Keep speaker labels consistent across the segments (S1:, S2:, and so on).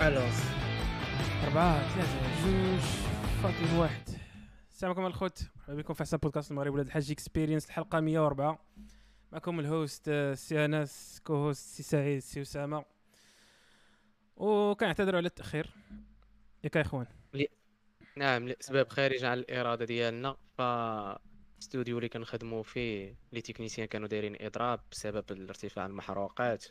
S1: الوغ
S2: أربعة ثلاثة زوج فاكين واحد السلام عليكم الخوت مرحبا بكم في أحسن بودكاست المغرب ولاد الحاج اكسبيرينس الحلقة 104 معكم الهوست آه، سي أنس كو هوست سي سعيد سي أسامة وكنعتذروا على التأخير ياك يا إخوان
S3: نعم لأسباب خارجة عن الإرادة ديالنا ف الاستوديو اللي كنخدموا فيه لي تكنيسيان كانوا دايرين اضراب بسبب الارتفاع المحروقات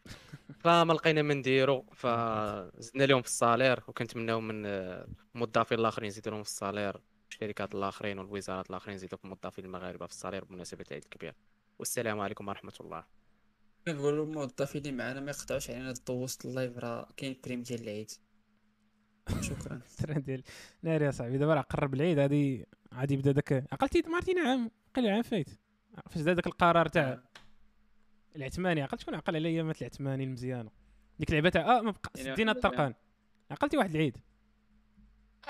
S3: فما لقينا ما نديرو فزدنا لهم في الصالير وكنتمناو من آه، الموظفين الاخرين يزيدوا لهم في الصالير الشركات الاخرين والوزارات الاخرين يزيدوا في الموظفين المغاربه في الصالير بمناسبه العيد الكبير والسلام عليكم ورحمه الله
S1: كنقولوا الموظفين اللي معنا ما يقطعوش علينا الضو وسط اللايف راه كاين بريم ديال العيد شكرا
S2: الترند ديال ناري يا صاحبي دابا راه قرب العيد غادي غادي يبدا داك عقلتي ما عرفتي عام عقل عام فايت فاش دا داك القرار تاع العثماني عقلت شكون عقل على ايامات العثماني المزيانه ديك اللعبه تاع اه ما بقى
S1: يعني
S2: سدينا
S1: واحد
S2: الطرقان عقلتي واحد العيد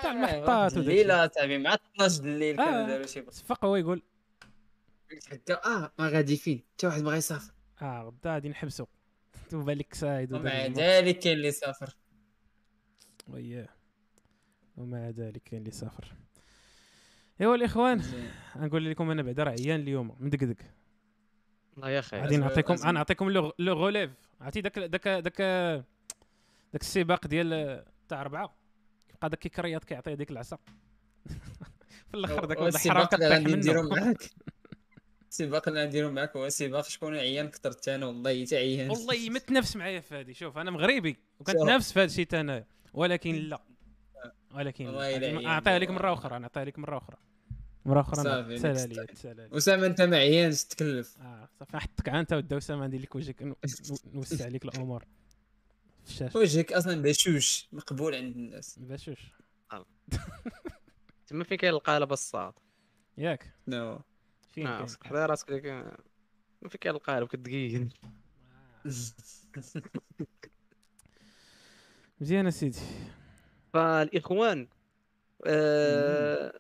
S2: تاع
S1: آه،
S2: المحطات
S1: واحد
S2: وداك
S1: الليله صاحبي مع 12 الليل
S2: آه.
S1: كانوا داروا شي بس
S2: صفق هو يقول
S1: اه ما غادي فين حتى واحد ما غيسافر
S2: اه غدا غادي نحبسو توبا لك سايد
S1: ومع
S2: وداك
S1: ذلك كاين اللي سافر
S2: الم- وياه ومع ذلك كاين اللي سافر ايوا الاخوان غنقول لكم انا بعدا راه عيان اليوم مدقدق
S3: الله يا خير
S2: غادي
S1: أز-
S2: نعطيكم
S1: أز-
S2: غنعطيكم لو لو غوليف عرفتي داك داك داك داك السباق ديال تاع اربعه كيبقى داك كيكريط كيعطيه ديك العصا في الاخر داك واحد الحرام
S1: السباق اللي
S2: كطيح
S1: غادي نديرو
S2: منه
S1: معاك السباق اللي غنديرو معاك هو سباق شكون عيان كثر انا والله حتى عيان
S2: والله يمتنافس معايا في هادي شوف انا مغربي وكنتنافس في هادشي حتى انايا ولكن لا ولكن لا.
S1: والله إلا
S2: غادي-
S1: عيان
S2: اعطيها لك
S1: دابا.
S2: مره اخرى نعطيها لك مره اخرى مره اخرى
S1: صافي،
S2: تسال
S1: next
S2: عليا
S1: time.
S2: تسال عليا
S1: اسامه انت ما عيانش تكلف
S2: اه صافي نحطك عا انت ودا اسامه ندير لك وجهك نو- نو- نوسع عليك الامور في الشاشه
S1: وجهك اصلا بشوش مقبول عند الناس
S2: باشوش
S3: تما فين كاين القالب الصاد
S2: ياك
S1: نو
S2: فين
S3: اه
S2: كاين؟
S3: وسط حدا راسك ديك- تما فين كاين القالب كتقيد
S2: مزيان اسيدي
S3: فالاخوان آه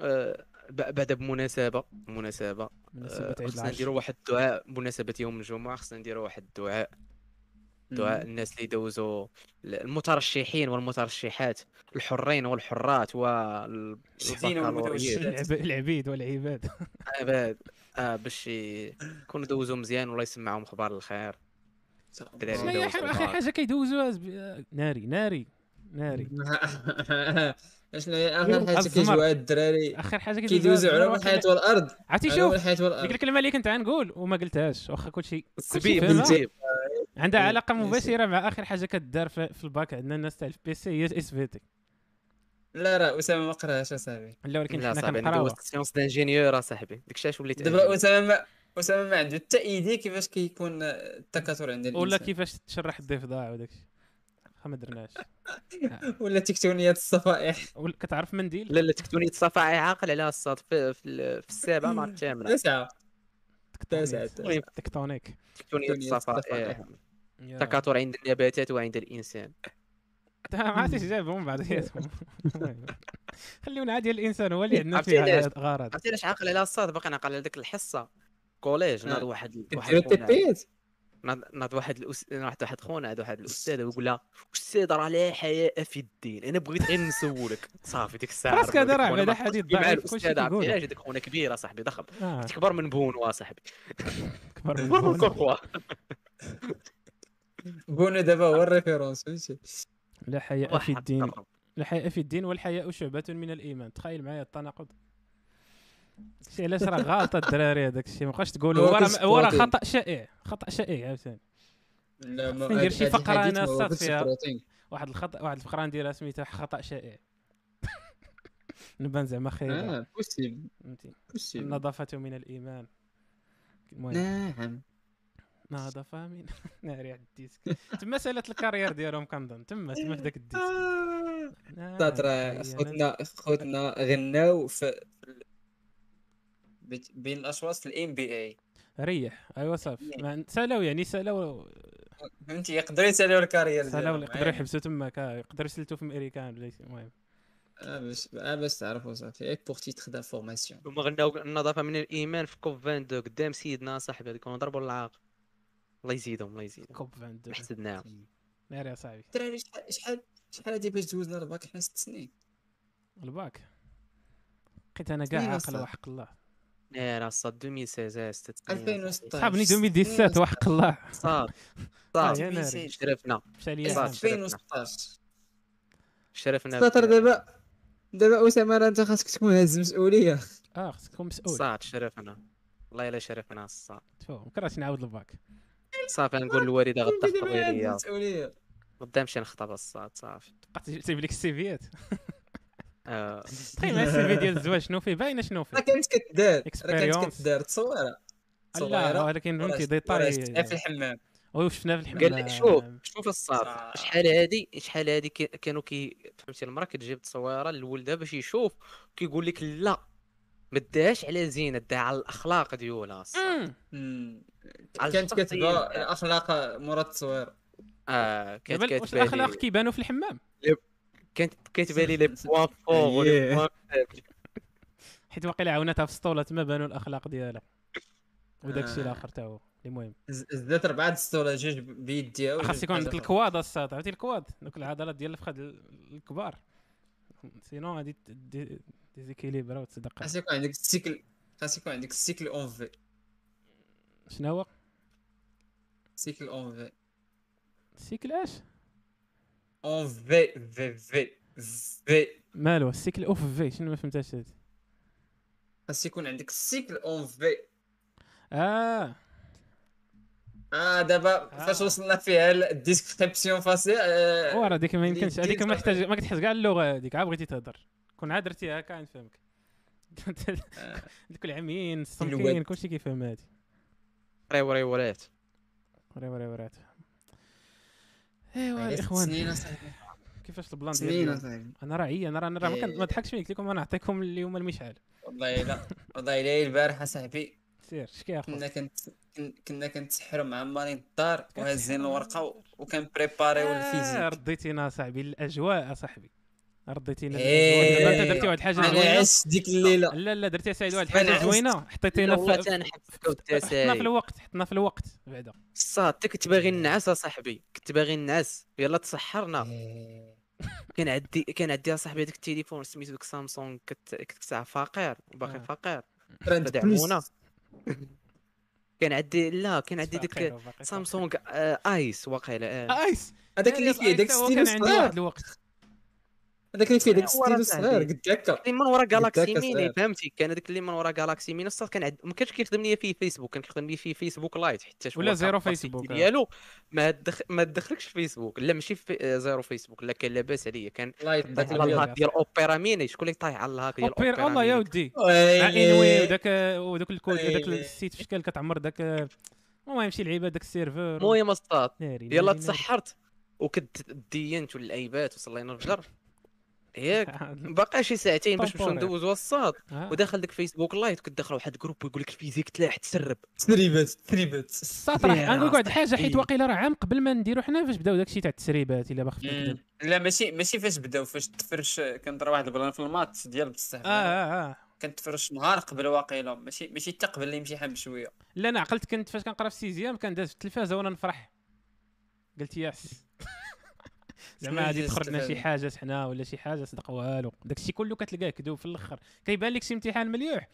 S3: آه ب- بعد بمناسبه مناسبه
S2: مناسبة
S3: آه،
S2: عيد
S3: خصنا
S2: العشر
S3: نديروا واحد الدعاء بمناسبه يوم الجمعه خصنا نديروا واحد الدعاء دعاء الناس اللي دوزوا ل- المترشحين والمترشحات الحرين والحرات
S1: المترشحين والمترشحين.
S3: والبكالوريات
S2: العب- العبيد والعباد
S3: آه، باش يكونوا دوزوا مزيان والله يسمعهم اخبار الخير الدراري
S2: شنو هي
S3: دوزوا
S2: آخر- اخر
S3: الدعاء.
S2: حاجه كيدوزوها زب- آه، ناري ناري ناري
S1: شنو هي اخر حاجه
S2: الزمر.
S1: كيجيوها الدراري
S2: اخر حاجه
S1: كيدوزوا
S2: زمان
S1: علوم
S2: واحد
S1: الحياه
S2: لا-
S1: والارض
S2: عرفتي
S1: علوم
S2: شوف
S1: الحياه والارض
S2: ديك الكلمه اللي كنت غنقول وما قلتهاش واخا كلشي
S3: الزبيب
S2: فهمها.
S3: الزبيب
S2: عندها
S1: إيه،
S2: علاقه
S1: نسيت.
S2: مباشره مع اخر حاجه كدار في في الباك عندنا الناس تاع البي سي هي اس في تي
S1: لا راه اسامه ما قراهاش اصاحبي
S2: لا ولكن
S3: لا
S2: حنا
S3: صاحبي انا
S2: كنقراوها
S3: دوزت سيونس دانجينيور اصاحبي ديك الشيء وليت
S1: دابا اسامه ما اسامه ما عنده حتى ايدي كيفاش كيكون التكاثر عند الانسان
S2: ولا كيفاش تشرح الضيف ضاع وداك الشيء واخا ما درناش آه.
S1: ولا تكتونيات الصفائح
S2: ولا- كتعرف منديل
S3: لا لا تكتوني الصفاعي عاقل عليها الصاد في, في, ال- في السابعه مع الثامنه
S1: تسعه تسعة،
S2: تكتونيك. طيب.
S1: تسعة.
S2: تكتونيك
S3: تكتوني
S1: تكتونية
S3: الصفائح
S2: إيه. يا.
S3: التكاثر عند النباتات وعند الانسان
S2: ما عرفتش جابهم بعضياتهم المهم. خليونا عادي الانسان هو اللي عندنا
S3: عرفتي
S2: فيه
S3: علاش؟
S2: غرض
S3: عرفتي علاش عاقل عليها الصاد باقي نعقل على ديك الحصه كوليج ناض
S1: آه.
S3: واحد واحد
S1: كديروا
S3: خونا-
S1: التبيات
S3: ناض ناض واحد الأس... واحد واحد خونا عاد واحد الاستاذ ويقول لها استاذ راه لا حياء في الدين انا بغيت غير نسولك صافي ديك الساعه
S2: خلاص كان راه بعدا
S3: هذا
S2: حديث
S3: مع
S2: ضعيف كلشي
S3: الاستاذ عرفتي
S2: كيقول
S3: علاش ديك خونا كبيره صاحبي ضخم
S2: اه
S3: تكبر من بونوا صاحبي
S2: كبر
S3: تكبر من
S2: بالبون.
S3: كوكوا
S1: بونو دابا هو الريفيرونس فهمتي
S2: لا حياء في الدين لا حياء في الدين والحياء شعبة من الايمان تخيل معايا التناقض شي علاش راه غالطه الدراري هذاك الشيء ما بقاش تقول
S1: هو
S2: هو راه
S1: كنت
S2: هو راه
S1: بروتين.
S2: خطا شائع خطا شائع عاوتاني
S1: لا ما
S2: ندير
S1: هاد-
S2: شي
S1: هاد
S2: فقرة
S1: الحديث
S2: أنا
S1: ما هو
S2: صاد
S1: كلشي
S2: فيها.
S1: بروتين.
S2: واحد الخطا واحد الفقره نديرها سميتها خطا شائع نبان زعما خير
S1: اه بوسيبل
S2: فهمتي
S1: بوسيبل
S2: النظافه من الايمان المهم
S1: نعم
S2: نهضه من ناري على الديسك تما سالت الكارير ديالهم كنظن تما تما في ذاك الديسك
S1: آه.
S2: ناري
S1: تاترا
S2: أنا-
S1: خوتنا خوتنا غناو في في- بت- بين الاشواط الام بي اي
S2: ريح ايوا صافي ما عن- سالاو يعني سالاو
S1: فهمتي يقدروا يسالوا الكارير
S2: سالاو
S1: ديالهم،
S2: يقدروا
S1: عادي.
S2: يحبسوا تماك آه، يقدروا يسلتوا في امريكان ولا شي- المهم
S1: اه باش اه باش تعرفوا صافي غير بوغ تيتخ دا فورماسيون
S3: هما غناو النظافه من الايمان في كوب 22 قدام سيدنا صاحبي هذيك ضربوا العاق الله يزيدهم الله يزيدهم
S2: كوب 22
S3: حسدناهم
S2: ناري يا صاحبي
S1: الدراري شحال شحال شحال هادي باش دوزنا الباك حنا ست سنين
S2: الباك بقيت انا كاع
S1: سنين
S2: عاقل
S1: أصلا.
S2: وحق الله
S3: طيب، انا صاد 2016 ست سنين يا صاحبي.
S1: 2016
S2: صحابني
S1: ست سنين
S2: 2017 وحق الله
S3: صاد
S2: آه،
S3: صاد
S2: يا ناري.
S1: 2016.
S3: شرفنا
S2: مشى ليا
S3: صاد.
S2: العام.
S1: 2016
S3: شرفنا
S2: نعم.
S1: سطر
S3: بك.
S1: دابا دابا اسامه راه انت خاصك تكون هاز المسؤوليه
S2: اه خصك تكون مسؤول
S3: صاد شرفنا والله الا شرفنا الصاد
S2: تفو كرهت نعاود الباك
S3: صافي غنقول للوالده غدا
S1: دابا
S3: خطبي
S1: هاز
S3: ليا
S1: المسؤوليه
S3: غدا نمشي نخطب الصاد صافي
S2: بقات تجيب لك السيفيات
S3: آه،
S2: تخيل مع السيفي طيب، ديال الزواج شنو فيه باينه شنو
S1: راه
S2: فيه
S1: كانت كتدار راه كانت
S2: Experience.
S1: كتدار تصويره
S2: لا ولكن
S1: وراه
S2: فهمتي
S1: شفت- وراه شفتها
S2: ديطاي
S1: في الحمام
S2: وشفنا في
S3: قال لك شوف
S2: الحمام
S3: شوف الصاد
S1: صاد.
S3: شحال هادي شحال هادي كي- كانوا كي فهمتي المراه كتجيب تصويره لولدها باش يشوف كيقول لك لا ما داهاش على زينه داها على الاخلاق ديولها الصاد.
S2: مم.
S1: مم.
S3: على
S1: كانت
S3: الشخصية
S1: كتبغى
S3: ديالها.
S1: الاخلاق مراد التصوير
S3: اه كانت
S2: دابا واش
S3: كاتبه لي-
S2: الاخلاق كيبانوا في الحمام
S3: كانت كاتبه لي لي بوان فور ولي
S1: Yeah.
S3: بوان
S2: حيت واقيلا عاوناتها في السطولة تما بانوا الاخلاق ديالها وداك الشيء
S1: آه.
S2: الاخر تا هو المهم
S1: زدت اربعه د السطوله جوج بيد ديالو
S2: خاص يكون عندك الكواد الصاد عرفتي الكواد دوك العضلات ديال الفخذ ال- الكبار سينو غادي ت- دي- ديزيكيليبرا وتصدق
S1: خاص يكون عندك السيكل خاص يكون عندك السيكل اون في
S2: شنو هو
S1: السيكل اون في
S2: السيكل اش
S1: اون في في في في
S2: مالو السيكل اوف في شنو ما فهمتهاش هادي
S1: خاص يكون عندك السيكل اون في آه،
S2: اه
S1: اه دابا
S2: آه.
S1: فاش وصلنا فيها الديسكريبسيون فاسي آه،
S2: ورا ديك ما يمكنش
S1: ديك-
S2: هذيك ما
S1: ديك-
S2: تحتاج ما كتحتاج كاع اللغه هذيك عا بغيتي تهضر كون عاد درتيها هكا نفهمك
S1: آه.
S2: دوك العميين الصمتين
S1: الواد.
S2: كلشي كيفهم هادي
S3: ري وري ورات
S2: وري وري ورات ايوا آه،
S1: عيلة
S2: الاخوان
S1: سنين أصاحبي.
S2: كيفاش البلان
S1: سنين
S2: ديالي
S1: أصاحبي.
S2: انا راه هي انا راه انا راه ما كان- ما
S1: إيه.
S2: ضحكش فيك لكم انا نعطيكم اليوم المشعل
S1: والله الا والله الا البارحه صاحبي
S2: سير شكي اخو
S1: كنا كنت كن- كنا كنتسحروا مع مارين الدار وهازين الورقه و- وكنبريباريو
S2: آه،
S1: الفيزيك
S2: رديتينا صاحبي الاجواء صاحبي رديتينا
S1: إيه.
S2: الأجواء. دابا انت درتي واحد الحاجه
S1: انا
S2: زوينه
S1: عشت ديك الليله
S2: لا لا درتي يا سعيد واحد
S1: أنا
S2: الحاجه
S1: عشت.
S2: زوينه حطيتينا
S3: هو
S2: في
S3: تاني حبك
S2: حطنا في
S3: وتساي
S2: الوقت حطنا في الوقت بعدا
S3: الصاد انت كنت باغي نعس اصاحبي كنت باغي نعس يلا تسحرنا
S1: إيه.
S3: كان عندي كان عندي اصاحبي هذاك التليفون سميتو داك سامسونج كت كنت ساعه فقير
S2: آه.
S3: باقي فقير
S1: برند بلوس.
S3: دعمونا كان عندي لا كان عندي
S2: فقير
S3: ديك
S2: وباقي
S3: سامسونج آه، ايس واقيلا آه.
S2: فقير. ايس
S1: هذاك اللي
S2: آيس
S1: فيه داك
S2: تا يعني هو
S1: ستيلو
S2: كان عندي يعني
S1: صغير
S2: واحد الوقت
S1: هذاك اللي فيه داك
S3: هو راه
S1: ستيلو
S3: صاحبي.
S1: صغير قد هكا
S3: اللي من ورا جالاكسي
S1: داك
S3: ميني
S1: صغير.
S3: فهمتي كان هذاك اللي من ورا جالاكسي ميني الصاد كان عند ما كانش كيخدم ليا فيه فيسبوك كان كيخدم ليا فيه فيسبوك لايت حتى
S2: ولا زيرو فيسبوك، آه.
S3: ديالو ما دخ... ما دخلكش فيسبوك لا ماشي في... آه، زيرو فيسبوك لا كان لاباس عليا كان
S1: لايت
S2: داك
S3: طايح على
S1: داك
S2: الأبيض.
S1: الابيض
S3: الهاك ديال اوبيرا ميني شكون اللي طايح على الهاك ديال
S2: اوبير
S3: اوبيرا
S2: الله يا
S3: ميني؟
S2: ودي
S1: إيه.
S2: مع انوي
S1: ويلي.
S2: وداك وداك الكود داك
S1: أيوة.
S2: السيت في شكل كتعمر داك المهم يمشي لعيبه داك السيرفر
S3: المهم الصاد
S2: ناري
S3: يلا
S2: ناري
S3: تسحرت وكنت دينت والايبات وصلينا الفجر ياك
S2: ناري.
S3: باقي شي ساعتين باش نمشيو
S2: طنطوري.
S3: ندوزو الصاد
S2: آه.
S3: وداخل داك فيسبوك لايت كنت داخل واحد جروب ويقول لك الفيزيك تلاح تسرب
S1: تريبات تريبات
S2: الساط راه
S3: يا
S2: غنقول لك واحد الحاجه حيت
S3: صاحبي.
S2: واقيلا راه عام قبل ما نديرو حنا فاش بداو داكشي تاع التسريبات الا باخا
S1: مم.
S2: نكذب
S1: لا ماشي ماشي فاش بداو فاش تفرش كنضرب واحد البلان في الماتش ديال
S2: اه
S1: بصح
S2: اه اه
S1: كنتفرش نهار قبل واقيلا ماشي ماشي حتى قبل الامتحان بشويه
S2: لا انا عقلت كنت فاش كنقرا في السيزيام كان داز في التلفازه وانا نفرح قلت ياس زعما
S1: شنو
S2: غادي
S1: داز في
S2: تخرج لنا شي
S1: التلفازة؟
S2: حاجه حنا ولا شي حاجه صدق والو داكشي كله كتلقاه كذوب في الاخر كيبان لك شي امتحان مليوح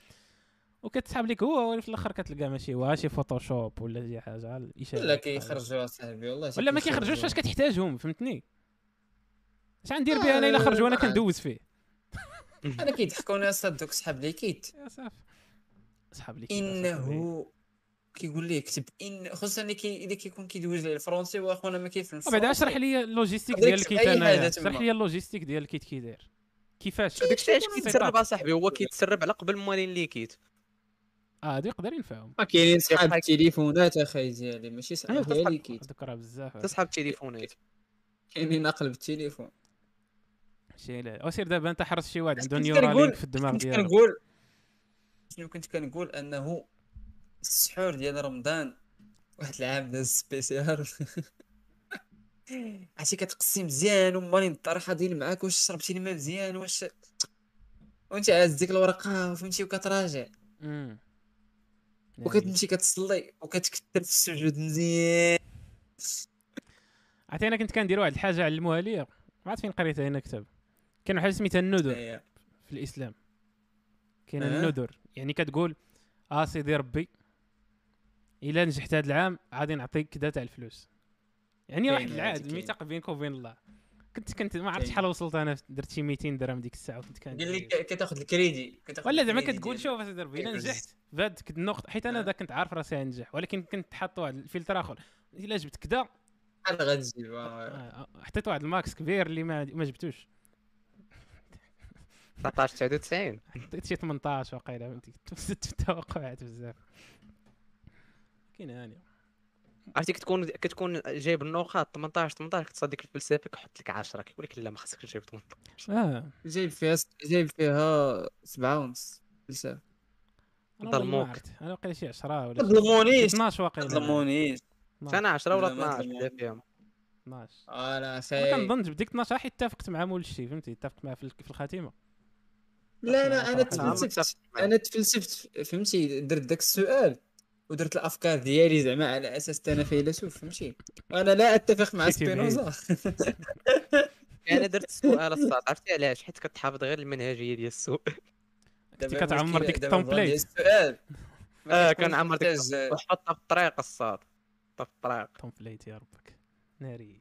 S2: وكتسحب لك هو ولا في الاخر كتلقى ماشي واه شي فوتوشوب ولا شي حاجه على الاشاره
S1: ولا كيخرجوا اصاحبي والله شي
S2: ولا ما
S1: كيخرجوا.
S2: كيخرجوش فاش كتحتاجهم فهمتني اش غندير بها انا
S1: آه،
S2: الا خرجوا انا
S1: آه.
S2: كندوز فيه
S1: انا كيضحكوني اصاحب دوك صحاب لي كيت
S2: يا صافي صحاب لي
S1: انه كيقول لي كتب ان خصوصا اللي كي اللي كيكون كيدوز ليه الفرونسي واخونا ما كيفهمش
S2: بعدا اشرح لي اللوجيستيك
S1: خليك
S2: ديال
S1: تسأل
S2: الكيت
S1: أي
S2: انايا
S1: حاجة
S2: اشرح
S1: تما.
S2: لي اللوجيستيك ديال الكيت كي داير كيفاش
S3: داك الشيء علاش
S2: كيفاش
S3: كيتسرب اصاحبي هو كيتسرب على قبل ما لين ليكيت
S2: اه هادو يقدر ينفعهم
S1: ما كاينين صحاب
S3: يبقى-
S1: التليفونات اخاي ديالي ماشي
S3: أنا
S1: صحاب ديالي
S3: كنضحك.
S1: كيت
S2: هادوك راه بزاف
S3: تسحب التليفونات
S1: كاينين اقلب التليفون
S2: شي لا او سير دابا انت حرص شي واحد
S1: بس
S2: عنده
S1: كنت
S2: نيورالينك
S1: كنقول-
S2: في الدماغ
S1: كنت
S2: ديالو
S1: كنقول شنو كنت كنقول انه السحور ديال رمضان واحد العام داز سبيسيال عرفتي كتقسي مزيان ومالين الدار حاضين معاك واش شربتي الماء مزيان واش وانت عاز ديك الورقه فهمتي وكتراجع
S2: أمم.
S1: وكتمشي كتصلي وكتكثر في السجود مزيان
S2: عرفتي انا كنت كندير واحد الحاجه علموها لي ما عرفت فين قريتها هنا كتاب كاين واحد سميتها الندر
S1: إيه.
S2: في الاسلام كاين
S1: أها.
S2: النذر يعني كتقول اه سيدي ربي الا نجحت هذا العام غادي نعطيك كذا تاع الفلوس يعني
S1: كاين
S2: واحد
S1: هادي،
S2: العهد
S1: كاين.
S2: ميثاق بينك وبين الله كنت كنت ما عرفت
S1: كاين.
S2: شحال وصلت انا درت شي 200 درهم ديك الساعه وكنت
S1: قال
S2: كان إيه.
S1: لي ك- كتاخذ الكريدي كتاخذ
S2: ولا زعما
S1: الكريدي
S2: كتقول
S1: ديال-
S2: شوف اسيدي ربي الا
S1: papers.
S2: نجحت بهاد كد- النقطه حيت انا
S1: آه.
S2: ذا كنت عارف راسي غنجح ولكن كنت حاط واحد الفلتر اخر الا جبت كذا
S1: إيه. انا غنجيب آه.
S2: آه، آه، حطيت واحد الماكس كبير اللي ما ما جبتوش
S3: 19 99
S2: حطيت شي 18 وقيله فهمتي توقعات بزاف كاين هاني
S3: عرفتي كتكون كتكون جايب النقاط 18 18 كتصاد ديك الفلسفه كيحط لك 10 كيقول لك لا ما خصكش تجيب 18
S2: اه
S1: جايب فيها جايب فيها سبعة ونص بزاف
S2: انا والله ما
S3: ظلموك.
S2: عرفت انا وقيلا شي 10
S1: ما
S2: ولا شي-
S1: تظلمونيش
S2: 12 وقيلا
S1: ما تظلمونيش
S2: 12
S3: انا 10 ولا
S1: لا، ما
S3: 12
S1: تظلموا.
S3: بدا فيهم
S2: 12
S1: انا
S2: انا
S1: خايف
S2: كنظن بديك 12 حيت اتفقت مع مول الشي فهمتي اتفقت معاه في الك- في الخاتمه
S1: لا لا انا
S2: أنا عمري
S1: تفلسفت
S3: اتفقت معاك.
S1: انا تفلسفت فهمتي درت داك السؤال ودرت الافكار ديالي زعما على اساس انا فيلسوف فهمتي انا لا اتفق مع
S2: مشيتي بعيد.
S1: سبينوزا
S3: انا درت السؤال الصاد عرفتي علاش حيت كتحافظ غير المنهجيه ديال السوق
S2: كنت
S1: دابا
S2: كتعمر
S1: المشكلة-
S2: ديك
S1: دابا بغا ندير
S2: التومبليت
S1: السؤال ما
S3: اه
S1: كتكونش
S3: كنعمر ديك
S1: محتاج-
S3: وحطها في الطريق الصاد حطها في الطريق
S2: التومبليت يا ربك ناري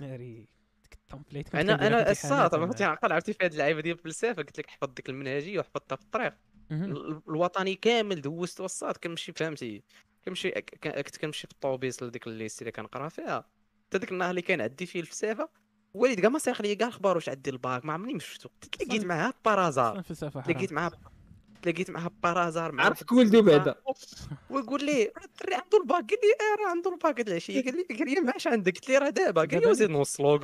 S2: ناري ديك التومبليت كنت
S3: انا
S2: كنديرها في
S3: انا
S2: الامتحانات
S3: الصاد
S2: أنا.
S3: ما عقل عرفتي في هاد اللعيبه ديال الفلسفه قلت لك حفظ ديك المنهجيه وحفظتها في الطريق
S2: مهم.
S3: ال- الوطني كامل دوزت وصات كنمشي فهمتي كنمشي ك- ك- كنت كنمشي في الطوبيس لديك الليست اللي كنقرا فيها حتى ديك النهار اللي كان عندي فيه الفلسفه وليد كاع ما صيغ لي كاع الخبار واش عندي الباك ما عمرني ما شفتو تلاقيت
S2: أصلاً-
S3: معاه بارازار
S2: أصلاً الفلسفه حرام
S3: تلاقيت معاه تلاقيت معاه بارازار مع
S1: عرفت ولدو بعدا
S3: ويقول لي راه الدري عنده الباك قال لي اه راه عنده الباك هاد العشيه قال لي قال لي ما عادش عندك قلت لي راه دابا قال لي
S2: دابا
S3: وزيد نوصلو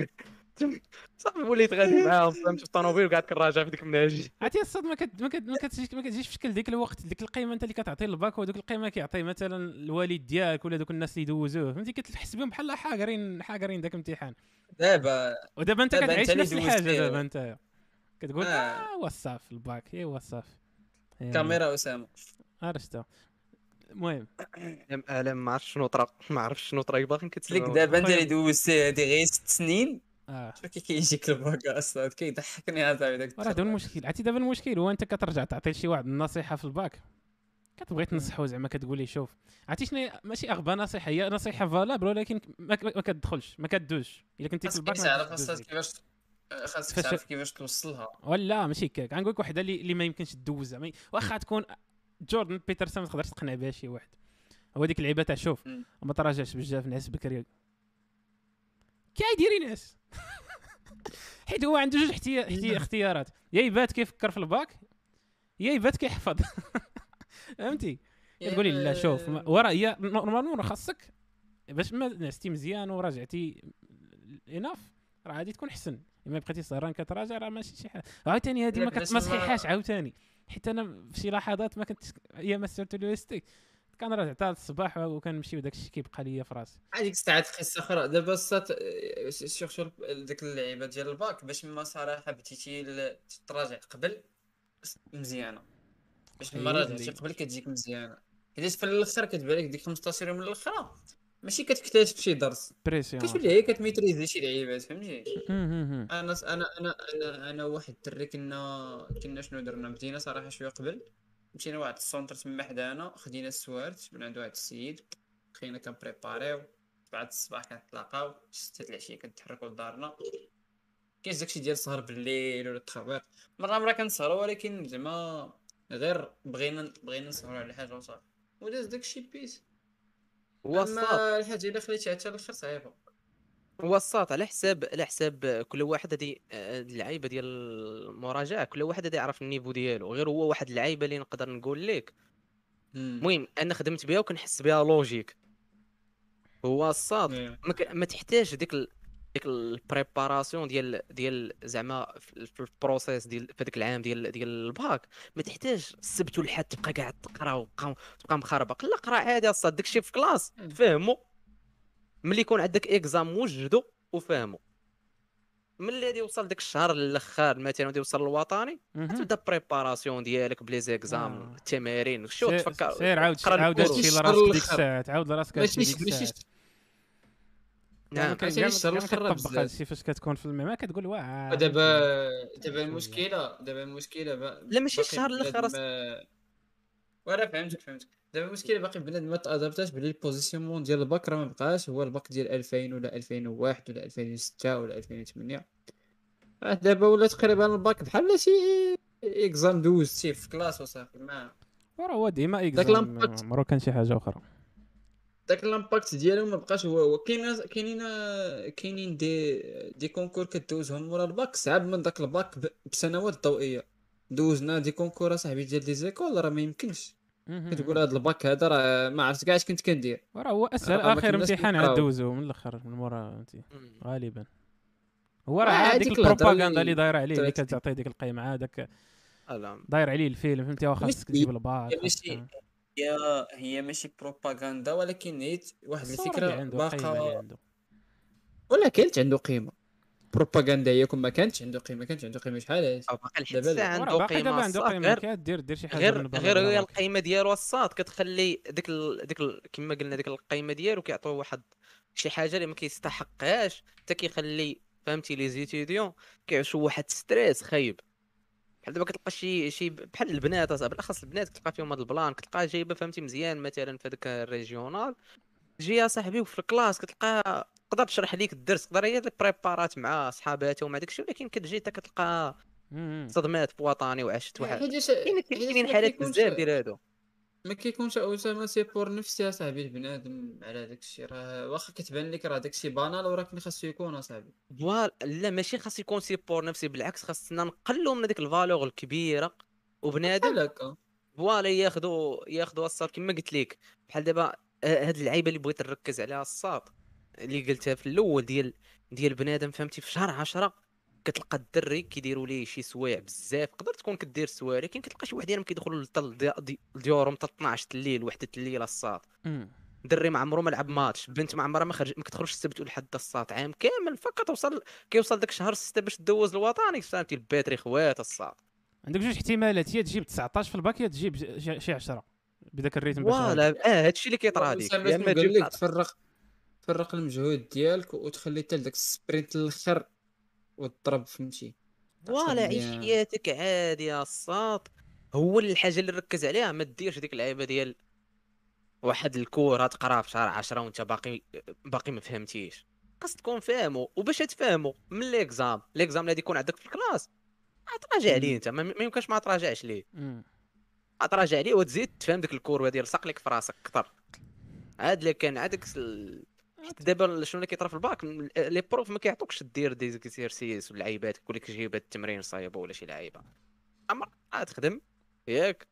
S3: صافي وليت غادي معاهم فهمت في الطوموبيل وقعد كنراجع في ديك المناجي
S2: عرفتي الصاد ما كت- ما كت- ما كتجيش ما كتجيش في شكل ديك الوقت ديك القيمه انت اللي كتعطي للباك وديك القيمه كيعطي مثلا الوالد ديالك ولا دوك الناس اللي دوزوه فهمتي كتحس بهم بحال حاقرين حاقرين داك الامتحان
S1: دابا آه،
S2: ودابا انت
S1: دابا
S2: كتعيش
S1: أنت اللي
S2: نفس
S1: دوزت
S2: الحاجه
S1: فيها.
S2: دابا انت كتقول
S1: آه.
S2: اه وصاف الباك اي وصاف إيه،
S1: كاميرا اسامه
S2: عرفتها المهم
S3: انا آه، ما عرفتش شنو طرا ما عرفتش شنو طرا باغي
S1: قلت لك
S3: كتسلم
S1: دابا انت
S2: خويا.
S1: اللي دوزتي هادي غير ست سنين
S2: اه
S1: شوف كي كيجيك الباكا اصلا كيضحكني عصاي داك
S2: راه دابا المشكل عرفتي دابا المشكل هو انت كترجع تعطي لشي واحد النصيحه في الباك كتبغي تنصحو زعما كتقول ليه شوف عرفتي شنو هي- ماشي اغبى نصيحه هي نصيحه فالابل ولكن ما, ما ما كتدخلش ما كدوش الا كنتي في
S1: خاصك
S2: الباك ما
S1: تعرف
S2: كتدوش
S1: اصلا
S2: ليك.
S1: كيفاش خاصك
S2: فاش-
S1: تعرف كيفاش توصلها
S2: ولا ماشي هكاك غنقول لك وحده اللي اللي ما يمكنش تدوز زعما واخا تكون جوردن بيترسون ما تقدرش تقنع بها شي واحد هو ديك اللعيبه تاع شوف
S1: مم.
S2: ما تراجعش بزاف نعس بكري كيديري نعس حيت هو عنده جوج احتيا... احتيا... اختيارات يا يبات كيفكر في الباك يا يبات كيحفظ فهمتي كتقولي إيه، يعني لا
S1: يعني،
S2: شوف
S1: آه.
S2: ما- ورا هي نورمالمون راه خاصك باش ما نعستي مزيان وراجعتي اناف راه غادي تكون احسن اما بقيتي سهران كتراجع راه ماشي شي حاجه عاوتاني هذه
S1: لا،
S2: ما كت-
S1: باش
S2: ما
S1: ما-
S2: صحيحاش عاوتاني حيت انا في شي لحظات ما كنت ايام سيرت اليو اس تي كان راجع تاع الصباح وكنمشي وداك الشيء كيبقى ليا في راسي
S1: هذيك الساعات قصه اخرى دابا السات سيرتو ديك اللعيبه ديال الباك باش ما صراحه بديتي ال- تراجع قبل مزيانه باش ما
S2: أيوة
S1: راجعتي
S2: اللي-
S1: قبل كتجيك مزيانه حيت في الاخر كتبان لك ديك 15 يوم الاخر ماشي كتكتشف شي درس
S2: بريسيون
S1: كتولي هي كتميتريزي شي لعيبات فهمتي
S2: مهم.
S1: انا انا انا انا انا واحد الدري كنا كنا شنو درنا مدينه صراحه شويه قبل مشينا واحد السونتر تما حدانا خدينا السوارت من عند واحد السيد خلينا كنبريباريو بعد الصباح كنتلاقاو ستة د العشية كنتحركو لدارنا كاينش داكشي ديال السهر بالليل ولا التخبيط مرة مرة كنسهرو ولكن زعما غير بغينا بغينا نسهرو على حاجة وصافي وداز داكشي بيس
S3: وصات
S1: اما الحاجة اللي خليتها حتى الاخر صعيبة
S3: وصات على حساب على حساب كل واحد هادي آه، اللعيبه ديال المراجعه كل واحد هادي يعرف النيفو ديالو غير هو واحد اللعيبه اللي نقدر نقول لك المهم انا خدمت بها وكنحس بها لوجيك هو الصاد
S1: إيه.
S3: ما ك- ما تحتاج ديك ال... ديك البريباراسيون ديال ديال زعما في في البروسيس ديال في هذاك العام ديال ديال الباك ما تحتاج السبت والحد تبقى قاعد تقرا وتبقى تبقى مخربق لا قرا عادي اصلا داك الشيء في كلاس
S1: مم.
S3: فهمو ملي يكون عندك اكزام وجدو وفهمو ملي غادي يوصل داك الشهر الاخر مثلا غادي يوصل الوطني
S2: مهم.
S3: تبدا بريباراسيون ديالك بلي زيكزام
S2: آه.
S3: التمارين شو
S2: سير-
S3: تفكر
S2: سير عاود
S3: تقرا
S2: عاود
S3: الكورس.
S2: هادشي
S1: ماشي
S2: لراسك
S1: الشر
S2: ديك يعني
S1: الخر.
S2: الساعه عاود لراسك هادشي
S1: ماشي
S2: ديك
S1: ماشي
S2: الساعه
S3: نعم
S2: كان
S1: عرفتي علاش
S2: كان
S1: الوقت قرب
S2: كيطبق
S1: بزاف.
S2: هادشي فاش كتكون في المهم كتقول
S1: آه،
S2: واه
S1: دابا دابا المشكله دابا المشكله با-
S3: لا ماشي
S1: باقي
S3: الشهر
S1: بلاد
S3: الاخر أصلا.
S1: ما- ورا فهمتك فهمتك دابا المشكله باقي بلاد ما تادابتاش بلي البوزيسيونمون ديال الباك راه ما بقاش هو الباك ديال 2000 ولا 2001 ولا 2006 ولا 2008 آه، دابا ولا تقريبا الباك بحال شي اكزام دوزتيه في كلاس وصافي ما
S2: وراه هو ديما
S1: لامبارد.
S2: اكزام مرو كان شي حاجه اخرى
S1: داك الامباكت ديالو ما بقاش هو هو كاين كاينين كاينين دي دي كونكور كدوزهم مورا الباك صعب من داك الباك ب- بسنوات ضوئيه دوزنا دي كونكور اصاحبي ديال لي زيكول راه ما يمكنش
S2: مهم.
S1: كتقول هذا الباك هذا راه ما عرفت كاع اش كنت كندير
S2: وراه هو اسهل
S1: راه ما
S2: اخر
S1: كناش
S2: امتحان
S1: نقراو.
S2: عاد دوزو من الاخر من مورا فهمتي
S3: مم.
S2: غالبا هو راه
S1: آه،
S2: عاد
S1: هذيك
S2: ديك
S1: الهضرة
S2: البروباغندا
S1: اللي
S2: اللي دايره عليه اللي
S1: طلعت فيك.
S2: كتعطي ديك القيمه داك
S3: ألا.
S2: داير عليه الفيلم فهمتي واخا
S1: ماشي-
S2: خاصك تجيب الباك
S1: ماشي
S2: خاصك-
S1: هي هي ماشي بروباغندا ولكن هي واحد
S2: الصورة اللي
S1: الفكره
S2: عنده يعني. القيمه اللي
S1: باقا
S2: عنده
S1: ولا كانت عنده قيمه بروباغندا هي كون ما كانتش عنده قيمه كانت عنده قيمه شحال هادي
S3: أو باقي لحد
S1: دابا-
S3: الساعة
S2: وراه
S3: عنده
S2: باقي دابا
S3: قيمة
S2: عنده
S3: الصاط
S2: قيمه
S3: غير
S2: كدير دير شي حاجه
S3: غير
S2: بالنسبة
S3: غير
S2: للباك.
S3: هي القيمة ديالو الصاد كتخلي ديك ال... ديك ال... كما قلنا ديك القيمة ديالو كيعطوه واحد شي حاجة اللي ما كيستحقهاش حتى كيخلي فهمتي لي زيتيديون كيعيشوا واحد ستريس خايب بحال دابا كتلقى شي شي بحال البنات أصاحبي، بالاخص البنات كتلقى فيهم هاد البلان كتلقى جايبه فهمتي مزيان مثلا في هذاك الريجيونال تجي يا صاحبي وفي الكلاس كتلقاها تقدر تشرح ليك الدرس تقدر هي اللي بريبارات مع صحاباتها ومع داكشي ولكن كتجي حتى كتلقى
S2: مم.
S3: صدمات في وطني وعشت واحد
S1: حيتاش-
S3: كاين
S1: حيتاش
S3: كاينين
S1: ما
S3: حالات
S1: كيكونش-
S3: بزاف ديال هادو
S1: ما كيكونش اسامه سي بور نفسي اصاحبي البنادم على داك الشيء راه واخا كتبان لك راه داك الشيء بانال وراك اللي خاصو يكون اصاحبي
S3: فوالا لا ماشي خاص يكون سيبور نفسي بالعكس خاصنا نقلوا من هذيك الفالور الكبيره وبنادم
S1: بحال هكا
S3: فوالا ياخذوا ياخذوا الصاد كما قلت لك بحال دابا آه، هاد اللعيبه اللي بغيت نركز عليها الصاد اللي قلتها في الاول ديال ديال بنادم فهمتي في شهر 10 كتلقى الدري كيديروا ليه شي سوايع بزاف تقدر تكون كدير سوايع ولكن كتلقى شي واحد ديالهم كيدخلوا للطل- دي- دي- ديورهم حتى 12 الليل وحده الليل الصاد
S2: مم.
S3: دري ما عمرو ما لعب ماتش بنت ما عمرها ما خرج ما كتخرجش السبت والحد الصاط عام كامل فقط وصل كيوصل داك شهر 6 باش تدوز الوطني فهمتي الباتري خوات الصاط
S2: عندك جوج احتمالات يا تجيب 19 في الباك يا تجيب ج- شي- شي 10 بداك الريتم باش غادي.
S3: فوالا اه هادشي اللي كيطرا ليك
S1: أسامة
S3: يا
S1: شنو
S3: اما
S1: قال
S3: تجيب
S1: لك تفرق تفرق المجهود ديالك وتخلي حتى داك السبرينت الاخر وتضرب فهمتي
S3: فوالا عيش
S1: يعني-
S3: حياتك عادي يا الساط هو اللي الحاجه اللي ركز عليها ما ديرش ديك اللعيبه ديال واحد الكور تقرا في شهر 10 وانت باقي باقي ما فهمتيش خاص تكون فاهمو وباش تفهمو من ليكزام ليكزام اللي غادي يكون عندك في الكلاس تراجع ليه انت ما ما يمكنش ما تراجعش ليه
S2: مم.
S3: تراجع ليه وتزيد تفهم ديك الكوروه ديال ساق لك في راسك اكثر عاد اللي كان عاد داك ال- حيت دابا شنو اللي كيطرا في الباك م- لي بروف ما كيعطوكش دير دي زيكسيرسيس واللعيبات يقول لك جيب هاد التمرين صايبه ولا شي لعيبه اما عاد تخدم ياك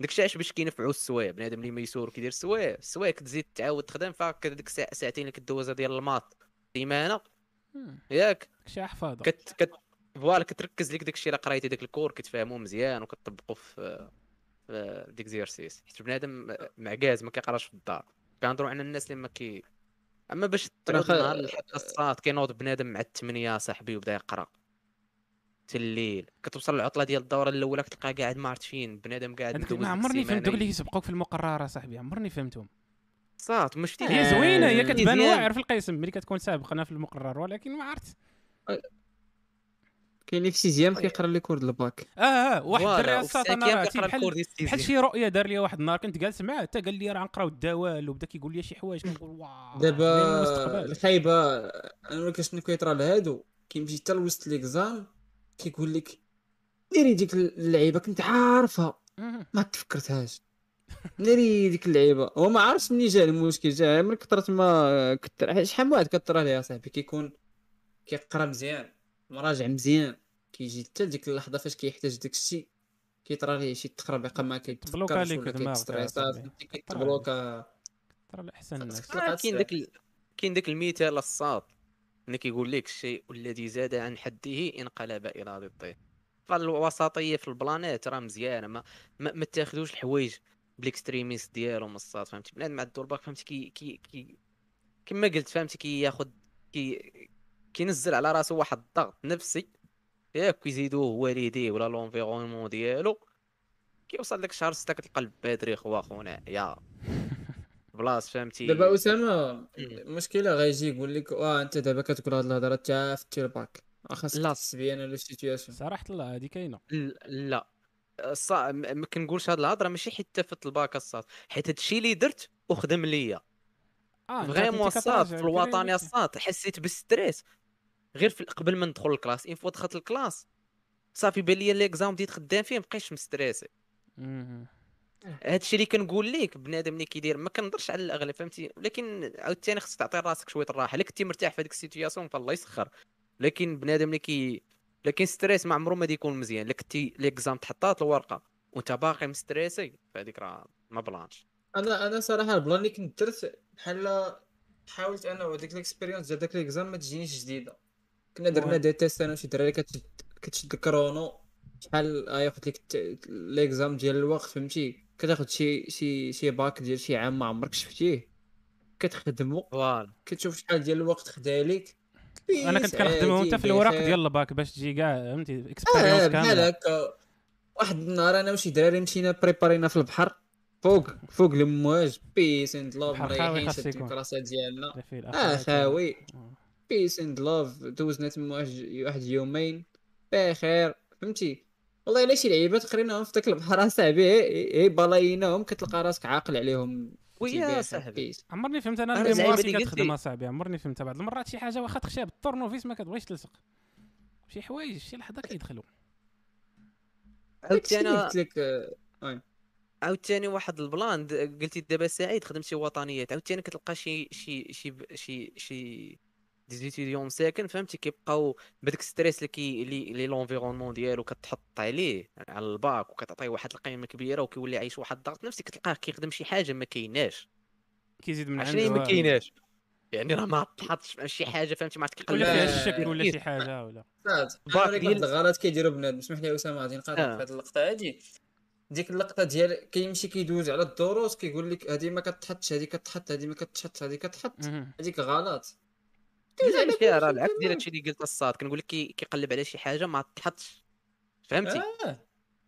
S3: داكشي علاش باش كينفعو السوايع بنادم اللي ما يسور كيدير السوايع السوايع كتزيد تعاود تخدم فهاك ديك الساعه ساعتين اللي كدوزها ديال الماط سيمانه
S2: مم.
S3: ياك
S2: داكشي احفاظه
S3: كت كت فوالا كتركز لك داكشي اللي قريتي داك الكور كتفهمو مزيان وكتطبقو في في ديكزيرسيس حيت بنادم معكاز ما كيقراش في الدار كنهضروا على الناس اللي ما كي اما باش تعود
S1: خا-
S3: نهار لحد الصاد كينوض بنادم مع الثمانية صاحبي وبدا يقرا حتى الليل كتوصل العطله ديال الدوره الاولى كتلقى قاعد ما عرفت فين بنادم قاعد
S2: هذوك ما عمرني فهمت دوك اللي كيسبقوك في المقرر صاحبي عمرني فهمتهم
S3: الصاد ما
S1: إيه.
S3: شفتي
S2: هي زوينه هي كتبان
S3: مزيان.
S2: واعر في القسم ملي كتكون سابقنا في المقرر ولكن ما عرفت
S1: كاين اللي في سيزيام كيقرا لي كور د الباك
S2: اه اه واحد
S3: فوالا،
S2: الدري
S3: وفي
S2: الساط انا
S3: الساكية
S2: راه
S3: كيقرا الكور
S2: بحال
S3: ديال السيزي.
S2: بحال شي رؤيه دار لي واحد النهار كنت جالس معاه حتى قال لي راه غنقراو الدوال وبدا كيقول لي شي حوايج كنقول واو دايما
S1: دابا
S2: آه، المستقبل.
S1: الخايبه انا ولا شنو كيطرا لهادو كيمشي حتى لوسط ليكزام كيقول لك ديري ديك اللعيبه كنت عارفها
S2: مم.
S1: ما تفكرتهاش ناري ديك اللعيبه هو ما عرفش منين جا المشكل جا من كثرة ما كثر شحال من واحد كثر ليها صاحبي كيكون كيقرا مزيان مراجع مزيان كيجي حتى لديك اللحظه فاش كيحتاج داك الشيء كيطرا ليه شي تخربيقه ما
S2: تبلوكا
S1: كيتفكرش
S2: ليك
S1: ولا
S2: دماغك يا
S1: كيتستريسات
S2: صاحبي. طيب.
S1: فهمتي
S2: كتطرا
S1: كيتبلوكا
S2: ترى الاحسن الناس
S1: خصك تلقى
S3: آه، كاين
S1: تساعد.
S3: داك ال- كاين داك المثال الصاد اللي كيقول لك الشيء الذي زاد عن حده انقلب الى ضده فالوسطيه في البلانات راه مزيانه ما ما, ما تاخذوش الحوايج بالاكستريميست ديالهم الصاد فهمتي بنادم مع الدور باك فهمتي كي كي كي كما قلت فهمتي كياخذ كي كينزل على راسو واحد الضغط نفسي ياك كيزيدوه والديه ولا لونفيرونمون ديالو كيوصل لك شهر 6 كتلقى البادري خوا خونا يا بلاص فهمتي
S1: دابا اسامه المشكله غيجي يقول لك اه انت دابا كتقول هاد الهضره تاع في الباك خاصك
S3: لا.
S1: تحس بيا انا لو سيتياسيون
S2: صراحه الله هذه كاينه
S3: ل- لا الص... م- ما كنقولش هاد الهضره ماشي حيت تفت الباك الصاد حيت هادشي اللي درت وخدم ليا
S2: اه
S3: فريمون الصاد في الوطني الصاد حسيت بالستريس غير في قبل ما ندخل الكلاس اين فوا دخلت الكلاس صافي بان لي ليكزام بديت خدام فيه مبقيتش مستريسي هادشي اللي كنقول لك بنادم اللي كيدير ما كنهضرش على الاغلب فهمتي ولكن عاوتاني خصك تعطي راسك شويه الراحه الا كنتي مرتاح في هذيك السيتوياسيون فالله يسخر لكن بنادم اللي كي لكن ستريس ما عمره ما ديكون مزيان الا كنتي ليكزام تحطات الورقه وانت باقي مستريسي فهذيك راه ما بلانش
S1: انا انا صراحه البلان اللي كنت درت بحال حاولت انا وديك الاكسبيريونس ديال داك ليكزام ما تجينيش جديده كنا درنا
S2: وين؟
S1: دي تيست انا وشي دراري كتشد كتشد الكرونو شحال غياخد لك الت- ليكزام ديال الوقت فهمتي كتاخد شي شي شي باك ديال شي عام ما عمرك شفتيه كتخدمو
S3: فوالا
S1: كتشوف شحال ديال الوقت خدا ليك
S2: انا كنت
S1: بيس
S2: كنخدمهم
S1: عادي،
S2: حتى في الوراق
S1: بخير.
S2: ديال الباك باش تجي كاع فهمتي
S1: اه
S2: اكسبيريونس
S1: إيه، بحال
S2: كامله
S1: هكا واحد النهار انا وشي دراري مشينا بريبارينا في البحر فوق فوق المواج بيس اند لوف
S2: بحر خاوي
S1: مريحين
S2: خاص
S1: شادين
S2: يكون.
S1: الكراسه ديالنا
S2: لا فيه
S1: اه
S2: الأخوات ولا-
S1: خاوي بيس اند لوف دوزنا تما واحد واحد يومين بخير فهمتي والله الا شي لعيبات قريناهم في داك البحر آه، إيه، اصاحبي إي- إي بلايناهم كتلقى راسك عاقل عليهم
S3: ويا
S1: بخير،
S3: صاحبي
S1: بيس
S2: عمرني فهمت انا
S3: أنا
S2: اللي
S3: زعما
S2: مواسي
S3: اللي قلتي.
S2: كتخدم اصاحبي عمرني فهمتها بعض المرات شي حاجه واخا تخشى بالطورنوفيس ما كتبغيش تلصق شي حوايج شي لحظه كيدخلوا
S1: داكشي
S3: عاوتاني
S1: اللي
S3: انا
S1: قلت لك آه،
S3: عاوتاني واحد البلان د- قلتي دابا سعيد خدمت شي وطنيات عاوتاني كتلقى شي شي شي ب- شي شي ديزيتيديون ساكن فهمتي كيبقاو بداك الستريس اللي كي اللي لي لونفيرونمون ديالو كتحط عليه على الباك وكتعطيه واحد القيمه كبيره وكيولي عايش واحد الضغط نفسي كتلقاه كيخدم شي حاجه ما كايناش
S2: كيزيد من
S3: عشان هي
S2: عنده
S3: ما
S2: آه.
S3: كايناش يعني راه ما تحطش مع شي حاجه فهمتي ما عرفت
S2: ولا
S3: كيقلب
S2: فيها
S1: لا،
S2: الشك ولا شي
S3: تركيز.
S2: حاجه ولا
S1: صاد
S3: باك
S1: هذيك
S3: ديال-
S1: واحد الغلط كيديروا بنادم اسمح لي اسامه غادي نقاطعك
S3: آه.
S1: في هذه اللقطه هذه ديك اللقطه ديال كيمشي كيدوز على الدروس كيقول لك هذه ما كتحطش هذه كتحط هذه ما كتحطش هذه كتحط
S2: مهم.
S1: هذيك غلط دوز
S3: لا
S1: على
S3: ماشي راه العكس ديال
S1: كلشي تمام.
S3: هادشي اللي قلت الصاد كنقول لك كي- كيقلب على شي حاجه ما تحطش فهمتي
S1: آه.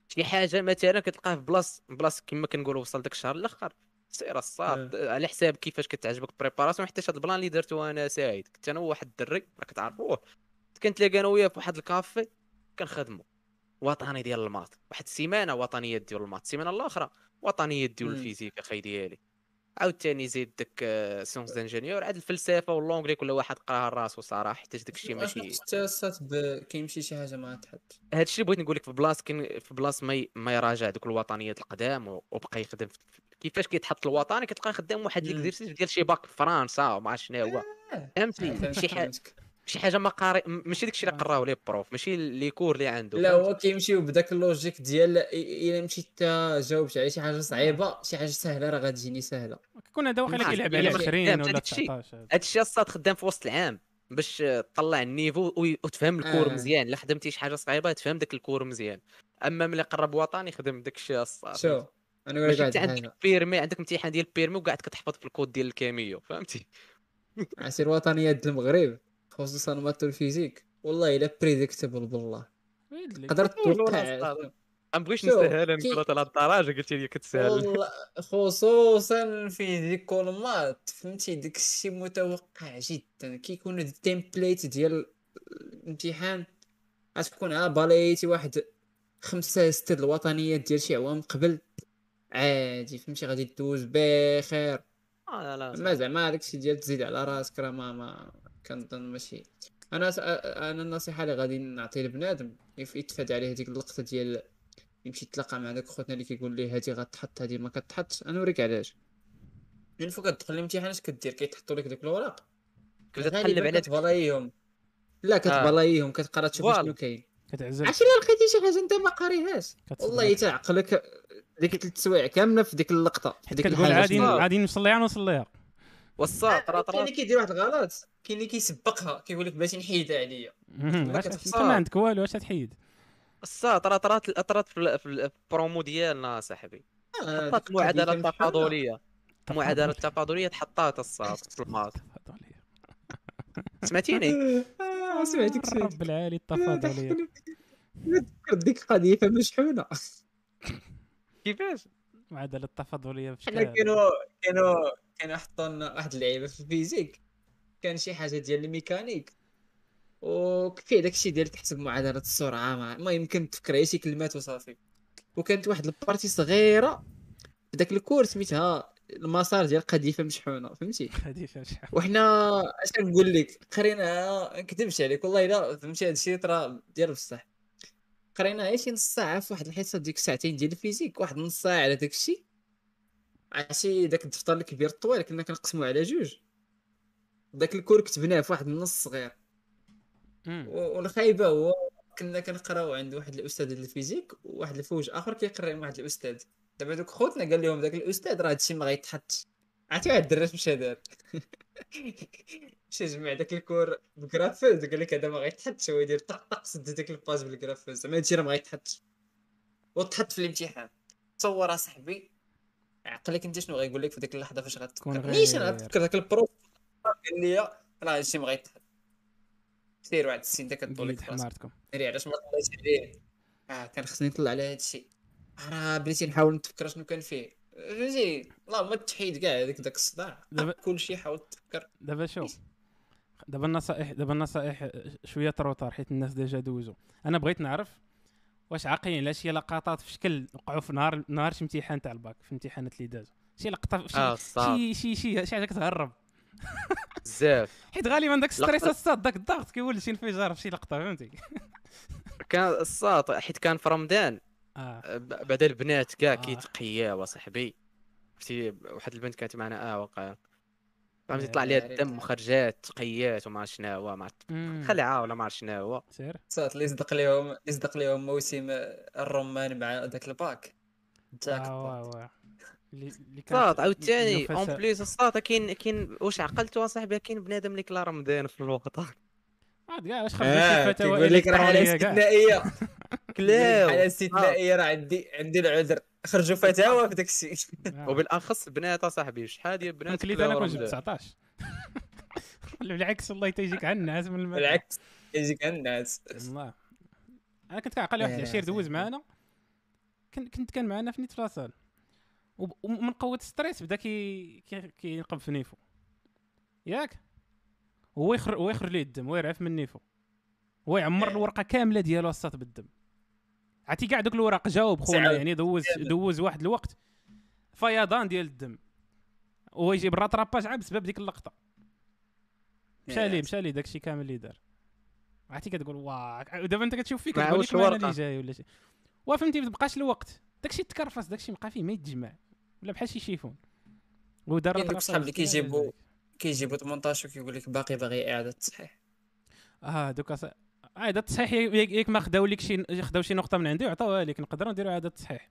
S3: شي حاجه مثلا كتلقاه في بلاص بلاص كما كنقولوا وصل داك الشهر الاخر سير الصاد على حساب كيفاش كتعجبك بريباراسيون حتى هاد البلان اللي درتو انا سعيد كنت انا وواحد الدري راك تعرفوه كنتلاقى انا وياه في واحد الكافي كنخدمو وطني ديال الماط واحد السيمانه وطنيه ديال الماط السيمانه الاخرى وطنيه ديال
S1: مم.
S3: الفيزيك اخي ديالي عاوتاني زيد داك آه، سيونس دانجينيور عاد الفلسفه واللونغلي كل واحد قراها راسو صراحه حيت داكشي
S1: واش
S3: ماشي
S1: حتى صات ب... كيمشي شي حاجه ما تحط
S3: هادشي اللي بغيت نقول لك في بلاص كاين في بلاص ما ي- ما يراجع دوك الوطنيات القدام و- وبقى يخدم في- كيفاش كيتحط الوطني كتلقاه خدام واحد
S1: مم. آه.
S3: ليكزيرسيس ديال شي باك في فرنسا وما عرفت شنو هو فهمتي شي حاجه شي حاجه ما قاري م- ماشي داكشي اللي
S2: فهمت.
S3: قراو ليه بروف ماشي لي كور اللي عنده
S1: آه. لا
S3: فهمتي؟
S1: هو كيمشيو بداك اللوجيك ديال إ- الا مشيت تا جاوبت على شي حاجه صعيبه شي حاجه سهله راه غتجيني سهله
S2: كون هذا واقيلا
S3: ما
S2: كيلعب
S3: عرفت،
S2: على
S3: يعني ما خدامش
S2: 20 ولا
S3: هاديك الشي.
S2: 19
S3: هادشي الصاد خدام في وسط العام باش آه، تطلع النيفو وي- وتفهم الكور
S1: آه.
S3: مزيان الا خدمتي شي حاجه صعيبه تفهم داك الكور مزيان اما ملي قرب وطني خدم داكشي الصاد
S1: شو
S3: ماشي
S1: انا وريك
S3: انت
S1: واحد
S3: عندك
S1: الحاجه
S3: بيرمي عندك امتحان ديال بيرمي وقعد كتحفظ في الكود ديال الكاميو فهمتي
S1: عسير وطنيات ديال المغرب خصوصا ماتو الفيزيك والله الا بريديكتبل بالله
S2: ويلي.
S1: تقدر
S3: والله
S1: توقع
S3: أصلاً. ما بغيتش
S1: شو،
S3: نسهلها
S1: كي-
S3: نقول على الدرجه قلت لي كتسهل
S1: والله خصوصا في ديك المات فهمتي داك الشيء متوقع جدا كيكونوا دي التمبليت ديال الامتحان غتكون ها بالايتي واحد خمسة ستة د الوطنيات ديال شي عوام قبل عادي فهمتي غادي دوز بخير
S3: آه، لا لا
S1: ما زعما هذاك الشيء ديال تزيد على راسك راه ما ما كنظن ماشي انا س- انا النصيحه اللي غادي نعطي لبنادم يف- يتفادى عليه هذيك اللقطه ديال يمشي يتلاقى مع داك خوتنا اللي كيقول ليه هادي غتحط هادي ما كتحطش انا نوريك علاش من فوق كتدخل الامتحان اش كدير كيتحطوا لك دوك الوراق
S3: كنت تقلب
S1: غالباً
S3: على
S1: كتبلايهم لا كتبلايهم كتقرا تشوف
S3: آه. فوالا.
S1: شنو كاين
S2: كتعزل
S1: عرفتي الا لقيتي شي حاجه انت ما قاريهاش
S2: كتصدمك.
S1: والله حتى عقلك ديك ثلاث سوايع كامله في ديك اللقطه في
S2: حيت
S1: ديك
S2: كتقول
S1: الحاجه
S2: غادي
S1: شنو هي.
S2: غادي نوصل ليها نوصل ليها
S3: والصاد راه
S1: كاين
S3: ترى
S1: اللي كيدير واحد الغلط كاين اللي كيسبقها كيقول لك بلاتي نحيدها عليا
S2: مهم.
S1: ما
S2: علاش- انت
S1: كتخسر.
S2: ما عندك والو اش تحيد
S3: الصاد راه ترى اثرت في ال- في البرومو ديالنا صاحبي
S1: آه،
S3: حطات
S1: ديك
S3: المعادله
S1: القضية كان بحالها.
S3: التفاضليه المعادله التفاضليه تحطات الصاد في الماط
S2: التفاضلية.
S3: سمعتيني
S1: آه، سمعتك سمعتك
S2: رب العالي التفاضلية
S1: تفضل تذكر ديك القضيه فما شحونه
S3: كيفاش
S2: معادلة التفاضلية
S1: حنا
S2: بشكل
S1: كانوا كانوا كان حطوا لنا واحد اللعيبه في الفيزيك كان شي حاجه ديال الميكانيك وكفيه داكشي ديال تحسب معادله السرعه ما, ما يمكن تفكر غير شي كلمات وصافي وكانت واحد البارتي صغيره في داك الكور سميتها المسار ديال قذيفه مشحونه فهمتي
S2: خديفه شحال
S1: وحنا اش نقول لك قريناها ما نكذبش عليك والله الا فهمتي هذا الشيء راه ديال بصح قريناها غير شي نص ساعه في واحد الحصه ديك ساعتين ديال الفيزيك واحد نص ساعه على داك الشيء عرفتي داك الدفتر الكبير الطويل كنا كنقسمو على جوج داك الكور كتبناه في واحد النص صغير
S2: مم.
S1: و- والخايبه هو كنا كنقراو عند واحد الاستاذ ديال الفيزيك وواحد الفوج اخر كيقري مع واحد الاستاذ دابا دوك خوتنا قال لهم ذاك الاستاذ راه هادشي ما غيتحطش عرفتي واحد الدراج مشى دار مشى جمع داك الكور بالجرافيز قال لك هذا ما غيتحطش هو يدير طق طق سد ديك الباج بالجرافيز زعما هادشي راه ما غيتحطش وتحط في الامتحان تصور اصاحبي عقلك انت شنو غيقول لك في ديك اللحظه فاش
S2: كون
S1: غتفكر
S2: غير-
S1: نيشان غتفكر ذاك البروف قال لي راه هادشي ما غيتحط سير واحد السين داك الطول
S2: قلت
S1: اللي كتبقى
S2: حمارتكم
S1: ناري علاش ما طلعتش عليه اه كان خصني نطلع على هذا الشيء راه بلاتي نحاول نتفكر شنو كان فيه فهمتي لا ما تحيد كاع هذيك داك الصداع
S2: دابا-
S1: كلشي حاول تفكر
S2: دابا شوف دابا النصائح دابا النصائح شويه تروطار حيت الناس ديجا دوزوا انا بغيت نعرف واش عاقلين على شي لقطات في شكل وقعوا في نهار نهار شي امتحان تاع الباك في امتحانات اللي دازوا شي لقطه في
S3: اه
S2: شي
S3: صعب
S2: شي شي شي شي حاجه كتهرب
S3: بزاف
S2: حيت غالبا داك الستريس
S3: لقطة-
S2: الصاد داك الضغط كيولي شي انفجار في شي لقطه فهمتي
S3: كان الساط حيت كان في رمضان
S2: اه
S3: ب- بعدا البنات كاع
S2: آه.
S3: كيتقياو اصاحبي عرفتي واحد البنت كانت معنا اه وقع فهمتي
S2: يا
S3: طلع ليها
S1: نهاري
S3: الدم
S1: نهار.
S3: وخرجات تقيات وما عرفت شناهو ما عرفت
S2: مم.
S3: خلعه ولا ما عرفت شناهو
S2: سير
S1: صات اللي صدق ليهم اللي صدق ليهم موسم الرمان مع ذاك الباك
S2: آه،
S1: جاك بوت.
S2: واه، واه. اللي اللي كان
S3: الساط عاوتاني
S2: نفسها-
S3: اون بليس الساط كاين كاين واش عقلتو اصاحبي كاين بنادم اللي كلا رمضان في الوقت
S2: عاد كاع واش خرجت
S1: اه
S2: شي فتاوى
S1: كيقول لك راه حاله
S2: إلكترونية كاع.
S1: استثنائيه
S3: كلاو
S1: حاله استثنائيه راه عندي عندي العذر خرجوا فتاوى في داك الشيء
S2: آه.
S3: وبالاخص بنات اصاحبي شحال ديال
S2: انا
S3: بنات
S2: كليت
S3: كلاو
S2: انا كنت جبت
S3: رمضان.
S2: 19 بالعكس والله تيجيك على الناس من الم...
S1: بالعكس يجيك عند الناس
S2: والله انا كنت كنعقل واحد
S1: لا، لا،
S2: العشير دوز
S1: إيه، صحيح.
S2: معانا كنت كنت كان معانا في نيت فلاصال وب- ومن قوه الستريس بدا كي كي- كينقب في نيفو ياك هو يخرج هو يخرج ليه الدم هو يرعف من نيفو هو يعمر
S1: إيه.
S2: الورقه كامله ديالو الساط بالدم عرفتي كاع دوك الوراق جاوب خونا
S1: ساعات.
S2: يعني دوز دوز واحد الوقت فيضان ديال الدم هو يجيب الراتراباج عا بسبب ديك اللقطه مشى
S1: إيه.
S2: ليه مشى ليه داكشي كامل اللي دار عرفتي كتقول واك دابا انت كتشوف فيه
S3: ما
S2: كتقول
S3: عاودش
S2: لك ما أنا
S3: الورقة.
S2: اللي جاي ولا شي وفهمتي ما تبقاش الوقت داكشي تكرفس داكشي بقى فيه ما يتجمع ولا بحال شي شيفون ودار
S1: كاين دوك
S2: الأطراف
S1: صحاب إيه، اللي
S2: بزاف ديال
S1: كيجيبوا-
S2: ذلك.
S1: كيجيبوا 18 وكيقول لك باقي باغي اعاده تصحيح
S2: اه دوكا ص- عاد التصحيح ياك ياك ما خداو لك شي خداو شي نقطه من عندي وعطاوها لك نقدروا نديروا عاد التصحيح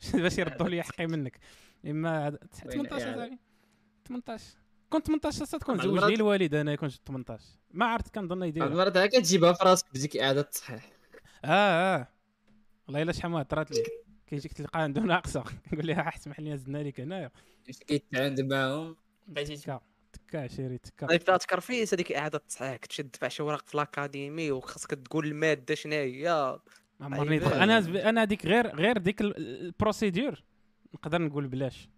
S2: باش يردوا لي حقي منك اما عاد- تس-
S1: وين
S2: 18
S1: إعادة؟
S2: صاحبي 18 كنت 18 اصلا تكون
S1: مع
S2: زوج لي
S1: المرأة.
S2: الوالد انا كنت 18 ما عرفت كنظن
S1: بعض
S2: يدير
S1: المرات هكا كتجيبها في راسك بديك اعاده تصحيح
S2: اه اه والله الا شحال ما هضرات لي كيجيك تلقى عنده ناقصه نقول لها "آه، اسمح لي زدنا لك هنايا
S1: فاش كيتعاند معاهم بقيتي تشوف.
S2: تكا تكا عشيري تكا
S3: طيب تاع تكرفيس هذيك اعاده تصحيح كتشد تدفع شي اوراق في الاكاديمي وخاصك تقول الماده شنو هي
S2: ما عمرني
S3: طيب.
S2: دخل- انا زب- انا هذيك غير غير ديك ال- البروسيدور نقدر نقول بلاش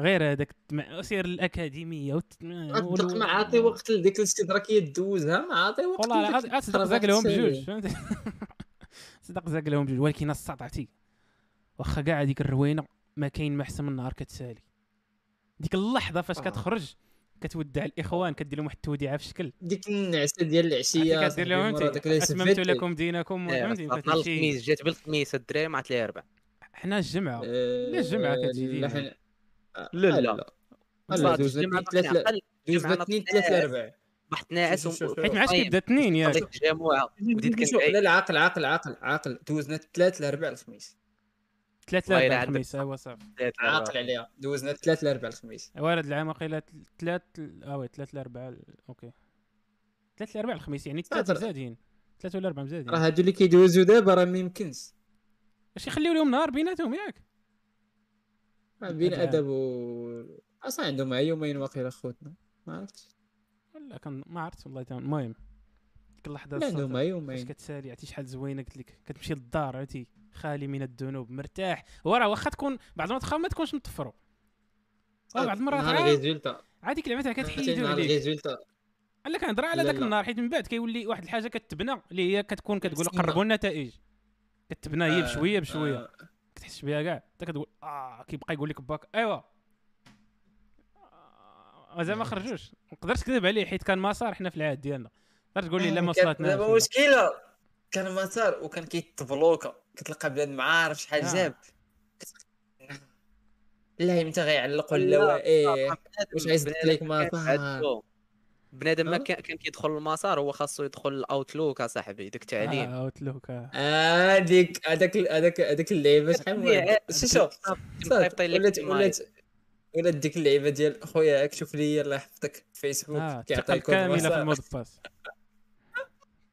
S2: غير هذاك التم- سير الاكاديميه وت...
S1: اصدق ما عاطي وقت لديك الاستدراكيه دوزها ما عاطي وقت
S2: والله
S1: لديك
S2: أص- اصدق زاق
S1: الترافات
S2: لهم بجوج
S1: السريع.
S2: فهمتي صدق زاق لهم بجوج ولكن الساط عرفتي واخا كاع هذيك الروينه ما كاين ما احسن من نهار كتسالي ديك اللحظه فاش
S3: آه.
S2: كتخرج كتودع الاخوان كدير لهم واحد التوديعه في شكل
S1: ديك النعسه ديال العشيه
S2: عرفتي
S1: صاحبي،
S2: كدير لهم
S1: مرة داك
S2: انت
S1: العشية
S2: اتممت
S1: فاتت.
S2: لكم دينكم فهمتي
S3: نهار
S2: فهمتي شي-
S3: الخميس جات بالخميس الدراري ما عرفت ليها ربع
S2: حنا الجمعه
S1: آه،
S2: لا الجمعة كتجي ديما.
S1: لحن- آه،
S3: لا، لا.
S1: لا،
S3: الصاد
S1: دوز
S3: الجمعة
S1: اثنين، ثلاثة-
S3: باقي نعقل،
S1: دوز
S3: الجمعة
S1: بها اثنين
S3: نطلع.
S1: ثلاثة الاربعاء
S3: واحد ناعس
S1: شوف، شوف، شوف.
S3: و-
S2: حيت ما عادش كيبدا اثنين ياك
S3: طلعت الجمعه بديت
S1: لا
S3: كنعيش
S1: لا عاقل عاقل عاقل عاقل دوزنا ثلاثة الاربعاء الخميس
S2: ثلاثة
S3: الله يلعن
S2: أربعة
S3: بك.
S2: الخميس ايوا صافي
S1: عاقل عليها دوزنا ثلاثة الاربعاء الخميس
S2: وارد العام وقيلا تل- ثلاث اه وي ثلاث الأربعة اوكي ثلاث الأربعة الخميس يعني ثلاثة
S1: صافر.
S2: مزادين ثلاثة ولا أربعة
S1: راه
S2: مزادين
S1: هادو اللي كيدوزو دابا راه ما يمكنش
S2: باش يخليو لهم نهار بيناتهم ياك
S1: بين
S2: أدعى.
S1: ادب و اصلا عندهم عي يومين واقيلا خوتنا ما عرفتش
S2: ولا كان ما عرفت والله تا- المهم ديك اللحظة
S1: لا عندهم
S2: الصافية.
S1: عي
S2: فاش
S1: يومين
S2: كتسالي عرفتي شحال زوينة قلت لك كتمشي للدار عرفتي خالي من الذنوب مرتاح وراه واخا تكون بعض المرات واخا ما تكونش مطفرو واقع واحد المره
S4: نهار
S2: عاد
S4: الريزولتا
S2: عاد ديك العبه تاع
S4: عرفتي
S2: كتحيدو
S4: نهار
S2: عليك
S4: الريزولتا
S2: الا كنهضر على
S4: لا،
S2: ذاك
S4: لا.
S2: النهار حيت من بعد كيولي واحد الحاجه كتبنى اللي هي كتكون كتقول
S4: كتسنى.
S2: قربوا النتائج كتبنى هي
S1: آه،
S2: بشويه بشويه
S1: آه،
S2: كتحس بها كاع انت كتقول اه كيبقى يقول لك باك ايوا آه، زعما خرجوش ما نقدرش نكذب عليه حيت كان مسار حنا في العهد ديالنا تقدر تقول لي لا ما
S1: آه، كان
S2: وصلتناش
S1: دابا
S2: ولا-
S1: مشكله كان مسار وكان كيتبلوكا كتلقى بلاد ما عارف شحال
S2: آه.
S1: جاب لا امتى غيعلق ولا
S3: لا،
S1: وا- ايه
S3: بنادم-
S4: واش عايز
S3: بنادم
S4: لك ما
S3: كان عادته. بنادم ما
S1: آه.
S3: كان كان كيدخل المسار هو خاصو يدخل الاوتلوك اصاحبي داك التعليم
S2: اه اوتلوك آه.
S1: هذيك هذاك هذاك هذاك اللعيبه شحال من واحد- شتي شوف صافي،
S3: مطيطي لك
S1: ولات
S3: تما
S1: ولات ولات ديك اللعيبه ديال خويا هاك شوف لي يلاه حفظتك في
S2: آه،
S1: فيسبوك
S2: الثقه
S1: كيعطي الكود
S2: الكامله في
S1: مسار.
S2: المود باس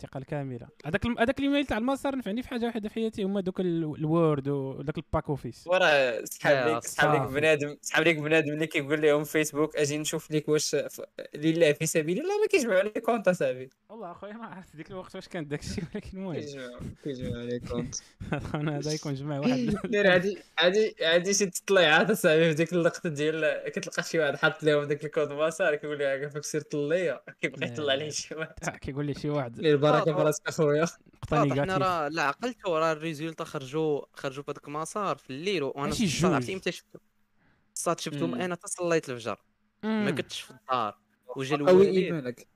S2: الثقه الكامله هذاك الم- هذاك الايميل تاع المسار نفعني في حاجه واحده في حياتي هما دوك ال- الوورد وذاك الباك اوفيس
S1: وراه
S3: آه،
S1: سحاب ليك سحاب ليك
S2: صافي.
S1: بنادم سحاب ليك بنادم اللي كيقول لهم فيسبوك اجي نشوف ليك واش ف- لله في سبيل الله ما كيجمعوا لك كونت اصاحبي
S2: والله اخويا ما عرفت ديك الوقت واش كان داك الشيء ولكن المهم
S1: كيجمعوا كيجمعوا لك كونت
S2: انا هذا يكون جمع واحد
S1: داير عادي عادي عادي شي تطليعات اصاحبي في ديك اللقطه ديال كتلقى شي واحد حاط لهم داك الكود مسار كيقول لي عاك فيك سير طليه كيبغي
S2: لا،
S1: يطلع
S2: لا.
S1: ليه شي واحد
S2: آه، كيقول لي شي واحد
S1: لي البركه
S3: آه، آه.
S1: براسك اخويا
S2: نقطه
S3: واضح حنا
S2: نيجاتيف
S3: راه لا عقلته راه الريزولتا خرجوا خرجوا في هذاك المسار في الليل وانا
S2: ماشي
S3: الصاد عرفتي
S2: جوج.
S3: امتى شفتهم الصاد شفتهم
S1: مم.
S3: انا حتى صليت الفجر ما
S2: مم.
S3: كنتش في الدار وجا
S1: قوي
S3: الوالد
S1: ايمانك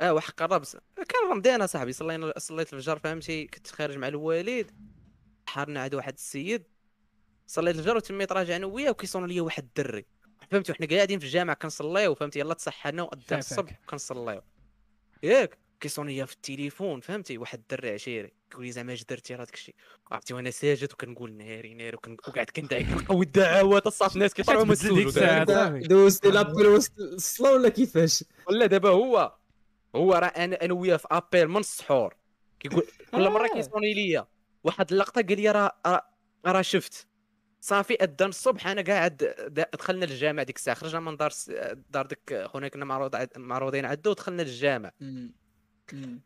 S3: اه وحق الربس كان رمضان انا صاحبي صلينا صليت الفجر فهمتي كنت خارج مع الوالد حارنا عاد واحد السيد صليت الفجر وتميت راجع انا وياه وكيصون ليا واحد الدري فهمتي وحنا قاعدين في الجامع كنصليو فهمتي يلا تصحنا وقدام
S2: شافك.
S3: الصبح كنصليو ياك كيصون ليا في التليفون فهمتي واحد الدري عشيري كيقول لي زعما اش درتي راه داك الشيء عرفتي وانا ساجد وكنقول ناري ناري وكن- وقعد كندعي كنقوي الدعوات الصاف الناس كيطلعوا
S2: كتبدل ديك
S3: مسلوك
S2: الساعة. صافي.
S4: دوزتي لابيل وسط الصلاة ولا كيفاش؟
S3: ولا دابا هو هو راه انا انا وياه في ابيل من السحور كيقول كل مره
S1: آه.
S3: كيصوني ليا واحد اللقطه قال لي راه راه- راه شفت صافي اذان الصبح انا قاعد د- دخلنا للجامع ديك الساعه خرجنا من دار س- دار ديك خونا كنا معروض عد- معروضين عدو ودخلنا للجامع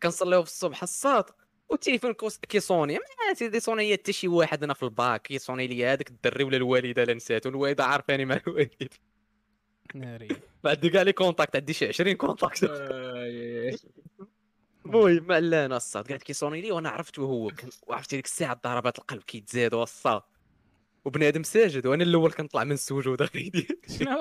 S3: كنصليو في الصبح الصاد والتليفون كوس- كيصوني ما سيدي صوني ليا حتى شي واحد انا في الباك كيصوني ليا هذاك الدري ولا الوالده لا نساتو الوالده عارفاني مع الوالد
S2: ناري
S3: بعد كاع لي كونتاكت عندي شي 20 كونتاكت آه.
S1: آي.
S3: المهم لا انا الصاد قاعد كيصوني لي وانا عرفت وهو كان- وعرفت ديك الساعه ضربات القلب كيتزادوا الصاد وبنادم ساجد وانا الاول كنطلع من السجود اخيدي
S2: شنو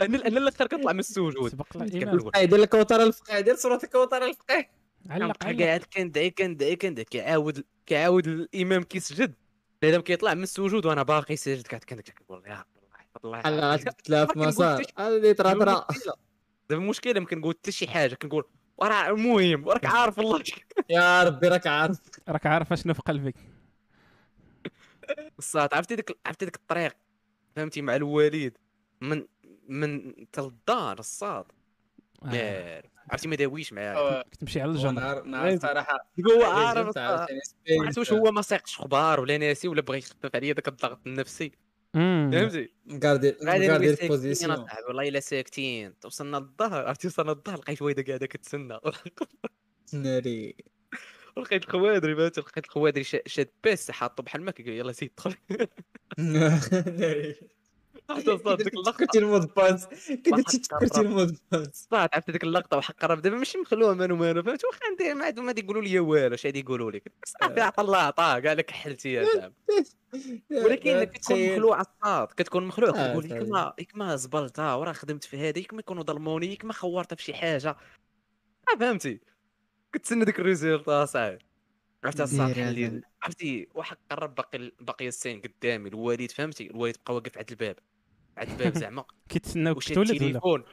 S3: انا انا الاخر كنطلع من السجود
S2: سبق
S3: كنت
S2: الايميل
S3: كنقول
S4: دير لك وتر الفقه
S1: قاعد دير صوره الكوتر الفقيه
S2: علق
S3: كنبقى
S2: علق
S3: قاعد كندعي كندعي كندعي كيعاود كيعاود الامام كيسجد بنادم كيطلع من السجود وانا باقي ساجد قاعد كندعي كنقول يا رب الله يحفظ الله
S4: بحال
S3: يحفظ.
S4: غتبتلها في
S3: ما كنقولش
S4: مسار
S3: شي-
S4: هذا اللي طراطرا
S3: المشكلة- دابا المشكله ما كنقول حتى شي حاجه كنقول وراه المهم وراك عارف الله
S4: يا ربي راك عارف
S2: راك عارف شنو في قلبك
S3: الصاد عرفتي ديك عرفتي ديك الطريق فهمتي مع الوالد من من تا للدار الصاد
S2: آه،
S3: دار عرفتي ما داويش معايا
S1: هو
S2: كنت تمشي على الجمر
S1: نهار نهار صراحه
S3: هو آه. عارف
S1: عارف
S3: الصاد. ما عرفت واش هو ما سيقش خبار ولا ناسي ولا بغى يخفف عليا داك الضغط النفسي
S2: مم.
S3: فهمتي
S4: مكاردي
S3: غادي
S4: مكاردي
S3: نبي ساكتين
S4: البوزيسيون
S3: اصاحبي والله الا ساكتين وصلنا للظهر عرفتي وصلنا للظهر لقيت وايده قاعده كتسنى
S4: ناري
S3: ولقيت الخوادري فهمتي لقيت الخوادري شا- شاد بيس حاطو بحال ما كيقول يلا سيد دخل
S4: ناري
S3: عرفت الصاد ديك اللقطه
S4: تفكرتي المود بانس
S3: واحد
S4: كنتي تفكرتي
S3: كرب.
S4: المود بانس
S3: صاد عرفت ديك اللقطه وحق الرب دابا ماشي مخلوها مانو مانو فهمت واخا ندير ما عندهم ما يقولوا لي والو اش غادي يقولوا لك صافي عطا الله عطاه كاع لك حلتي يا زعما ولكن كتكون مخلوع الصاد كتكون مخلوع
S4: آه،
S3: كتقول ياك
S4: صافي.
S3: ما ياك ما زبلتها وراه خدمت في هذا ياك ما يكونوا ظلموني ياك ما خورت في شي حاجه آه، فهمتي كتسنى ديك الريزلت اصاحبي عرفتي الصاد
S4: داير
S3: حل
S4: هذا.
S3: لي- عرفتي وحق الرب باقي باقي السين قدامي الوالد فهمتي الوالد بقى واقف عند الباب عند الباب زعما
S2: كيتسناوك
S3: وشاد
S2: تولد ولا
S3: التليفون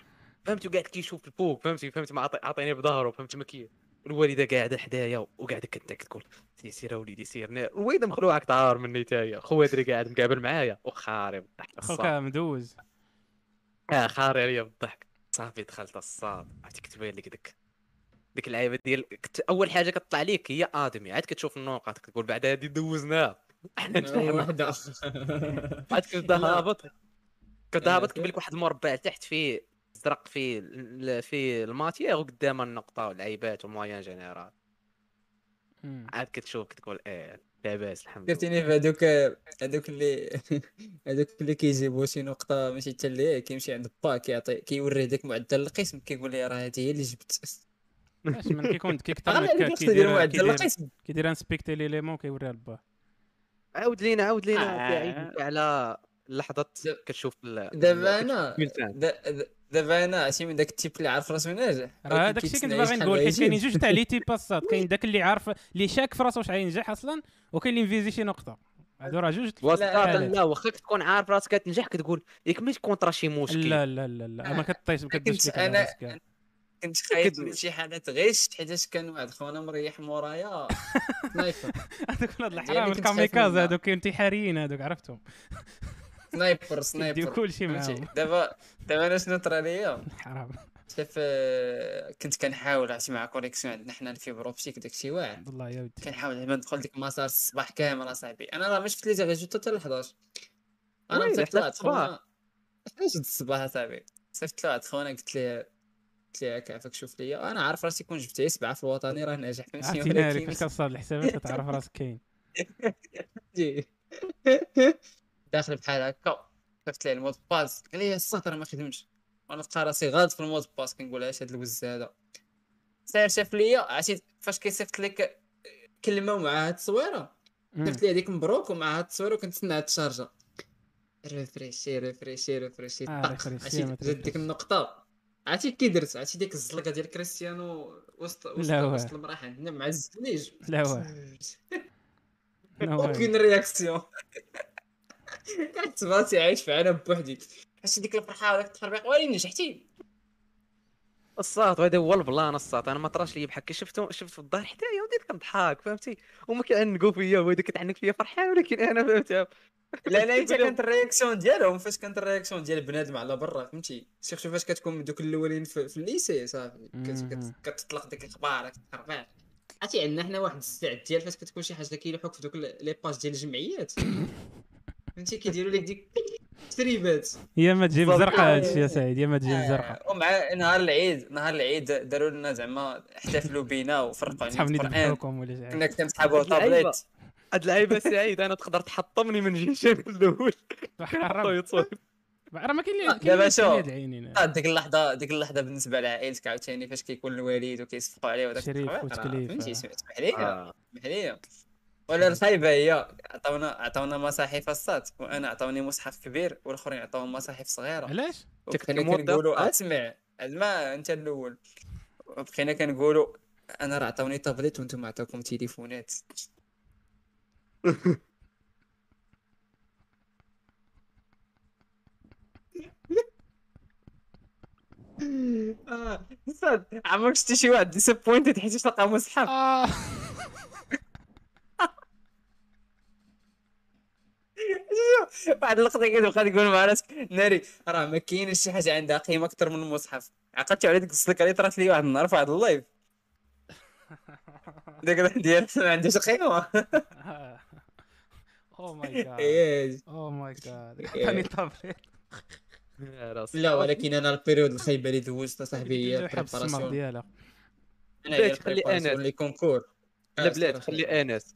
S3: فهمتي وقاعد كيشوف الفوق فهمتي فهمتي ما عطي- عطيني بظهره فهمتي ما كي الوالده قاعده حدايا وقاعده كتاك تقول سير سير اوليدي سير نا- الوالده مخلوعك تعار مني تايا خواتري قاعد مقابل معايا وخارب ضحك
S2: خوك
S3: الصاد.
S2: مدوز
S3: اه خاري عليا بالضحك صافي دخلت الصاد عرفتي كتبان لك ديك ديك اللعيبه ديال كت... اول حاجه كتطلع ليك هي ادمي عاد كتشوف النقط كتقول بعد هادي دوزناها احنا نتفاهموا
S4: وحده
S3: عاد كنت هابط كنت
S1: لا،
S3: هابط
S1: كيف؟
S3: كيبان لك واحد المربع تحت فيه ازرق فيه ال- فيه الماتيير وقدام النقطه والعيبات ومويان جينيرال
S2: مم.
S3: عاد كتشوف كتقول ايه لاباس الحمد لله
S1: فكرتيني في هذوك هذوك اللي هذوك اللي كيجيبوا شي نقطه ماشي حتى ليه كيمشي عند با كيعطي كيوريه ديك معدل القسم كيقول لي راه هذه هي اللي جبت
S2: اش من كيكون كيكثر
S1: غير
S2: منك
S1: هذيك خصو يدير
S2: كيدير
S1: معدل
S2: كيدير
S1: القسم
S2: كيدير انسبكتي ليليمون كيوريها لباه
S3: عاود لينا عاود لينا
S5: آه.
S3: بعيد على لحظه
S1: دابا-
S3: كتشوف ال-
S1: دابا
S3: ال-
S1: انا
S3: كتشوف الفيلم.
S1: دا- دا- دابا انا عرفتي من داك التيب اللي عارف راسو ناجح
S2: راه داك آه، الشيء كنت باغي نقول حيت كاينين جوج تاع لي تي باسات كاين داك اللي عارف اللي شاك في راسو واش غينجح اصلا وكاين اللي مفيزي شي نقطه هادو راه جوج
S3: وسطات
S2: حالات.
S3: لا واخا تكون عارف راسك كتنجح كتقول ياك ماشي كونطرا شي مشكل
S2: لا لا لا لا ما كطيش ما
S1: كنت
S2: كدوش ليك
S1: أنا-
S2: على راسك كاع.
S1: كنت خايف
S3: كدوي.
S1: من شي حالات غيش حيتاش كان واحد خونا مريح مورايا سنايبر
S2: هذوك ولاد
S1: ديالي
S2: الحرام
S1: يعني كنت خايف
S2: الكاميكاز
S1: منها.
S2: هذوك انتحاريين هذوك عرفتهم
S1: سنايبر
S2: يديو
S1: سنايبر
S2: كلشي
S1: فهمتي؟
S2: معاهم
S1: دابا دابا انا شنو طرا ليا
S2: حرام
S1: شاف آه، كنت كنحاول عرفتي مع كونيكسيون عندنا حنا الفيبر اوبتيك داكشي واعر
S2: والله يا ودي
S1: كنحاول دابا ندخل ديك المسار الصباح كامل اصاحبي انا راه ما شفت لي ريزولتا حتى ل 11 انا
S3: وي،
S1: مشيت
S3: حتى
S1: طلعت
S3: الصباح.
S1: خونا 11 الصباح اصاحبي صيفط لها خونا قلت ليه قلت ليه كيفك شوف ليا انا عارف راسي كون جبت غير سبعه في الوطني راه ناجح فهمتني
S2: عرفتي ناري
S1: ولكن
S2: فاش كتصاوب الحسابات كتعرف راسك كاين
S1: جي. داخل بحال هكا شفت ليه المود باس قال لي إيه، السطر ما خدمش وانا لقى راسي غلط في المود باس كنقول اش هاد الوز هذا سير شاف ليا عرفتي فاش كيصيفط لك كلمه ومعها هاد التصويره
S2: مم.
S1: درت لي هذيك مبروك ومع هاد التصوير وكنتسنى هاد الشارجه ريفريشي ريفريشي ريفريشي
S2: آه،
S1: طق.
S2: ريفريشي،
S1: عرفتي
S2: ما
S1: جات ديك
S2: تريفريش.
S1: النقطه عرفتي كي درت عرفتي ديك الزلقه ديال كريستيانو وسط وسط,
S2: لا واه.
S1: وسط المراحل عندنا مع الزنيج
S2: لا واه. No way.
S1: اوكين رياكسيون كنت راسي عايش في عالم بوحدي عرفتي ديك الفرحه وداك التخربيق وين نجحتي
S3: الساط هذا هو البلان الساط انا ما طراش لي بحال كي شفتو شفت في الظهر حدايا وبديت كنضحك فهمتي وما كيعنقوا فيا وهذا كتعنق فيا فرحان ولكن انا فهمتها
S1: لا لا انت كانت الرياكسيون ديالهم فاش كانت الرياكسيون ديال بنادم على برا فهمتي سيرتو فاش كتكون من دوك الاولين في, في الليسي صافي كت-
S2: مهم.
S1: كت- كتطلق ديك الاخبار كتخربع عرفتي عندنا حنا واحد الزعد ديال فاش كتكون شي حاجه كيلوحوك في دوك ال- لي باج ديال الجمعيات فهمتي كيديروا لك ديك تريبات
S2: يا ما تجيب
S3: بالضبط.
S2: زرقاء هادشي يا سعيد يا ما تجيب
S1: آه،
S2: زرقاء
S1: ومع نهار العيد نهار العيد داروا لنا زعما احتفلوا بينا وفرقوا علينا
S2: صحابني
S1: القران
S2: ذبحوكم ولا شي حاجه
S1: كنا كنسحابوا
S3: اللعيبة.
S1: طابليت
S3: هاد اللعيبه سعيد انا تقدر تحطمني من طيب، جهه شان الاول
S2: حرام راه ما كاين اللي-
S1: طيب.
S2: كاين
S1: لا،
S2: اللي
S1: دابا شوف.
S2: كاين هاد العينين
S1: آه، ديك اللحظه ديك اللحظه بالنسبه لعائلتك عاوتاني فاش كيكون الوالد وكيصفقوا عليه وداك
S2: شريف
S1: التخويق، راه
S2: وتكليف، آه.
S1: فهمتي سمح سمح لي
S3: آه.
S1: سمح لي ولا الخايبه هي عطاونا عطاونا مصاحف الصات وانا عطاوني مصحف كبير والاخرين عطاوهم مصاحف صغيره
S2: علاش؟
S1: وبقينا
S3: كنت
S1: كنقولوا
S3: موظف.
S1: اسمع اسمع انت الاول بقينا كنقولوا انا راه عطاوني تابليت وانتم عطاوكم تليفونات اه صاد عمرك شتي شي واحد ديسابوينتد حيت لقى مصحف
S2: آه.
S1: واحد اللقطه كتبقى تقول مع راسك ناري راه ما كاينش شي حاجه عندها قيمه اكثر من المصحف عقدت على ديك السلكه اللي طرات لي واحد النهار في واحد اللايف داك الواحد ديال ما عندهاش قيمه
S2: او ماي جاد
S1: إيه.
S2: او ماي جاد
S1: إيه.
S2: عطاني طابليت
S1: لا ولكن انا البيريود الخايبه اللي دوزت صاحبي هي
S2: حب السمر
S1: بريباراسيون
S2: ديالها
S1: انا هي
S3: بلاد، خلي أنس.
S1: بريباراسيون لي كونكور
S3: لا بلاد خلي انس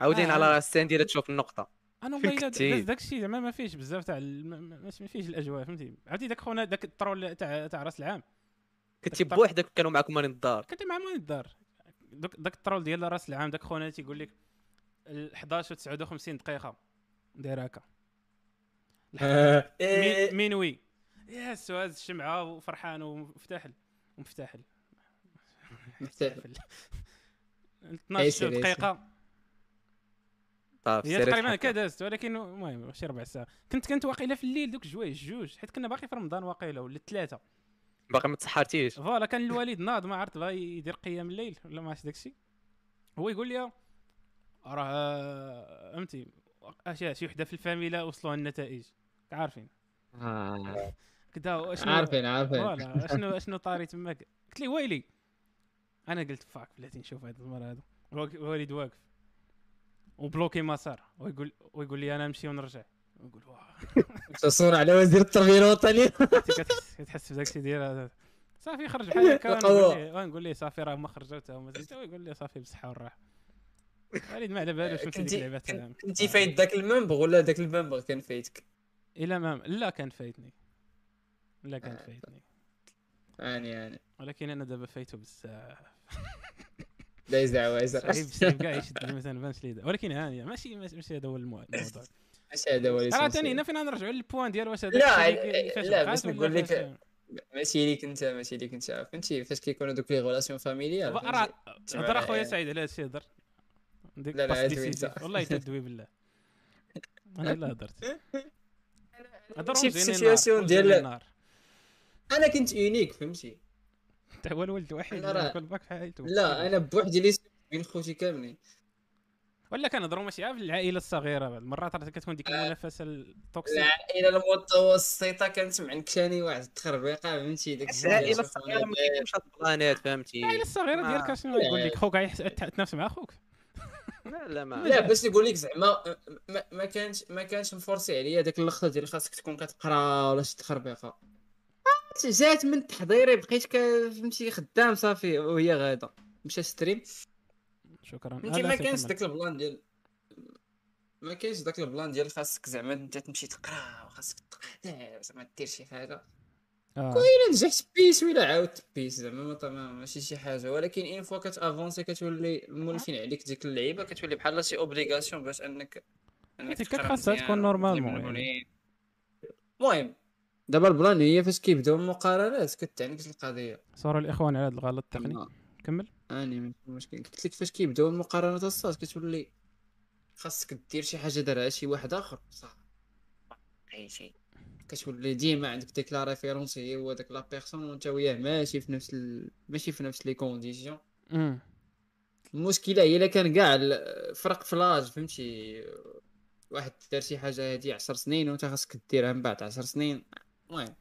S3: عاودين
S2: آه.
S3: على السين ديالك تشوف النقطه
S2: انا
S3: فين
S2: والله الا
S3: كنتي؟
S2: داز داكشي زعما ما فيهش بزاف تاع ال- ما- ما ما فيهش الاجواء فهمتي عرفتي داك خونا داك الطرول تاع تاع راس العام
S3: كنتي بوحدك كانوا معكم مالين الدار
S2: كنت مع مال الدار دوك داك الترول ديال راس العام داك خونا تيقول لك ال 11 و 59 دقيقه داير هكا
S1: آه.
S3: إيه.
S2: مين- مينوي يا سواز الشمعه وفرحان ومفتاحل ومفتاحل مفتاحل
S3: إيه،
S2: 12
S1: عيش.
S2: دقيقه
S3: صافي طيب،
S2: هي
S3: سيري
S2: تقريبا
S3: تحكم.
S2: هكا دازت ولكن المهم شي ربع ساعه كنت كنت واقيلا في الليل دوك جويج جوج حيت كنا باقي في رمضان واقيلا ولا ثلاثه
S3: باقي ما تسحرتيش
S2: فوالا كان الوالد ناض ما عرفت بغا يدير قيام الليل ولا ما عرفتش داكشي هو يقول لي راه فهمتي اشياء شي وحده في الفاميلا وصلوا النتائج عارفين كدا اشنو
S1: عارفين عارفين
S2: فوالا اشنو اشنو طاري تماك قلت لي ويلي انا قلت فاك بلاتي نشوف هذا المره هذا الوا- الوالد واقف وبلوكي مسار ويقول ويقول لي انا نمشي ونرجع نقول واه
S1: تصور على وزير التربيه الوطنيه
S2: كنت كتحس- كتحس بداك الشيء ديال هذا. صافي خرج بحال هكا
S1: بالقوة.
S2: ونقول ليه- ونقول ليه صافي راه ما خرجت وما زلت ويقول لي صافي بالصحه والراحه وليد ما على بالوش مثل ديك
S1: كنتي-
S2: اللعبات
S1: كن-
S2: آه.
S1: كنتي فايت ذاك المنبغ ولا ذاك المنبغ كان فايتك
S2: الى ما لا كان فايتني لا كان
S1: آه.
S2: فايتني
S1: اني اني
S2: ولكن انا دابا فايتو بزاف
S1: لا يزع ويزر
S2: صعيب صعيب كاع يشد مثلا فانش ليدا ولكن هاني ماشي ماشي هذا هو المو- الموضوع
S1: اش هذا هو
S2: راه
S1: الاسم
S2: ثاني هنا
S1: سيدي.
S2: فين غنرجعوا للبوان ديال واش هذا
S1: لا،
S2: الشيء اللي- اللي فاش
S1: لا،
S2: وقعت
S1: بس
S2: ولا
S1: نقول لك-
S2: فاش-
S1: ماشي ليك انت ماشي ليك انت فهمتي فاش كيكونوا دوك لي غولاسيون فاميليار
S2: بقى راه
S1: فهمتي؟
S2: هضر اخويا
S1: يعني-
S2: سعيد على هذا الشيء هضر ديك
S1: لا، لا،
S2: باس
S1: عاد وين
S2: ديسيزيف.
S1: تا.
S2: والله تدوي بالله انا لا هضرت هضر
S1: شفت
S2: وجهني
S1: السيتياسيون
S2: النار،
S1: ديال-
S2: وجهني النار
S1: انا كنت يونيك فهمتي
S2: حتى هو الولد الوحيد
S1: أنا راه-
S2: اللي كل باك في حياته
S1: لا انا بوحدي اللي سمعت بين خوتي كاملين
S2: ولا كنهضروا ماشي عارف العائله الصغيره بعض المرات راه كتكون ديك المنافسه التوكسيك
S1: العائله المتوسطه كانت معنكشاني واحد التخربيقه فهمتي داك الشيء ديال
S3: العائله
S1: شوف
S3: الصغيره
S1: أنا
S3: ما كاينش هاد البلانات
S2: العائله
S3: فهمتي
S2: الصغيره
S1: آه.
S3: ما-
S2: ديالك شنو يقول لك خوك غيحس- تنافس مع خوك
S3: لا لا ما
S1: لا باش نقول لك زعما أه، ما, ما كانش ما كانش مفورسي عليا داك اللقطه ديال خاصك تكون كتقرا ولا شي تخربيقه آه، جات من تحضيري بقيت ك- فهمتي خدام صافي وهي غاده مشى ستريم
S2: شكرا
S1: يمكن
S2: آه،
S1: ما
S2: سير
S1: كانش
S2: كمل.
S1: داك البلان ديال ما كانش داك البلان ديال خاصك زعما انت تمشي تقرا وخاصك تقرا زعما دير شي حاجه
S2: آه.
S1: الا نجحت بيس ولا عاودت بيس زعما ما طبعا ماشي شي حاجه ولكن اين فوا كتافونسي كتولي مولفين عليك ديك اللعيبه كتولي بحال شي اوبليغاسيون باش انك انك
S2: هذيك
S1: تقرا
S2: خاصها
S1: مزيان
S2: تكون
S1: وتلم
S2: نورمالمون يعني.
S1: المعلومين. المهم دابا البلان هي فاش كيبداو المقارنات كتعنيك القضيه
S2: صاروا الاخوان على هذا الغلط التقني
S1: أما
S2: كمل
S1: اني ما كاين مشكل قلت لك فاش كيبداو المقارنات الصاد كتولي خاصك دير شي حاجه دارها شي واحد اخر صح اي شيء كتولي ديما عندك ديك لا ريفيرونس هي هو داك لا بيرسون وانت وياه ماشي في نفس ال... ماشي في نفس لي كونديسيون
S2: مم.
S1: المشكله هي الا كان كاع ال- فرق فلاج فهمتي واحد دار شي حاجه هادي 10 سنين وانت خاصك ديرها من بعد 10 سنين المهم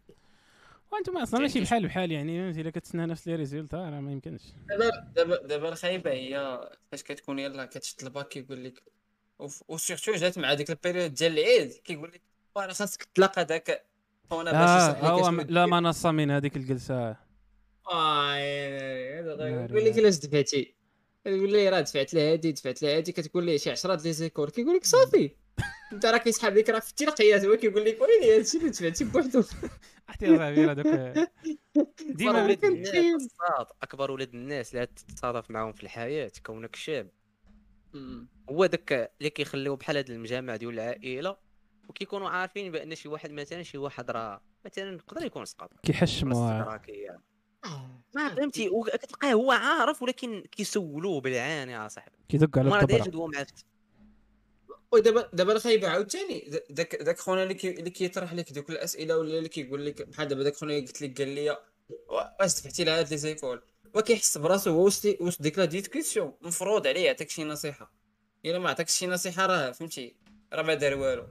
S2: وانتم اصلا ماشي بحال بحال يعني فهمتي الا كتسنى نفس لي ريزولتا راه ما يمكنش
S1: دابا دابا دابا الخايبه هي فاش كتكون يلا كتشد الباك كيقول لك وف- وسيرتو جات مع ديك البيريود ديال العيد كيقول لك "واه راه خاصك تلاقى ذاك خونا
S2: اه
S1: باش
S2: هو م- لا منص من هذيك الجلسه
S1: آه،
S2: ناري
S1: إيه، يقول لك علاش دفعتي كتقول لي راه دفعت لها هادي دفعت لها هادي كتقول لي شي 10 لي زيكور كيقول لك صافي انت راه كيسحب لك راه في الترقيات هو كيقول لك ويلي هادشي اللي دفعتي بوحدو
S2: عرفتي يا صاحبي راه دوك ديما
S3: مرة
S2: ولاد
S3: ولاد
S2: الناس.
S3: الناس الصاد، اكبر ولاد الناس لا تتصادف معاهم في الحياه كونك شاب هو داك اللي كيخليو بحال هاد المجامع ديال العائله وكيكونوا عارفين بان شي واحد مثلا شي واحد راه مثلا يقدر يكون سقط
S2: كيحشموا
S3: استدراكيا يعني.
S1: آه.
S3: فهمتي وكتلقاه هو عارف ولكن كيسولوه بالعاني يا صاحبي
S2: كيدق على
S3: ما ديجا
S2: الطبره
S3: هو معرفت
S1: ودابا دابا الخايبه عاوتاني د- داك داك خونا اللي كي اللي كيطرح لك دوك الاسئله ولا اللي كيقول لك بحال دابا داك خونا اللي قلت لك قال لي "وا- واش دفعتي لها هاد لي زيكول وكيحس براسو هو وسط وسط ديك لا ديسكسيون مفروض عليه يعطيك شي نصيحه الا ما عطاكش شي نصيحه راه فهمتي راه ما دار والو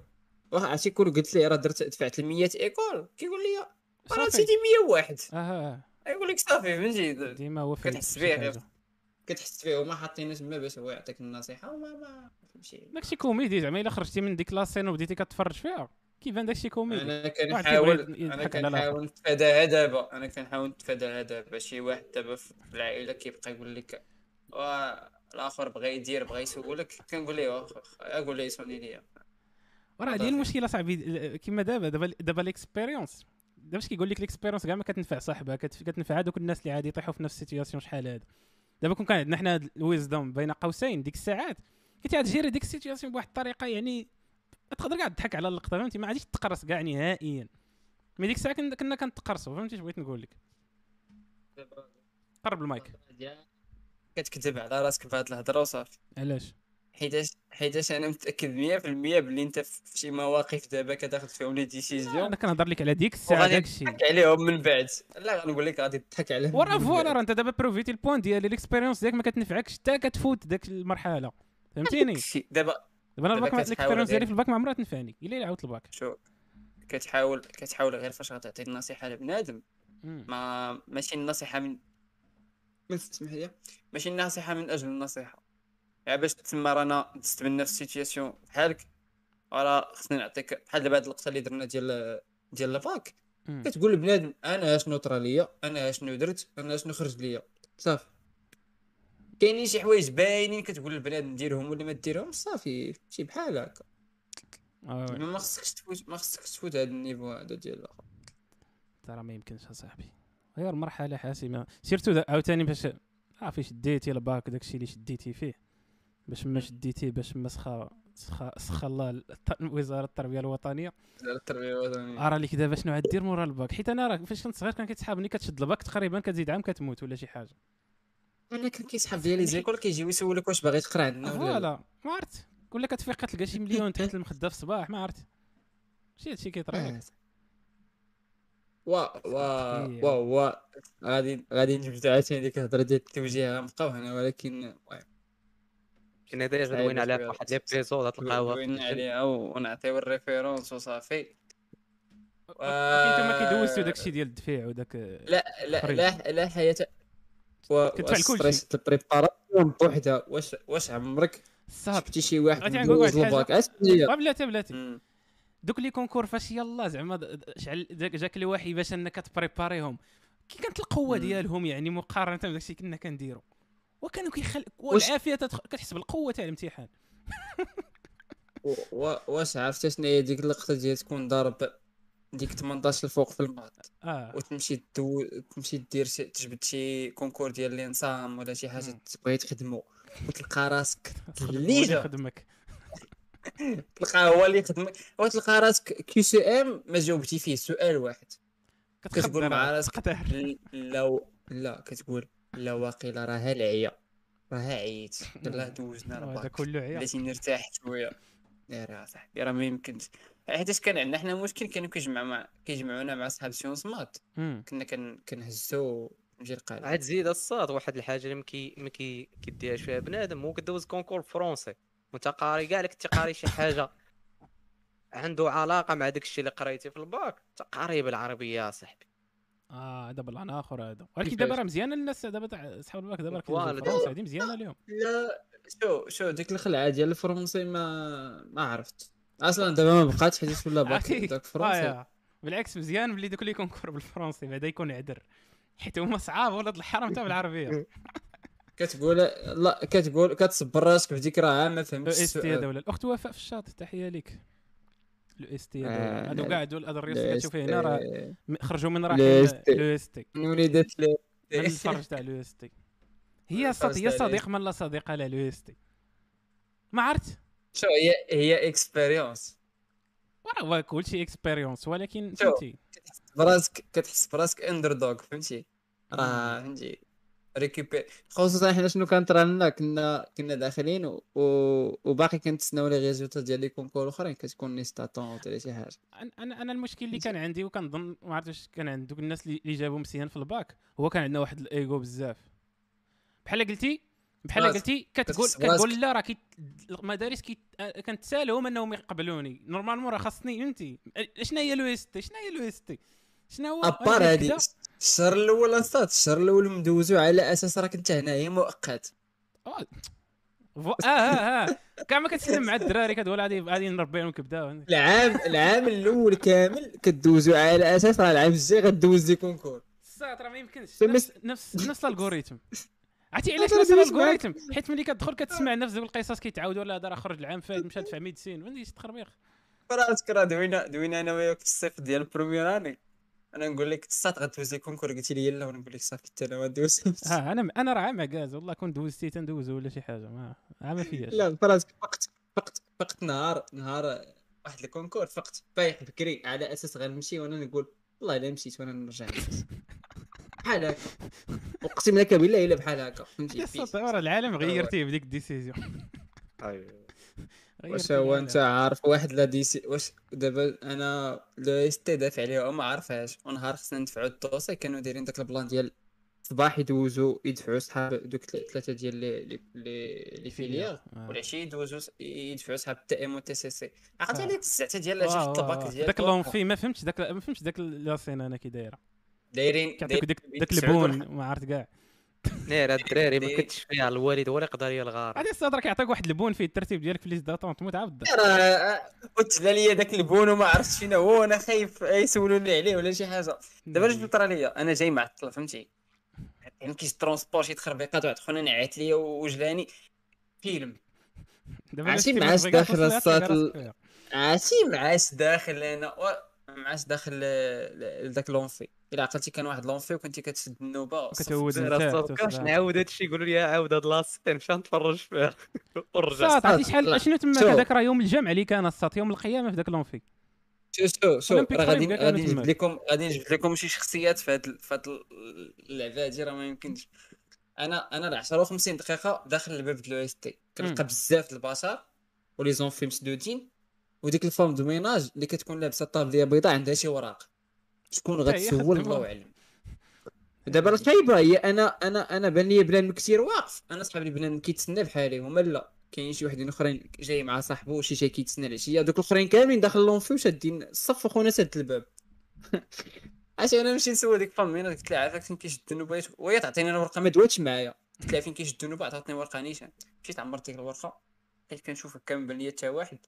S1: واحد عرفتي كون قلت ليه راه درت دفعت ل 100 ايكول كيقول لي راه
S2: صافي
S1: سيدي 101
S2: اه
S1: يقول لك صافي فهمتي د-
S2: ديما هو فايت
S1: كتحس
S2: شي
S1: بيه
S2: حاجة.
S1: غير. كتحس فيه وما حاطينه تما باش هو يعطيك النصيحه وما ما فهمتي
S2: داكشي كوميدي زعما الا خرجتي من ديك لاسين وبديتي كتفرج فيها كيبان داكشي كوميدي
S1: انا
S2: واحد كيبغي
S1: كنحاول
S2: يضحك
S1: انا
S2: على
S1: كنحاول نتفاداها دابا انا كنحاول نتفاداها دابا شي واحد دابا في العائله كيبقى يقول لك "آه، الاخر بغى يدير بغى يسولك كنقول ليه "واخا، اقول ليه يسولني ليا
S2: وراه هذه
S1: صافي.
S2: المشكله صاحبي ال- كيما دابا دابا دابا ليكسبيريونس دابا اش كيقول لك ليكسبيريونس كاع ما كتنفع صاحبها كتف- كتنفع هذوك الناس اللي عادي يطيحوا في نفس السيتياسيون شحال هذا دابا كون كان عندنا حنا هاد الويزدوم بين قوسين ديك الساعات كنت عاد جيري ديك السيتياسيون بواحد الطريقه يعني ما تقدر كاع تضحك على اللقطه فهمتي ما عادش تقرص كاع نهائيا مي ديك الساعه كن- كنا كنتقرصوا فهمتي اش بغيت نقول لك قرب المايك
S1: كتكذب على راسك بهاد الهضره وصافي
S2: علاش
S1: حيتاش حيتاش انا متاكد 100% باللي انت في شي مواقف دابا كتاخذ فيهم لي ديسيزيون
S2: انا كنهضر لك على ديك الساعه
S1: وغادي
S2: داك الشيء
S1: تضحك عليهم من بعد لا غنقول لك غادي تضحك عليهم
S2: ورا
S1: من
S2: فوالا
S1: بعد.
S2: راه انت دابا بروفيتي البوان ديالي الاكسبيريونس ديالك ما كتنفعكش حتى كتفوت داك المرحله فهمتيني
S1: شي- دابا
S2: دابا انا
S1: دابا
S2: الباك
S1: كتحاول
S2: الاكسبيريونس ديالي
S1: غير-
S2: في الباك ما عمرها تنفعني الا الا عاودت الباك
S1: شو كتحاول كتحاول غير فاش غتعطي النصيحه لبنادم
S2: مم.
S1: ما ماشي النصيحه من من اسمح لي ماشي النصيحه من اجل النصيحه يعني باش تسمى رانا دست من نفس السيتياسيون بحالك راه خصني نعطيك بحال دابا هاد اللقطه اللي درنا ديال ديال الباك
S2: مم.
S1: كتقول لبنادم انا شنو طرا ليا انا شنو درت انا شنو خرج ليا صافي كاينين شي حوايج باينين كتقول للبنادم ديرهم ولا ما ديرهم صافي شي بحال هكا
S2: آه، وي.
S1: ما ما خصكش تفوت ما خصكش تفوت هذا النيفو هذا ديال الاخر
S2: ترى ما يمكنش اصاحبي غير مرحله حاسمه سيرتو دا- عاوتاني باش عارف شديتي الباك داك الشيء اللي شديتي فيه باش ما شديتيه باش ما سخا سخا سخا الله الط- وزاره التربيه الوطنيه
S1: على التربيه الوطنيه
S2: ارى لك دابا شنو غدير مورا الباك حيت انا راه فاش كنت صغير كان كيتسحابني كتشد الباك تقريبا كتزيد عام كتموت ولا شي حاجه
S1: انا كان كيسحب ديالي زيكول كيجيو يسولك واش باغي تقرا عندنا ولا لا
S2: آه، فوالا ما عرفت ولا كتفيق كتلقى شي مليون تحت المخده في الصباح ما عرفت شي هادشي كيطرا
S1: آه. وا وا وا وا غادي غادي نجبدو عاوتاني ديك الهضره ديال التوجيه غنبقاو هنا ولكن واه،
S3: كنا دايما
S1: صعيب
S3: دوينا عليها
S1: شوية.
S3: في واحد ليبيزود غتلقاوها
S1: دوينا عليها ونعطيو الريفيرونس وصافي آه.
S2: انتما كيدوزتو داك الشيء ديال الدفيع وداك
S1: لا لا
S2: خريج.
S1: لا لا حياة و
S2: كتفعل كل
S1: والستريس ديال البريباراسيون بوحدها واش واش عمرك
S2: السهر
S1: شفتي شي واحد
S2: عرفتي غنقول
S1: مدوز
S2: واحد
S1: الباك
S2: لا بلاتي بلاتي
S1: مم.
S2: دوك لي كونكور فاش يلا زعما د- د- شعل ذاك جاك الوحي باش انك تبريباريهم كي كانت القوه
S1: مم.
S2: ديالهم يعني مقارنه بداك الشيء كنا كنديرو وكانوا كيخل
S1: واش-
S2: والعافيه تدخ... كتحس بالقوه تاع الامتحان
S1: و- و- واش عرفتي شنو هي ديك اللقطه ديال تكون ضارب ديك 18 الفوق في الماط
S2: اه
S1: وتمشي تدو... تمشي دير شي تجبد شي كونكور ديال الانصام ولا شي حاجه
S2: مم.
S1: تبغي تخدمو وتلقى راسك
S2: خدمك
S1: ليلة.
S2: ولا خدمك
S1: تلقى هو اللي يخدمك وتلقى راسك كيو سي ام ما جاوبتي فيه سؤال واحد
S2: كتخدم
S1: مع راسك.
S2: تقدر
S1: لو لا كتقول لا واقيلا راها العيا راها عييت يلا دوزنا
S2: هذا
S1: الباك
S2: كله عيا
S1: بلاتي نرتاح شويه لا راه صاحبي راه ما يمكنش حيتاش كان عندنا حنا مشكل كانوا كيجمعوا مع كيجمعونا مع صحاب سيونس مات
S2: مم.
S1: كنا كن... كنهزو نجي القلعه
S3: عاد زيد الصاد واحد الحاجه اللي مكي مكي كيديهاش فيها بنادم هو كدوز كونكور فرونسي وانت قاري كاع لك تقاري شي حاجه عنده علاقه مع داك الشيء اللي قريتي في الباك تقاري بالعربيه يا صاحبي
S2: اه هذا بلان اخر هذا ولكن
S1: كيفاش؟
S2: دابا راه مزيانه الناس دابا تاع صحاب الباك دابا راه
S3: فوالا،
S2: كيدوزو فرنسا هذه مزيانه اليوم
S1: لا شو شو ديك الخلعه ديال الفرنسي ما ما عرفت اصلا دابا ما بقاتش حيت ولا باك
S2: عرفتي؟
S1: داك فرنسي
S2: آه، بالعكس مزيان بلي دوك اللي كونكور بالفرنسي بعدا يكون عذر حيت هما صعاب ولاد الحرام تاع بالعربيه
S1: كتقول لا كتقول كتصبر راسك في ديك راه ما
S2: لو
S1: فهمتش
S2: اس تي
S1: السؤال
S2: دوله الاخت وفاء في الشاط تحيه ليك لو اس تي
S1: آه،
S2: هادو
S1: لا،
S2: كاع هادو الادريس
S1: لا
S2: اللي كتشوف هنا راه
S1: إست-
S2: م- خرجوا من
S1: لا،
S2: راحل
S1: ST.
S2: لو اس تي
S1: من وليدات ل-
S2: من الفرج تاع لو اس تي هي
S1: الفرج
S2: صد هي
S1: تاع ال
S2: صديق من لا صديق لا لو اس تي ما عرفت
S1: شو هي هي اكسبيريونس
S2: راه كلشي اكسبيريونس ولكن
S1: شو.
S2: فهمتي
S1: براسك كتحس براسك اندر دوغ فهمتي راه فهمتي ريكوبي خصوصا حنا شنو كان طرا لنا كنا كنا داخلين و... و... وباقي كنتسناو لي ريزولتا ديال لي كونكور الاخرين كتكون نيستا طونط ولا شي حاجه
S2: انا انا أنا المشكل اللي كان عندي وكنظن ما عرفت واش كان عند دوك الناس اللي اللي جابوا مزيان في الباك هو كان عندنا واحد الايجو بزاف بحال قلتي بحال
S1: راسك.
S2: قلتي كتقول
S1: كتحس براسك.
S2: كتقول لا راه كيت- المدارس كيت- آه، كنتسالهم انهم يقبلوني نورمالمون راه خاصني فهمتي آه، شنو هي لو اس تي شنو هي لو اس تي شنو هو
S1: ابار
S2: أنا
S1: هادي
S2: كدا.
S1: الشهر الاول انصات الشهر الاول مدوزو على اساس راك انت هنايا مؤقت
S2: آه، فو- اه اه اه كاع ما كتسلم مع الدراري كتقول غادي غادي نربي لهم كبده
S1: العام العام الاول كامل كدوزو على اساس راه العام الجاي غدوز لي كونكور
S2: الساط راه ما يمكنش
S1: فمس-
S2: نفس نفس نفس الالغوريثم عرفتي علاش
S1: هذا
S2: نفس
S1: اللي بيسمعك.
S2: الالغوريثم حيت ملي كتدخل كتسمع نفس ذوك القصص كيتعاودوا لا هذا راه خرج العام فات مشى دفع ميدسين وين ديش تخربيق
S1: فراسك راه دوينا دوينا انا وياك في الصيف ديال البروميير اني انا نقول لك الساعات غدوزي كونكور قلتي لي لا ونقول لك صافي حتى انا ما ندوزش
S2: ها انا انا راه معكاز والله كون دوزتي تندوز ولا شي حاجه ما عا ما فياش
S1: لا فراسك فقت فقت فقت نهار نهار واحد الكونكور فقت بايق بكري على اساس غنمشي وانا نقول والله الا مشيت وانا نرجع نفس. بحال هكا اقسم لك بالله الا بحال هكا فهمتي
S2: الساط راه العالم غيرتيه بديك الديسيزيون
S1: أيوه. واش
S2: يعني؟
S1: هو انت عارف واحد لا دي سي واش دابا انا لا اس تي دافع عليها وما عارفهاش ونهار خصنا ندفعو الدوسي كانوا دايرين داك البلان ديال الصباح يدوزو يدفعو صحاب دوك تل- ثلاثه ديال لي لي لي, لي فيليا
S2: آه.
S1: والعشيه يدوزو س- يدفعو صحاب تي ام و تي سي سي عرفتي
S2: آه.
S1: هذيك الزعته ديال شفت الطباك ديال
S2: داك اللون في ما فهمتش داك ما فهمتش داك لاسين انا كي دايره
S1: دايرين
S2: كيعطيك
S1: دايرين
S2: داك داك
S1: 90 درهم.
S2: البون ما عرفت كاع
S3: نير هاد الدراري ما
S1: دي-
S3: كنتش فيها الوالد ولا يقدر يلغار
S2: هذا الساط راه كيعطيك واحد البون فيه الترتيب ديالك في ليست داتون تموت عبد
S1: راه آه، قلت لي داك البون وما عرفتش فين هو وانا خايف يسولوني عليه ولا شي حاجه دابا اش طرا ليا انا جاي معطل فهمتي يعني كيترونسبور شي تخربيقات واحد خونا نعت ليا وجلاني فيلم
S2: دابا
S1: عرفتي
S2: شتي
S1: معاش
S2: بغيك
S1: داخل
S2: توصل لها
S1: الساط
S2: تلقى
S1: ال-
S2: راسك فيها.
S1: عرفتي معاش داخل انا معاش داخل ل- ل- لذاك لونفي الا عقلتي كان واحد لونفي وكنتي كتشد النوبه صافي.
S2: وكتعود
S3: زهرة
S2: انت
S3: الصاد، كاش
S2: توصل لها.
S3: نعاود هادشي يقولوا لي عاود هاد لاصين مشى نتفرج فيها ونرجع
S2: الساط عرفتي شحال شنو تماك
S1: شوف.
S2: هذاك راه يوم الجمع اللي كان الساط يوم القيامه في ذاك لونفي
S1: شو شو شو
S2: أولمبيك
S1: راه غادي
S2: فريم كاع كانوا
S1: غادي نجيب
S2: تماك.
S1: لكم غادي نجيب لكم شي شخصيات في هاد ال- في هاد ال- اللعبه هادي راه ما يمكنش انا انا ل 10 و50 دقيقه داخل الباب ديال الاو اس تي كنلقى
S2: مم.
S1: بزاف د البشر ولي زونفي مسدودين وديك الفورم دو ميناج اللي كتكون لابسه طابليه بيضاء عندها شي وراق شكون
S2: حتى هي
S1: غتسول
S2: خدمة.
S1: الله اعلم دابا الخايبه هي انا انا انا بان لي بنادم كثير واقف انا صحاب لي بنادم كيتسنى بحالي هما لا كاين شي وحدين اخرين جاي مع صاحبو وشي شي كيتسنى العشيه دوك الاخرين كاملين داخل لونفي وشادين الصف وخونا سد الباب علاش انا نمشي نسول ديك فامي انا قلت لها عافاك فين كيشد النوبه يت- وهي تعطيني انا ورقه ما دواتش معايا قلت لها فين كيشد النوبه عطاتني ورقه نيشان مشيت عمرت ديك الورقه حيت كنشوفك كان بان ليا حتى واحد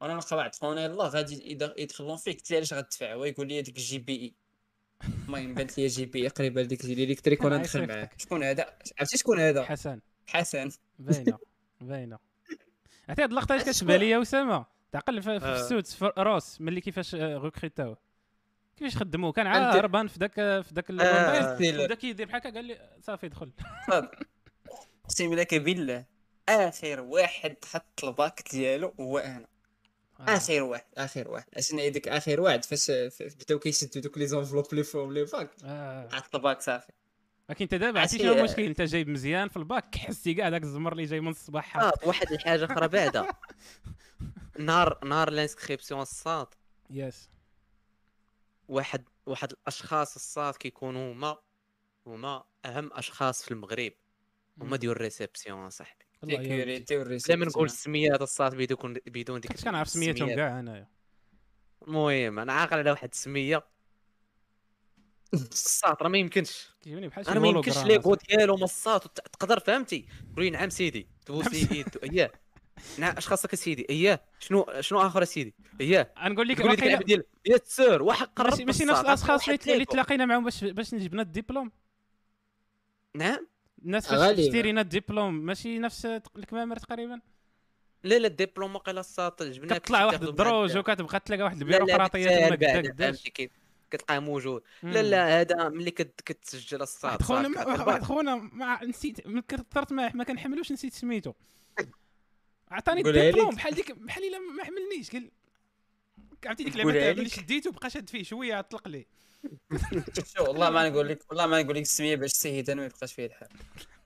S1: وانا نلقى واحد خونا يلاه غادي يد- يدخل لونفي قلت ليه علاش غتدفع هو يقول لي ديك الجي بي اي المهم بانت لي جي بي اي قريبه لديك الالكتريك وانا
S2: أنا
S1: ندخل
S2: عرفتك.
S1: معاه شكون هذا عرفتي شكون هذا
S2: حسن
S1: حسن
S2: باينه باينه عرفتي هاد اللقطه اللي
S1: عرفتي
S2: كتشبه
S1: شكون؟
S2: ليا اسامه تعقل في, في
S3: آه.
S2: السوت في روس ملي كيفاش آه، غوكريتاوه كيفاش خدموه كان
S1: أنت-
S2: عا هربان في ذاك في
S3: آه،
S2: ذاك البومبايل بدا كيدير بحال هكا قال لي صافي دخل
S1: اقسم لك بالله اخر واحد حط الباك ديالو هو انا
S2: آه.
S1: اخر واحد اخر واحد عشان هذيك اخر واحد فاش فاش بداو كيشدوا دوك لي زونفلوب لي فوم لي باك
S2: آه.
S1: حط الباك صافي
S2: لكن انت
S3: آه،
S2: دابا عرفتي
S1: عرفتي-
S2: شنو المشكل انت جايب مزيان في الباك حسيتي كاع داك الزمر اللي جاي من الصباح حاط.
S3: صاد واحد الحاجه اخرى بعدا نهار نهار لانسكريبسيون الصاد
S2: يس
S3: واحد واحد الاشخاص الصاد كيكونوا هما هما اهم اشخاص في المغرب هما ديال الريسبسيون صاحبي
S2: والله يا ولدي.
S1: سيكوريتي
S3: بلا ما
S1: والريسبسيون
S3: نقول السميات الصاد بدون بدون ديك
S2: كنت كنعرف سميتهم
S3: السميات.
S2: كاع انايا
S3: المهم انا عاقل على واحد السميه الصاد راه ما يمكنش
S2: كيجيبني بحال شي
S3: انا ما يمكنش
S2: هولوغرام
S3: ليغو
S2: أصاحبي.
S3: ديالو مصاط وت- تقدر فهمتي تقول لي نعم سيدي
S2: نعم
S3: دوزي يد اياه نعم اش خاصك سيدي ايه شنو شنو اخر سيدي ايه
S2: غنقول لك
S3: تقول لي ديك
S2: واقيلا
S3: اللعبه ديال يا السير واحد قرب
S2: ماشي ماشي نفس
S3: بالصاد،
S2: الاشخاص
S3: واحد
S2: اللي- اللي
S3: ليغو.
S2: تلاقينا معهم باش باش جبنا الدبلوم
S3: نعم
S2: الناس فاش
S1: غالباً.
S2: تشترينا الدبلوم ماشي نفس تق- الكمامر تقريبا
S3: لا لا الدبلوم وقيلا الساط جبناه
S2: كتطلع واحد الدروج وكتبقى تلاقى واحد البيروقراطيه تما كدا قداش
S3: كتلقاه موجود
S2: مم.
S3: لا لا هذا ملي كت- كتسجل الصاد
S2: واحد خونا
S3: صافي،
S2: واحد-
S3: كتعرف.
S2: واحد خونا ما نسيت من كثرت ما ما كنحملوش نسيت سميتو عطاني
S1: قولها ليك.
S2: الدبلوم بحال ديك بحال الا ما حملنيش قال عرفتي ديك اللعبه
S1: قولها
S2: تاع ملي
S1: ليك.
S2: شديته بقى شاد فيه شويه طلق لي
S1: شو والله ما نقول لك والله ما نقول لك السميه باش السيد انا ما يبقاش فيه الحال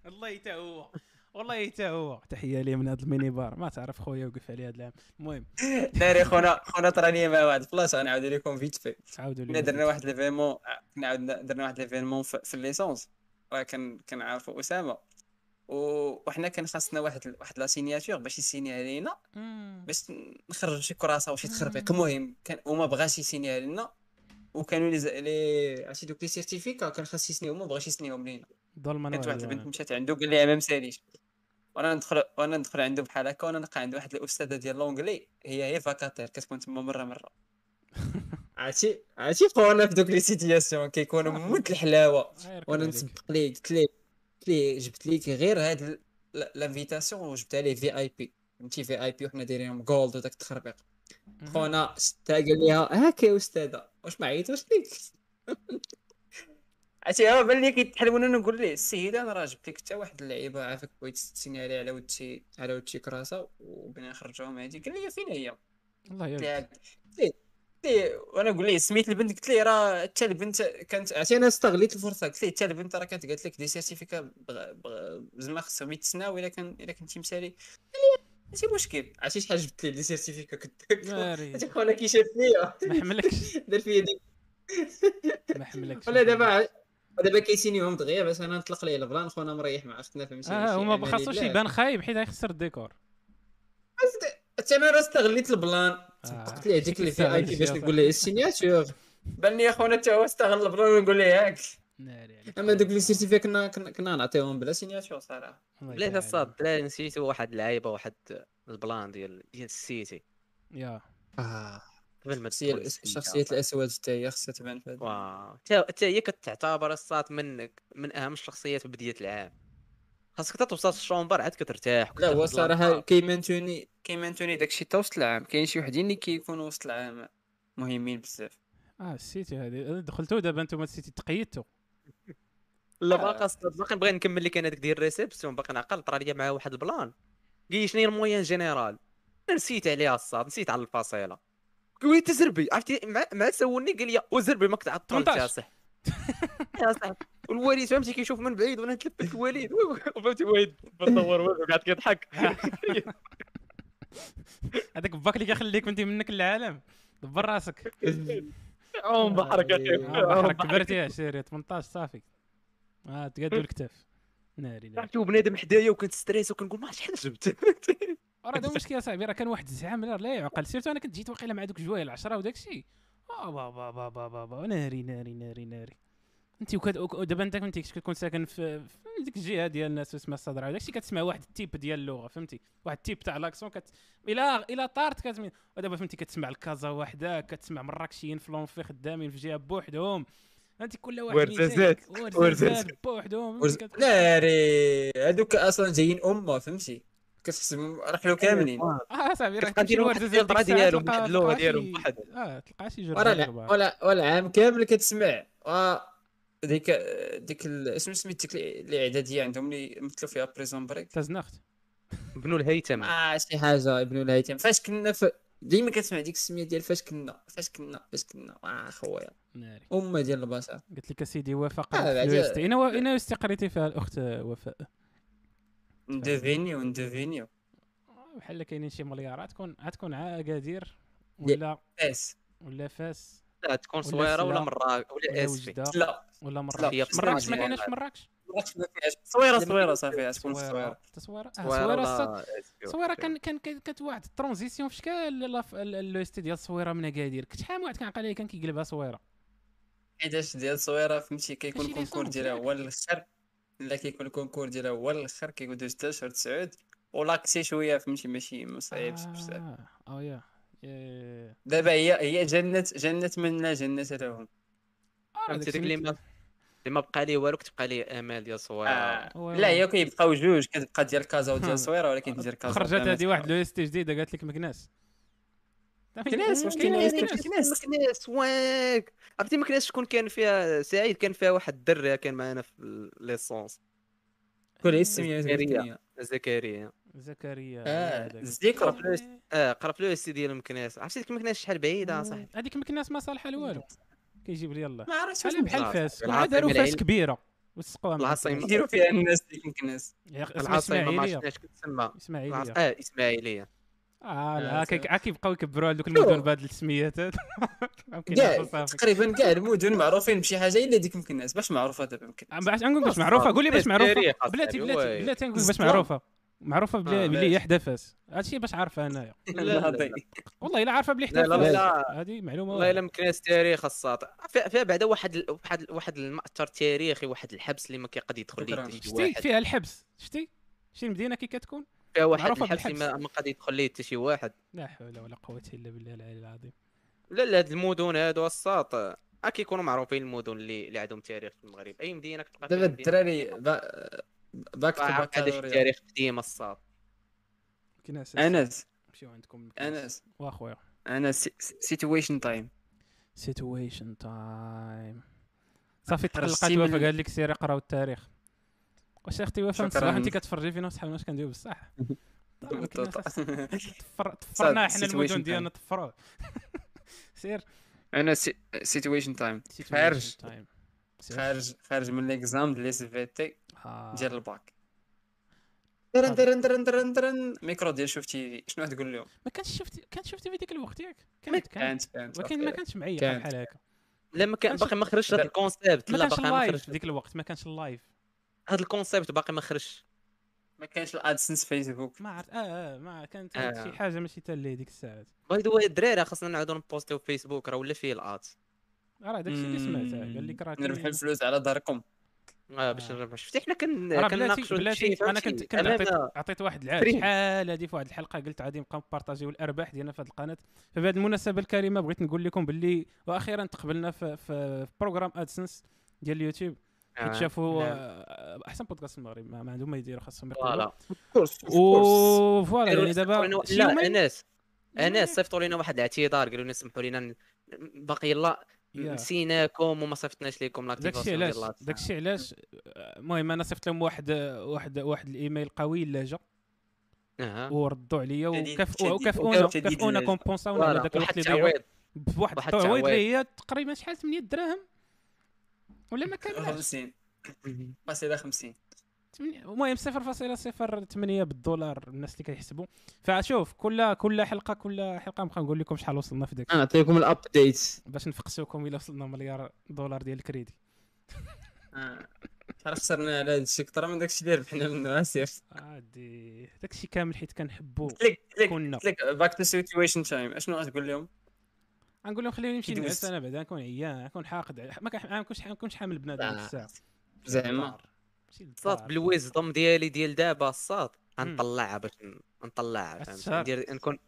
S2: والله حتى هو والله حتى هو تحيه ليه من هذا الميني بار ما تعرف خويا وقف عليه هذا العام المهم
S1: داري خونا خونا طراني مع واحد البلاصه غنعاود لكم فيت في
S2: عاودوا
S1: كنا درنا
S2: لي
S1: واحد ليفينمون كنا عاودنا- درنا واحد ليفينمون في في الليسونس راه كان كنعرفوا اسامه و- وحنا كان خاصنا واحد واحد لا سينياتور باش يسينيها لينا
S2: مم.
S1: باش نخرج شي كراسه وشي تخربيق المهم كان وما بغاش يسينيها لينا وكانوا لي ز- لي عرفتي دوك لي سيرتيفيكا كان خاص يسنيهم وما بغاش يسنيهم لينا
S2: ظلما
S1: كانت واحد
S2: وعدوانا.
S1: البنت مشات عنده قال لها ما مساليش وانا ندخل وانا ندخل عنده بحال هكا وانا نلقى عنده واحد الاستاذه ديال لونجلي هي هي فاكاتير كتكون تما مره مره عرفتي عرفتي خونا في دوك لي سيتياسيون كيكونوا
S2: صافي.
S1: موت الحلاوه
S2: غير
S1: وانا
S2: كذلك.
S1: نسبق ليه قلت ليه قلت ليه جبت ليك غير هاد ال- ل- لانفيتاسيون وجبتها ليه في اي بي فهمتي في اي بي وحنا دايرينهم جولد وداك التخربيق
S2: مم.
S1: خونا شتا قال ليها هاك يا استاذه واش ما عيطوش ليك عرفتي هو بان لي كيتحل وانا نقول ليه السيده انا راه جبت لك حتى واحد اللعيبه عافاك بغيت تسني عليه على ودتي على ودتي كراسه وبنا نخرجوهم هادي قال لي فين هي
S2: الله يا
S1: قلت
S2: ولدي.
S1: ليها- قلت ليه- قلت ليه- وانا نقول إيه، ليه سميت البنت قلت ليه راه حتى البنت كانت عرفتي انا استغليت الفرصه قلت ليه حتى البنت راه كانت قالت لك دي سيرتيفيكا بغ- بغ- زعما خصهم يتسناو الا كان الا كنتي مسالي قال لي ماشي مشكل عرفتي شحال جبت ليه دي سيرتيفيكا كنت
S2: ناري.
S1: هذاك خونا كيشاف ليا
S2: ما حملكش
S1: دار فيا ديك
S2: ما حملكش
S1: ولا دابا دابا كيسينيهم دغيا باش انا نطلق ليه البلان خونا مريح مع اختنا فهمتي
S2: اه هما ما خاصوش يبان خايب حيت غيخسر الديكور
S1: حتى انا راه استغليت البلان
S2: آه.
S1: قلت ليه هذيك اللي في
S2: استغل
S1: اي بي باش
S2: الشيء،
S1: نقول ليه السينياتور بان لي اخونا حتى هو استغل البلان ونقول ليه هاك
S2: ناري عليك.
S1: اما دوك لي سيرتيفيا كنا كنا كنا نعطيهم بلا سينياتور صراحه
S2: الله
S3: بلاتي
S2: يبارك
S3: الصاد بلا نسيتو واحد اللعيبه واحد البلان ديال ديال السيتي
S2: عليك. يا
S1: اه
S3: قبل ما
S1: الشخصيه
S3: تدخل
S1: الأس-
S3: السيدة.
S1: شخصيه الاسود حتى هي خصها تبان في هذا
S3: واو تا تا هي كتعتبر الصات منك من اهم الشخصيات في بدايه العام خاصك حتى توصل الشومبر عاد كترتاح
S1: لا هو
S3: وكتاخد
S1: صراحه
S3: لابطال.
S1: كيمانتوني كيمانتوني داكشي تا وسط العام كاين شي وحدين اللي كيكونوا وسط العام مهمين بزاف
S2: اه السيتي هذه أنا دخلتو دابا انتم السيتي تقيدتو
S3: لا
S1: آه.
S3: باقا صدق، باقي نبغي نكمل لك انا ديك ديال الريسبسيون باقي نعقل طرا ليا معاه واحد البلان قال لي شنو هي المويان جينيرال انا نسيت عليها الصاد نسيت على الفصيله قال لي تزربي عرفتي مع مع سولني قال لي وزربي ما كنت عطلت
S2: 18.
S3: يا صح يا صح والوالد فهمتي كيشوف من بعيد وانا تلبت الوالد فهمتي واحد بالدور والو قاعد كيضحك
S2: هذاك باك اللي كيخليك انت منك العالم دبر راسك
S3: عوم بحرك يا
S1: آه،
S3: سيف
S2: آه، بحرك كبرت يا شيري 18 صافي اه تقادو الكتاف ناري لا
S3: عرفتي بنادم حدايا وكنت ستريس وكنقول ما عرفتش شحال جبت
S2: راه هذا المشكل اصاحبي راه كان واحد الزعام لا لا يعقل سيرتو انا كنت جيت واقيلا مع دوك جوايل 10 وداك الشيء اه بابا بابا بابا ناري ناري ناري ناري انت وكاد وك- دابا انت كنت كتكون ساكن في في ديك الجهه ديال الناس اسمها الصدرة وداك الشيء كتسمع واحد التيب ديال اللغه فهمتي واحد التيب تاع لاكسون كت الى الى طارت كتمين ودابا فهمتي كتسمع الكازا وحده كتسمع مراكشيين في لونفي خدامين في جهه بوحدهم فهمتي كل واحد
S3: ورزازات،
S2: ورزازات
S3: ورزازات.
S2: بوحدهم
S1: ورز-
S2: فهمتي كتقول-
S1: ناري هادوك اصلا جايين امه فهمتي كتحسبهم رحلوا كاملين
S2: اه صاحبي راه
S3: كتبقى
S2: كتمشي
S3: دير واحد
S2: لوردز
S3: في الهضرة
S2: ديك الساعة
S3: ديالهم،
S2: تلقى-
S3: واحد اللغة
S2: تلقى
S3: ديالهم
S2: شي-
S3: بواحد.
S2: اه تلقى شي
S1: ورا
S2: جرجير
S1: الع-
S2: بواحد.
S1: ولا ولا عام كامل كتسمع آه، ديك ديك ال- اسم سميت ديك ال- الاعداديه عندهم اللي مثلوا فيها بريزون بريك
S2: تزنخت
S3: بنو الهيثم
S1: اه شي حاجه ابن الهيثم فاش كنا ف... ديما كتسمع ديك السميه ديال فاش كنا فاش كنا فاش كنا اه خويا
S2: ناري
S1: امه ديال البشر
S2: قلت لك اسيدي وفاء
S1: آه،
S2: قرات
S1: بعد-
S2: اليوستي انا و- انا يوستي قريتي فيها الاخت وفاء
S1: ندوفينيو ندوفينيو
S2: بحال كاينين شي مليارات تكون غتكون عا اكادير
S1: ي-
S2: ولا
S1: فاس
S2: ولا فاس
S3: لا تكون
S2: ولا
S3: صويره ولا
S2: سلا،
S3: مراك
S2: ولا
S3: ولا اسفي
S2: وجده
S1: لا
S2: ولا
S1: لا،
S2: مراكش
S1: فاس
S2: مراكش
S3: يعني.
S2: ما
S1: مزيان.
S2: كايناش في مراكش
S1: مراكش ما فيهاش صويره صويره صافي تكون صويره
S2: تصويره تصويره آه،
S3: صويره
S2: صويره الصاد-
S3: ولا اسفي
S2: صويره كان كان كان- كانت واحد الترانزيسيون في شكال لا- في ال- ال- اليوستي ديال صويره من اكادير كنت شحال من واحد كنعقل عليه كان كيقلبها صويره
S1: حيتاش ديال صويره فهمتي كيكون
S2: ماشي لي
S1: الكونكور
S2: صوت،
S1: ديالها
S2: ياك؟
S1: هو الاخر لا كيكون الكونكور ديالها هو الاخر كيكون دوز حتى شهر تسعود ولاكسي شويه فهمتي ماشي ما صعيبش بزاف
S2: آه، اه يا يا-
S1: دابا هي هي جنة جنة من لا جنة لهم
S2: آه،
S3: فهمتي
S2: داكشي
S3: ديك اللي
S2: اللي
S3: ما اللي ما بقى ليه والو كتبقى ليه امال ديال صويره
S1: آه.
S2: هو-
S1: لا هي كيبقاو جوج كتبقى ديال كازا وديال صويره ولكن ديال كازا
S2: خرجت
S1: بلا ما
S2: هذه واحد
S1: تبقى.
S2: لو اس تي جديده قالت لك مكناس
S1: مكناس، واش كاين
S2: مكناس،
S1: لو اس تي؟
S2: مكناس.
S1: مكناس.
S3: مكناس واك عرفتي مكناس شكون كان فيها سعيد كان فيها واحد الدري كان معنا في ليسونس
S1: كل السميات
S3: زكريا.
S1: الدنيا.
S3: زكريا
S2: زكريا
S1: اه
S2: هذاك.
S1: الذكرى
S3: قرا في لو إس- اه قرا في لو اس تي ديال مكناس عرفتي ديك مكناس شحال بعيده صاحبي
S2: هذيك مكناس ما صالحه لوالو كيجيب لي يلاه
S1: ما عرفتش واش
S2: بحال بحال
S3: صار.
S2: فاس
S3: العاصمة
S2: داروا فاس
S3: العلم.
S2: كبيره وسقوها مع
S3: العاصمة.
S2: فاس.
S1: يديروا فيها الناس ديك الكناس
S2: يا أخي، اسمها
S3: العاصمه ما
S2: اسماعيليه
S3: عرفتش كتسمى العاص-
S2: اسماعيليه
S3: اه اسماعيليه
S2: اه
S1: آه،
S2: لا
S1: صافي.
S2: كيبقاو يكبروا على دوك
S1: شوف.
S2: المدن بهاد السميات هاد. ما
S1: كاع
S2: يمكنش صافي
S1: تقريبا كاع المدن معروفين بشي حاجه الا ديك الكناس باش معروفه دابا
S2: آه،
S1: مكناس
S2: باش نقول باش معروفه قول لي باش
S3: ميستيريا
S2: معروفه
S3: خاصة
S2: بلاتي
S3: هذه،
S2: بلاتي
S3: وي.
S2: بلاتي نقول باش
S1: بزاف.
S2: معروفه معروفه بلي
S3: آه،
S2: بلي
S1: ماشي.
S2: هي حدا فاس هادشي باش عارفه انايا
S3: لا لا لا.
S2: والله الا عارفه بلي حدا
S3: لا لا
S2: فاس.
S3: لا.
S2: هذه معلومه
S3: والله الا مكناس تاريخ الساطع فيها فيها بعدا واحد ال- واحد ال- واحد المأثر تاريخي واحد الحبس اللي ما كيقد يدخل ليه
S1: شكراً.
S3: حتى شي
S2: شتي
S3: واحد
S2: فيها الحبس شتي شتي المدينه كي كتكون
S3: فيها واحد
S2: معروفة
S3: الحبس اللي ما- ما قد يدخل ليه حتى شي واحد
S2: لا حول ولا قوه الا بالله العلي العظيم
S3: لا لا هاد المدن هادو الساط آه، كيكونوا معروفين المدن اللي اللي عندهم تاريخ في المغرب اي مدينه كتبقى
S1: دابا الدراري با- باك تو باك
S3: هذا التاريخ ديما الساط
S2: كناس
S1: انس
S2: نمشيو عندكم
S1: انس
S2: واخويا
S1: انا سيتويشن تايم
S2: سيتويشن تايم صافي تقلقات
S1: خرجتي
S2: وفاء
S1: من-
S2: قال لك سيري قراو التاريخ واش اختي وفاء
S1: شكراً.
S2: صراحه انت كتفرجي فينا صحاب واش كنديرو بصح طيب، طبعاً
S3: طيب،
S2: كنا أساس- تفر- تفرنا حنا
S1: situation
S2: المدن
S1: time.
S2: ديالنا تفروه سير
S1: انا سيتويشن تايم
S2: situation time. سير.
S1: خارج خارج من ليكزام ديال سي في تي
S2: آه.
S1: ديال الباك درن درن درن درن درن ميكرو ديال شوف تي في شنو غتقول لهم
S2: ما كانش شفت كان شفتي في ديك الوقت ياك كانت كانت
S1: كانت كانت
S2: ولكن ما
S1: أخي.
S2: كانتش معيقه
S1: كانت.
S2: بحال هكا
S3: لا ما كان
S2: كانش-
S3: باقي ما خرجش هذا
S1: لا.
S3: الكونسيبت
S2: ما
S3: لا
S2: كانش
S3: باقي ما
S2: اللايف في
S3: خرجش
S2: ديك الوقت ما كانش اللايف
S3: هذا الكونسيبت باقي ما خرجش
S1: ما كانش الادسنس فيسبوك
S2: ما عرفت اه اه ما كانت كانت
S3: آه.
S2: شي حاجه ماشي تا اللي ديك الساعات
S3: باي ذا واي الدراري خاصنا نعاودو نبوستيو في فيسبوك راه ولا فيه الات
S2: راه داكشي اللي سمعته
S1: مم.
S2: قال لك راه كاين-
S1: نربح الفلوس على داركم
S3: آه، باش
S2: آه.
S3: نربح شفتي حنا كن
S2: راه بلاتي
S3: كنناقشوا
S2: بلاتي
S3: هادشي،
S2: انا كنت
S3: فهمتي؟ آه.
S2: كنت عطيت
S3: أنا-
S2: عطيت واحد العاد
S3: فري.
S2: شحال هذه في واحد الحلقه قلت غادي نبقى نبارطاجيو الارباح ديالنا في هذه القناه فبهذه المناسبه الكريمه بغيت نقول لكم باللي واخيرا تقبلنا في, في, في بروغرام ادسنس ديال اليوتيوب حيت
S3: آه،
S2: شافوا
S3: نعم.
S2: آه، احسن بودكاست المغرب ما ما عندهم ما يديروا خاصهم يقولوا
S3: فوالا
S4: كورس
S2: و فوالا
S3: قالوا
S2: يعني
S3: لنا
S2: دابا
S3: سمحوا لنا-
S2: شي يعني
S3: لا
S2: يومين-
S3: انس
S2: يومين-
S3: انس صيفطوا لنا واحد الاعتذار قالوا لنا سمحوا لنا ن- باقي لا
S2: يا.
S3: نسيناكم وما صيفطناش لكم
S2: داكشي
S3: لاكتيفاسيون
S2: علاش
S3: ديال لاكتيفاسيون.
S2: داكشي علاش المهم انا صيفط لهم واحد واحد واحد الايميل قوي اللاجه
S3: اها
S2: وردوا عليا
S1: شديد-
S2: وكف-
S1: شديد-
S2: وكافئونا
S1: شديد
S2: كافئونا
S1: اللهجة.
S2: كومبونساونا على
S3: فوالا،
S2: ذاك
S3: واحد
S2: الوقت اللي ضيعوه
S3: التعويض
S2: بواحد
S3: واحد
S2: التعويض
S3: التعويض.
S2: اللي هي تقريبا شحال 8 دراهم ولا ما
S3: آه.
S2: كاملاش
S1: 50 فاصله 50
S2: تمنية- المهم 0.08 بالدولار الناس اللي كيحسبوا فشوف كل كل حلقه كل حلقه نبقى نقول لكم شحال وصلنا في داك
S4: نعطيكم الابديت
S2: باش نفقسوكم الى وصلنا مليار دولار ديال الكريدي
S1: آه.
S4: راه خسرنا على هذا الشيء كثر من داك الشيء اللي ربحنا منه آه، سير
S2: عادي داكشي كامل حيت كنحبو
S1: قلت لك قلت لك
S2: كنا
S1: قلت لك باك تو سيتويشن تايم اشنو غتقول لهم؟
S2: غنقول لهم خليوني نمشي
S1: كيدوز.
S2: نعس انا بعدا نكون عيان نكون حاقد على- ما كنح- ما كنكونش ما كنكونش حامل بنادم ديك الساعه
S4: زعما
S2: ماشي
S3: صات
S2: للدار.
S3: بالويزدم ديالي ديال دابا صات غنطلعها باش ن- نطلعها
S2: بس
S3: فهمتي
S2: شهر.
S3: ندير نكون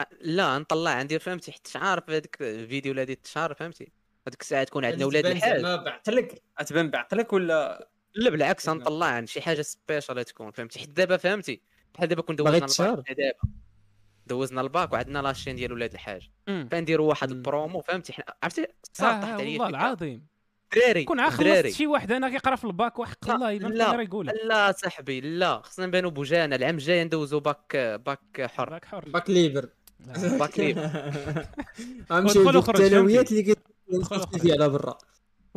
S3: أ- لا نطلع ندير فهمتي حيت شعار في هذاك الفيديو ولا هذيك الشهر فهمتي هذيك الساعه تكون عندنا ولاد
S1: تبان
S3: الحاج
S1: زعما بعقلك غتبان بعقلك ولا
S3: لا بالعكس
S1: فهمت.
S3: غنطلع عن شي حاجه سبيشال تكون فهمتي حيت دابا فهمتي بحال دابا كون
S4: باغي
S3: دوزنا الباك
S4: تشهر؟
S3: حنا إيه دابا دوزنا الباك وعندنا لاشين ديال ولاد الحاج
S2: مم.
S3: فنديروا واحد
S1: مم.
S3: البرومو فهمتي حنا عرفتي
S2: آه،
S3: صار
S2: آه
S3: تحت عليا
S2: والله
S3: فكرة.
S2: العظيم
S3: دراري
S2: كون عا
S3: دراري
S2: شي واحد انا كيقرا في الباك وحق
S3: لا،
S2: الله الا
S3: لا،
S2: ما يقولها
S3: لا صاحبي لا خصنا نبانو بوجانا العام الجاي ندوزو باك باك حر
S2: راك حر
S4: باك ليبر
S2: لا.
S3: باك ليبر
S4: غنمشيو
S2: ودخل
S4: ندير
S2: وخرج،
S4: الثانويات
S2: فهمتي؟
S4: اللي
S2: دخل وخرج.
S4: كيدخل فيها على برا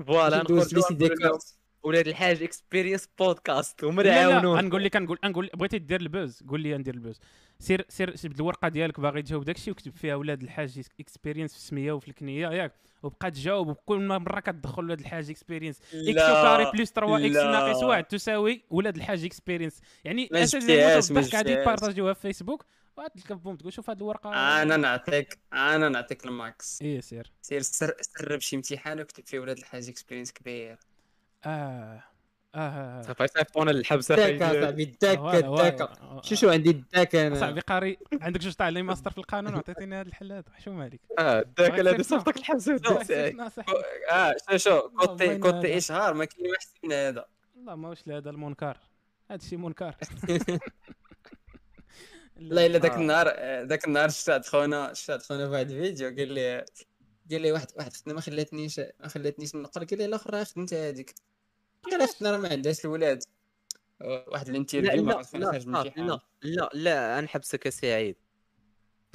S3: فوالا
S4: ندوز
S3: نخرجوا
S4: بليسي
S3: نقولوا
S4: ديكارت
S3: ولاد الحاج اكسبيرينس بودكاست هما اللي
S2: لا
S3: عاونونا
S2: لا غنقول لك غنقول غنقول بغيتي دير البوز قول لي ندير البوز سير سير جبد الورقه ديالك باغي تجاوب داكشي وكتب فيها ولاد الحاج اكسبيرينس في السميه وفي الكنيه ياك وبقى تجاوب وكل ما مره كتدخل ولاد الحاج اكسبيرينس اكس
S1: لا،
S2: كاري بلس 3 اكس
S1: لا.
S2: ناقص 1 تساوي ولاد الحاج اكسبيرينس يعني
S1: ما
S2: اساسا
S1: جبتيهاش، ما
S2: المتضحك غادي
S1: جبتيهاش.
S2: بارطاجيوها في فيسبوك وغادي لك بوم تقول شوف هاد الورقه
S1: انا نعطيك انا نعطيك الماكس
S2: ايه سير
S1: سير سر سرب شي امتحان وكتب فيه ولاد الحاج اكسبيرينس كبير
S2: اه اه اه آه.
S3: صافي صيفطونا للحبس
S4: الداكا صاحبي الداكا
S2: واه- واه-
S4: الداكا
S2: آه، آه.
S4: شو شو عندي الداكا
S2: صاحبي
S4: انا
S2: قاري عندك جوج تاع لي ماستر في القانون وعطيتيني هذا الحل هذا حشوم عليك
S3: اه الداكا
S2: صافي
S3: اللي إيه.
S2: صافي.
S3: صيفطك الحبس هذا
S2: ناصح
S1: اه شو شو
S2: والله
S1: كوتي
S2: ما هذا.
S1: كوتي اشهار ما كاين ما احسن من هذا
S2: والله ما واش لهذا المنكر هذا الشيء منكر
S1: لا الا ذاك
S3: آه.
S1: النهار آه، ذاك النهار شفت خونا شفت خونا في واحد الفيديو قال لي قال لي واحد واحد خدمه ما خلاتنيش ما خلاتنيش نقرا قال لي الاخر راه خدمت هذيك قال لها خدمه راه ما عندهاش الولاد آه، واحد
S3: لا
S1: الانترفيو ما
S3: لا
S1: عرفت فين
S3: لا
S1: خرج من
S3: صافي،
S1: الامتحان
S3: لا لا لا نحبسك يا سعيد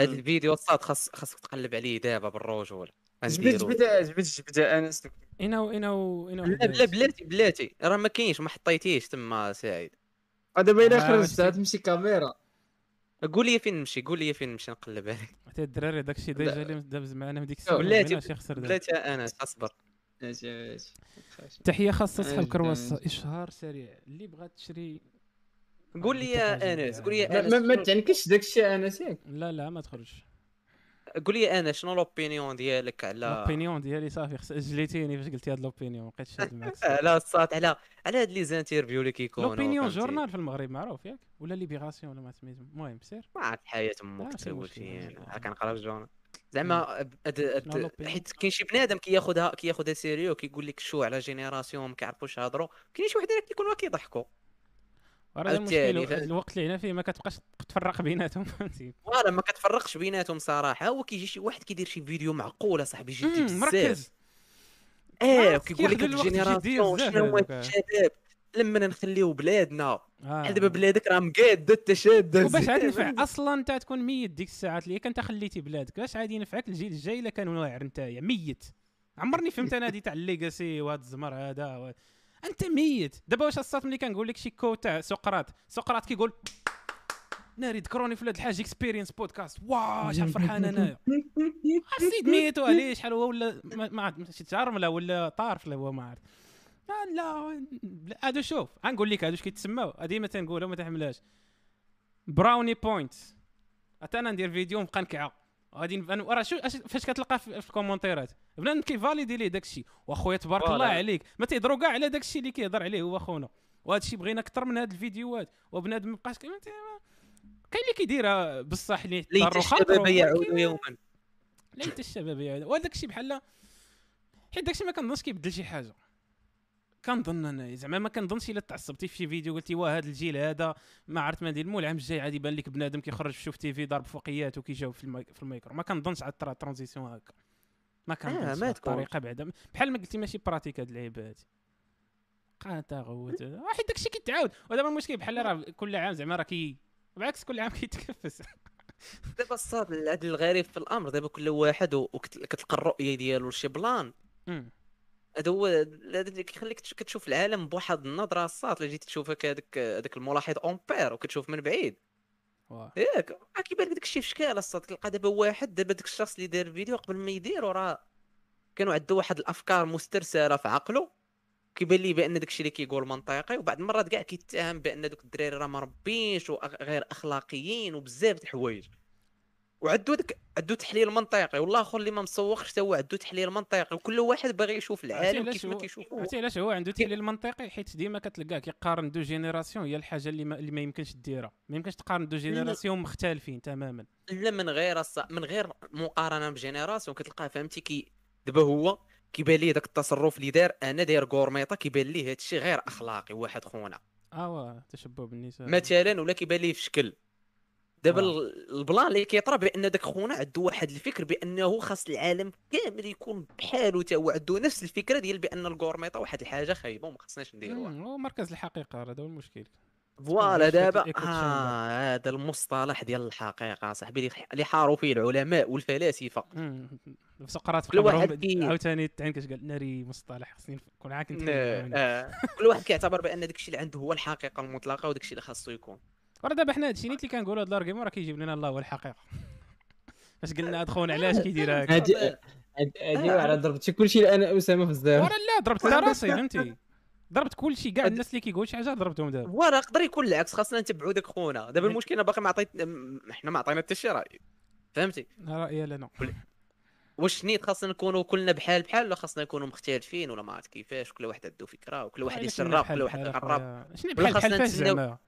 S3: هذا
S1: مم.
S3: الفيديو صاد خاص خاصك تقلب عليه دابا بالرجوله
S1: جبت
S3: غنديرو.
S1: جبت جبت جبت انس دوك
S2: انه انه انه
S3: لا لا بلاتي بلاتي راه ما كاينش ما حطيتيش تما سعيد
S4: دابا
S2: آه،
S4: الا خرجت
S2: ماشي.
S4: تمشي كاميرا
S3: قول لي فين نمشي قول لي فين نمشي نقلب عليه
S2: حتى الدراري داك الشيء ديجا اللي دابز معنا من ديك الساعه
S4: لا،
S2: ما
S3: بلاتي-
S2: بغيناش يخسر دابا
S3: بلاتي انا اصبر
S4: ماشي ماشي
S2: تحيه خاصه
S3: إيه.
S4: آه،
S2: صحاب كرواسه
S4: جداً.
S2: اشهار سريع اللي بغى تشري
S3: قول لي يا انس قول لي
S4: ما-
S3: يا
S4: ما- ما
S3: انس
S4: تعنكش داك الشيء انا ياك
S2: لا لا ما تخرجش
S3: قول لي يا انس شنو لوبينيون ديالك على
S2: الاوبينيون ديالي صافي خس- جليتيني فاش قلتي هاد الاوبينيون ما بقيتش شاد معاك
S3: على الساط على على هاد لي زانترفيو اللي كيكونوا
S2: الاوبينيون
S3: فهمتي؟
S2: جورنال في المغرب معروف ياك ولا ليبيغاسيون ولا ما سميتو المهم سير
S3: ما عرفت حياة
S2: آه،
S3: امك
S2: ماشي
S3: تقول
S2: مشكل،
S3: فيه
S2: ماشي
S3: انا
S2: مشكل.
S3: راه كنقرا في الجورنال زعما أد- أد-
S2: شنو لوبينيون؟
S3: حيت كاين شي بنادم كياخذها كياخذها سيريو كيقول لك شو على جينيراسيون ما كيعرفوش يهضروا كاين شي وحدين كيكونوا كيضحكوا
S2: راه المشكل
S3: عاوتاني،
S2: هو-
S3: فهمت.
S2: الوقت اللي هنا فيه ما كتبقاش تفرق بيناتهم فهمتي
S3: فوالا ما كتفرقش بيناتهم صراحه هو كيجي شي واحد كيدير شي فيديو معقول اصاحبي جدي
S2: مم،
S3: بزاف
S2: مركز
S3: اه
S2: عرفت،
S3: كيقول لك
S2: كياخذوا الوقت الجدي
S3: الجينيراسيون
S2: بزاف
S3: شنو هو
S2: هذوك.
S3: الشباب لما نخليو بلادنا
S2: آه.
S3: بحال دابا بلادك راه مقاده حتى شاده
S2: وباش عاد
S3: زين.
S2: ينفع اصلا انت تكون ميت ديك الساعات اللي كنت خليتي بلادك باش عاد ينفعك الجيل الجاي الا كان واعر انت ميت عمرني فهمت انا هادي تاع الليغاسي وهاد الزمر هذا و... انت ميت دابا واش الصات ملي كنقول لك شي كو تاع سقراط سقراط كيقول ناري ذكروني في ولاد الحاج اكسبيرينس بودكاست واه شحال فرحان آه، انايا السيد ميت وعليه شحال هو ولا ما ما عرفت ماشي تعرمله ولا طارف لا هو ما عرفت آه، لا لا، هادو شوف غنقول لك هادو اش كيتسماو هادي ما تنقولها ما تحملهاش براوني بوينت حتى انا ندير فيديو نبقى نكعى غادي نب- أنا- راه شو أش- فاش كتلقى في في الكومونتيرات بنادم كيفاليدي ليه داك الشيء واخويا تبارك
S3: فوالا.
S2: الله عليك ما تيهضروا كاع على داك الشيء اللي كيهضر عليه هو خونا وهذا الشيء بغينا اكثر من هاد الفيديوهات وبنادم ما بقاش كي- ما- كاين اللي كيديرها بصح اللي
S3: ليت
S2: اضطروا خاطروا،
S3: الشباب يعود
S2: ولكن-
S3: يوما
S2: ليت الشباب يعود وهذاك الشيء بحال حيت داك الشيء ما كنظنش كيبدل شي حاجه كنظن انا زعما ما كنظنش الا تعصبتي في شي فيديو قلتي واه هذا الجيل هذا ما عرفت ما ندير مو العام الجاي عادي يبان لك بنادم كيخرج في شوف تي في ضارب فوقيات وكيجاوب في, المايك في الميكرو ما كنظنش على الترا- ترانزيسيون هكا ما كنظنش
S3: ما
S2: آه
S3: تكون.
S2: الطريقه بعدا بحال ما قلتي ماشي براتيك هاد اللعيبه هادي قاتا غوت آه، حيت داكشي كيتعاود ودابا المشكل بحال راه كل عام زعما راه كي بالعكس كل عام كيتكفس
S3: دابا صار العدل الغريب في الامر دابا كل واحد و- وكت- كتلقى الرؤيه ديالو لشي بلان
S2: أمم.
S3: هذا هو هذا اللي كيخليك تش- كتشوف العالم بواحد النظره الساط اللي جيت تشوفها كهذاك هذاك الملاحظ امبير وكتشوف من بعيد
S2: واه.
S3: ياك راه كيبان لك داكشي في شكال الصاد كتلقى دابا واحد دابا داك الشخص اللي دار فيديو قبل ما يديرو راه كانوا عنده واحد الافكار مسترسله في عقله كيبان ليه بان داكشي اللي كيقول منطقي وبعد المرات كاع كيتهم بان دوك الدراري راه مربينش وغير اخلاقيين وبزاف د الحوايج وعندو داك عندو تحليل منطقي والله اخر اللي ما مسوقش حتى هو عندو تحليل منطقي وكل واحد باغي يشوف العالم
S2: علاش
S3: كيف ما
S2: هو-
S3: كيشوفوه
S2: عرفتي علاش هو عنده تحليل منطقي حيت ديما كتلقاه كيقارن دو جينيراسيون هي الحاجه اللي ما, اللي ما يمكنش ديرها ما يمكنش تقارن دو جينيراسيون مختلفين تماما
S3: لا من غير الص... من غير مقارنه بجينيراسيون كتلقاه فهمتي كي دابا هو كيبان ليه داك التصرف اللي دار انا داير آه، غورميطه كيبان ليه هادشي غير اخلاقي واحد خونا
S2: اه واه تشبه بالنساء
S3: مثلا ولا كيبان ليه في شكل دابا
S2: آه.
S3: ال- البلان اللي كيطرى بان داك خونا عنده واحد الفكر بانه خاص العالم كامل يكون بحالو تا هو عنده نفس الفكره ديال بان الغورميطه واحد الحاجه خايبه وما خصناش نديروها
S2: مم، هو مركز الحقيقه راه هذا هو المشكل
S3: فوالا
S2: شفت
S3: دابا
S2: الإيكو تشامبر.
S3: آه هذا المصطلح ديال الحقيقه صاحبي اللي- اللي حاروا فيه العلماء والفلاسفه
S2: مم، سقراط في
S3: كل واحد
S2: قبرهم
S3: كي-
S2: عاوتاني تعين كاش قال ناري مصطلح خصني نكون عا كنت
S3: ن- آه. كل واحد كيعتبر بان داكشي اللي عنده هو الحقيقه المطلقه وداكشي اللي خاصو يكون
S2: وراه دابا حنا هادشي نيت اللي كنقولوا هاد الارغيمون راه كيجيب لنا الله هو الحقيقه فاش قلنا هاد خونا علاش كيدير هكا
S4: هادي هاد- هادي راه ضربتي كلشي الان اسامه
S2: وراه
S4: في الزاويه
S2: لا ضربت
S3: وراه
S2: راسي فهمتي ضربت كلشي كاع
S3: هاد-
S2: الناس اللي كيقولوا شي حاجه ضربتهم دابا
S3: ولا يقدر يكون العكس خاصنا نتبعوا داك خونا دابا
S2: هاد-
S3: المشكله باقي ما عطيت م- حنا ما عطينا حتى شي راي فهمتي
S2: رايي انا
S3: واش نيت خاصنا نكونوا كلنا بحال بحال ولا خاصنا نكونوا مختلفين ولا ما عرفت كيفاش كل واحد عنده فكره وكل واحد يسرب كل واحد يقرب
S2: شنو
S3: ولا
S2: بحال بحال
S3: خاصنا
S2: فاش
S3: نتسناو-
S2: زعما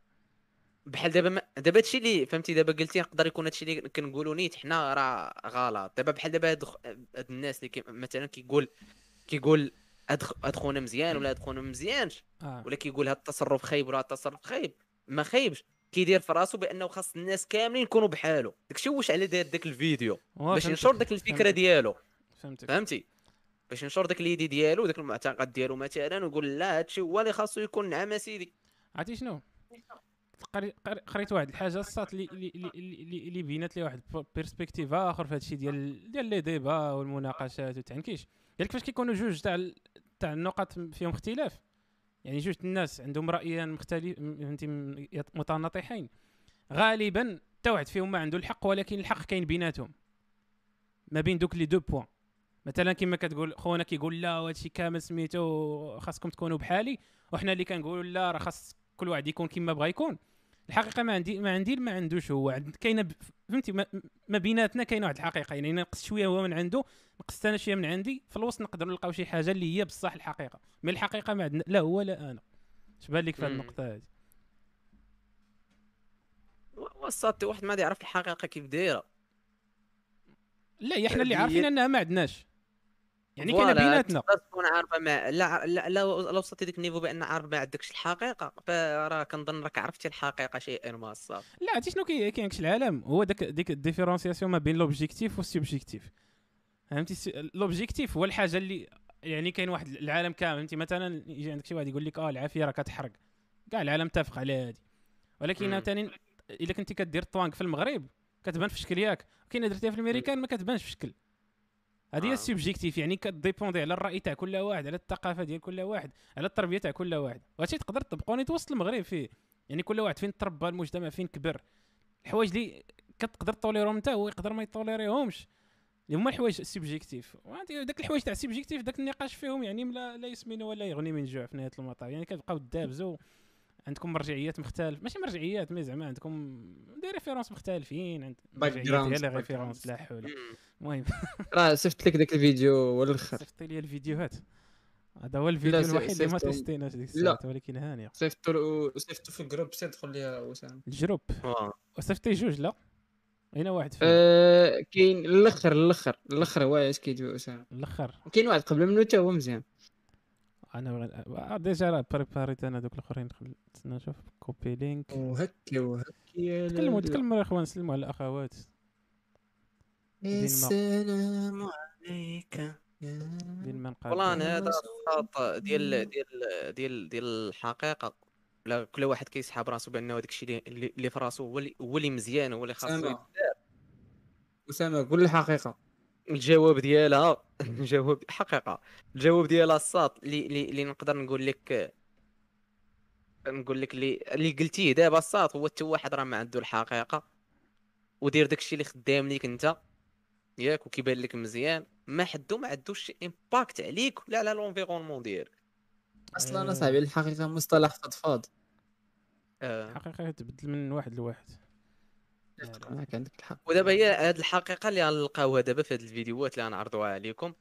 S3: بحال دابا ما- دابا هادشي اللي فهمتي دابا قلتي يقدر يكون هادشي اللي كنقولوا نيت حنا راه غلط دابا بحال دابا هاد الخ- هاد الناس اللي كي مثلا كيقول كيقول هاد خ- هاد خونا مزيان ولا هاد خونا ما مزيانش
S2: آه.
S3: ولا كيقول هذا التصرف خايب ولا هذا التصرف خايب ما خايبش كيدير في راسو بانه خاص الناس كاملين يكونوا بحالو داكشي واش على داير داك الفيديو
S2: واه،
S3: باش
S2: آه، فهمتك،
S3: ينشر داك الفكره
S2: فهمتك،
S3: ديالو
S2: فهمتك
S3: فهمتي باش ينشر داك ليدي ديالو داك المعتقد ديالو مثلا ويقول لا هادشي هو اللي خاصو يكون نعم اسيدي
S2: عرفتي شنو قري- قري- قريت واحد الحاجه الصات اللي اللي اللي- اللي اللي بينات لي واحد ب- بيرسبكتيف اخر في هادشي ديال ديال لي ديبا والمناقشات والتعنكيش ديال كيفاش كيكونوا جوج تاع ال- تاع النقط فيهم اختلاف يعني جوج الناس عندهم رايان مختلف م- فهمتي م- يت- متناطحين غالبا حتى واحد فيهم ما عنده الحق ولكن الحق كاين بيناتهم ما بين دوك لي دو بوان مثلا كما كتقول خونا كيقول لا وهادشي كامل سميتو خاصكم تكونوا بحالي وحنا اللي كنقولوا لا راه خاص كل واحد يكون كما بغا يكون الحقيقه ما عندي ما عندي ما عندوش هو عند- كاينه ب- فهمتي ما, ما بيناتنا كاينه واحد الحقيقه يعني نقص شويه هو من عنده نقصت انا شويه من عندي في الوسط نقدر نلقاو شي حاجه اللي هي بصح الحقيقه مي الحقيقه ما عندنا لا هو لا انا اش بان لك في هذه
S3: مم.
S2: النقطه هذه
S3: وصلت واحد ما يعرف الحقيقه كيف دايره
S2: لا هي حنا اللي
S3: هذه هي-
S2: عارفين انها ما عندناش يعني كاينه
S3: فوالا،
S2: بيناتنا
S3: تقدر تكون عارفه ما لا لا لا لا وصلتي ديك النيفو بان عارف ما عندكش الحقيقه فراه كنظن راك عرفتي الحقيقه شيئا ما صافي
S2: لا عرفتي شنو كي- كاين كش العالم هو داك ديك الديفيرونسياسيون ما بين لوبجيكتيف والسوبجيكتيف فهمتي الس- لوبجيكتيف هو الحاجه اللي يعني كاين واحد العالم كامل فهمتي مثلا يجي عندك شي واحد يقول لك اه العافيه راه كتحرق كاع العالم متفق على هادي ولكن
S3: مم.
S2: ثاني الا كنتي كدير الطوانك في المغرب كتبان في الشكل ياك كاين درتيها في الميريكان ما كتبانش في الشكل هذه هي
S3: آه.
S2: السوبجيكتيف يعني كديبوندي على الراي تاع كل واحد على الثقافه ديال كل واحد على التربيه تاع كل واحد وهادشي تقدر تطبقو نيت وسط المغرب فيه يعني كل واحد فين تربى المجتمع فين كبر الحوايج اللي كتقدر توليرهم حتى هو يقدر ما يطوليريهمش اللي هما الحوايج السبجيكتيف داك الحوايج تاع السبجيكتيف داك النقاش فيهم يعني لا, لا يسمن ولا يغني من جوع في نهايه المطاف يعني كتبقاو دابزو عندكم مرجعيات مختلف ماشي مرجعيات مي زعما عندكم دي ريفيرونس مختلفين عند مرجعيات
S4: Backgrounds-
S2: هي اللي
S4: backgrounds.
S2: ريفيرونس لا حول المهم
S4: راه شفت لك ذاك الفيديو والاخر
S2: صيفط لي الفيديوهات هذا هو الفيديو
S4: سي-
S2: الوحيد اللي ما
S4: سيفطهم.
S2: تيستيناش ديك
S4: لا.
S2: الساعه ولكن هانيه
S4: صيفطوا صيفطوا في الجروب سير دخل ليها وسام
S2: الجروب
S3: واه.
S2: صيفطي جوج لا هنا واحد فيهم
S4: آه كاين الاخر الاخر الاخر واعي كيدوي اسامه
S2: الاخر
S4: وكاين واحد قبل منه حتى هو مزيان
S2: انا بغ- آه، ديجا راه بريباريت انا دوك الاخرين قبل استنى نشوف كوبي لينك
S4: وهكا وهكا
S2: تكلموا تكلموا يا اخوان سلموا على الاخوات دين ما-
S4: السلام عليك يا
S2: بين ما نقابل
S3: والله انا هذا
S4: الناس.
S3: الخط ديال ديال ديال ديال الحقيقه لا كل واحد كيسحب راسو بانه هذاك الشيء اللي- اللي اللي في راسو هو اللي هو اللي مزيان هو اللي خاصو
S4: اسامه اسامه قول الحقيقه
S3: الجواب ديالها الجواب حقيقه الجواب ديالها الساط اللي اللي اللي نقدر نقول لك نقول لك اللي اللي قلتيه دابا الساط هو حتى واحد راه ما عنده الحقيقه ودير داكشي اللي خدام ليك انت ياك وكيبان لك مزيان ما حدو ما عندوش شي امباكت عليك ولا على لونفيرونمون ديالك
S4: اصلا
S2: آه.
S4: انا صاحبي الحقيقه مصطلح فضفاض
S3: آه.
S2: الحقيقه تبدل من واحد لواحد
S4: آه. معاك عندك الحق
S3: ودابا هي هاد الحقيقه اللي غنلقاوها دابا في هاد الفيديوهات اللي غنعرضوها عليكم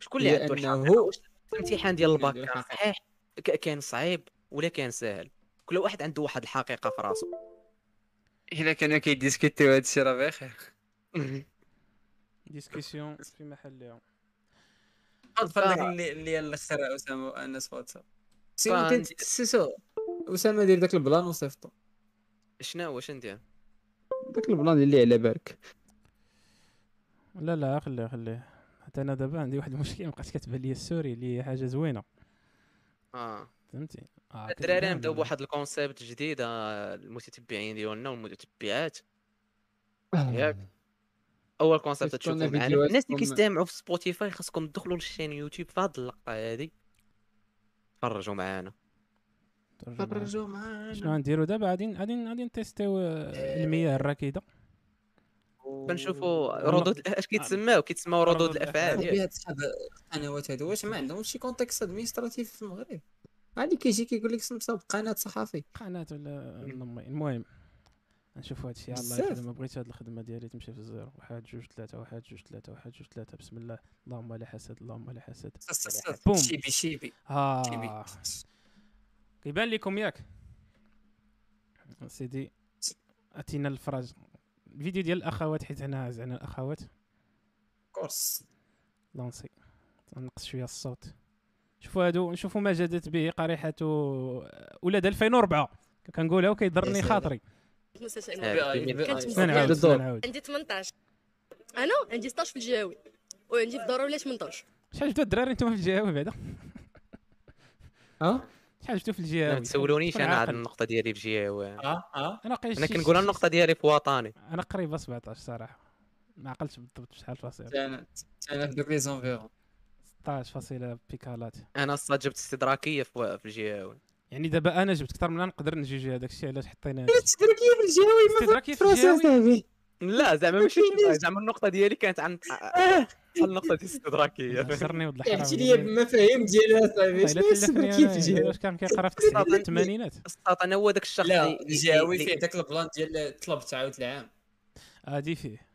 S3: شكون اللي
S4: هي
S3: عنده
S4: أنه-
S3: الحقيقه واش الامتحان ديال الباك
S4: عنده
S3: كان
S4: الحقيقة.
S3: صحيح ك- كان صعيب ولا كان ساهل كل واحد عنده واحد الحقيقه في راسو
S4: الا كانوا كيديسكوتيو هذا الشيء راه بخير
S2: ديسكسيون في محلها
S4: تفضل
S3: آه.
S4: اللي اللي الاخر اسامه انس فوتساب سي
S3: فان-
S4: تسيسو اسامه دير داك البلان وصيفطو
S3: شنو هو شنو ندير
S4: داك البلان اللي على بالك
S2: لا لا خليه خليه حتى انا دابا عندي واحد المشكل مابقاش كتبان لي السوري اللي هي حاجه زوينه
S3: اه
S2: فهمتي آه،
S3: الدراري
S2: كتبان
S3: نبداو بواحد الكونسيبت جديد آه، المتتبعين ديالنا والمتتبعات ياك. اول كونسيبت
S4: كيستنى
S3: تشوفوا معنا
S4: آه. فيديوهات
S3: الناس اللي
S4: تكون-
S3: كيستمعوا في سبوتيفاي خاصكم تدخلوا للشين يوتيوب في هاد اللقطه هادي تفرجوا معانا
S2: ترجمة.
S4: فرجوا
S2: شنو
S4: معانا
S2: غنديرو دابا غادي غادي غادي نتيستيو آه، المياه الراكده
S3: بنشوفوا
S2: والله.
S3: ردود اش كيتسماو كيتسماو ردود
S2: ردود الأفعال.
S3: الافعال ياك.
S4: أه، هاد صحاب القنوات هادو واش ما عندهمش شي كونتكست ادمينستراتيف في المغرب غادي كيجي كيقول لك سمسا بقناه صحفي
S2: قناه ولا نمي المهم نشوفوا هادشي على الله
S4: بزاف.
S2: يخدم. ما بغيتش هاد الخدمه ديالي تمشي في الزيرو واحد جوج ثلاثه واحد جوج ثلاثه واحد جوج ثلاثه بسم الله اللهم لا حسد اللهم لا حسد بوم.
S4: شيبي شيبي شيبي
S2: اه كيبان لكم ياك سيدي اتينا الفراج الفيديو ديال الاخوات حيت هنا زعما الاخوات
S4: كورس
S2: لونسي نقص شويه الصوت شوفوا هادو نشوفوا ما جادت به قريحه ولاد 2004 كنقولها
S4: يا
S2: وكيضرني
S4: سلام.
S2: خاطري
S1: آه.
S4: سنعود.
S2: نعاود
S4: بالضبط.
S2: نعاود
S6: عندي 18 انا عندي 16 في الجهوي وعندي في الضروري 18
S2: شحال جبتوا الدراري نتوما في الجهاوي بعدا
S4: ها
S2: شحال جبتوا في
S3: ما
S2: الجهاوي
S3: تسولونيش
S2: تكون
S3: انا على
S2: عاقل.
S3: النقطه ديالي في جهه
S4: ها
S1: آه،
S4: ها
S2: انا قايل
S3: انا
S2: شي-
S3: كنقول
S2: شي-
S3: النقطه ديالي في وطني
S2: انا قريبه 17 صراحه ما عقلتش بالضبط شحال فاصله
S4: انا انا في دوك لي زونفيرون
S2: 16 فاصله بيكالات
S3: انا الصاد جبت استدراكيه في في الجهه
S2: يعني دابا انا جبت اكثر من انا نقدر نجيجي هذاك الشيء علاش حطينا
S4: تدرك لي في الجهوي ما
S2: استدراك كيف
S4: فرنسا
S2: الجهوي
S4: صاحبي
S3: لا زعما ماشي
S4: كاينش.
S3: زعما النقطه ديالي كانت عن
S4: آه،
S3: عن النقطه ديال الاستدراكيه
S2: سرني ولد الحرام
S4: احكي لي بمفاهيم ديالها
S2: طيب،
S4: صاحبي شنو
S2: الا
S4: السبر كيف
S2: كيف
S4: الجهوي
S2: واش كان كيقرا في
S4: استدراك
S2: التسعينات
S4: كيف
S2: الثمانينات
S3: الصاد انا هو داك الشخص
S4: لا
S3: اللي- اللي-
S4: الجهوي
S3: اللي-
S4: فيه داك البلان ديال طلب تعاود العام
S2: هادي فيه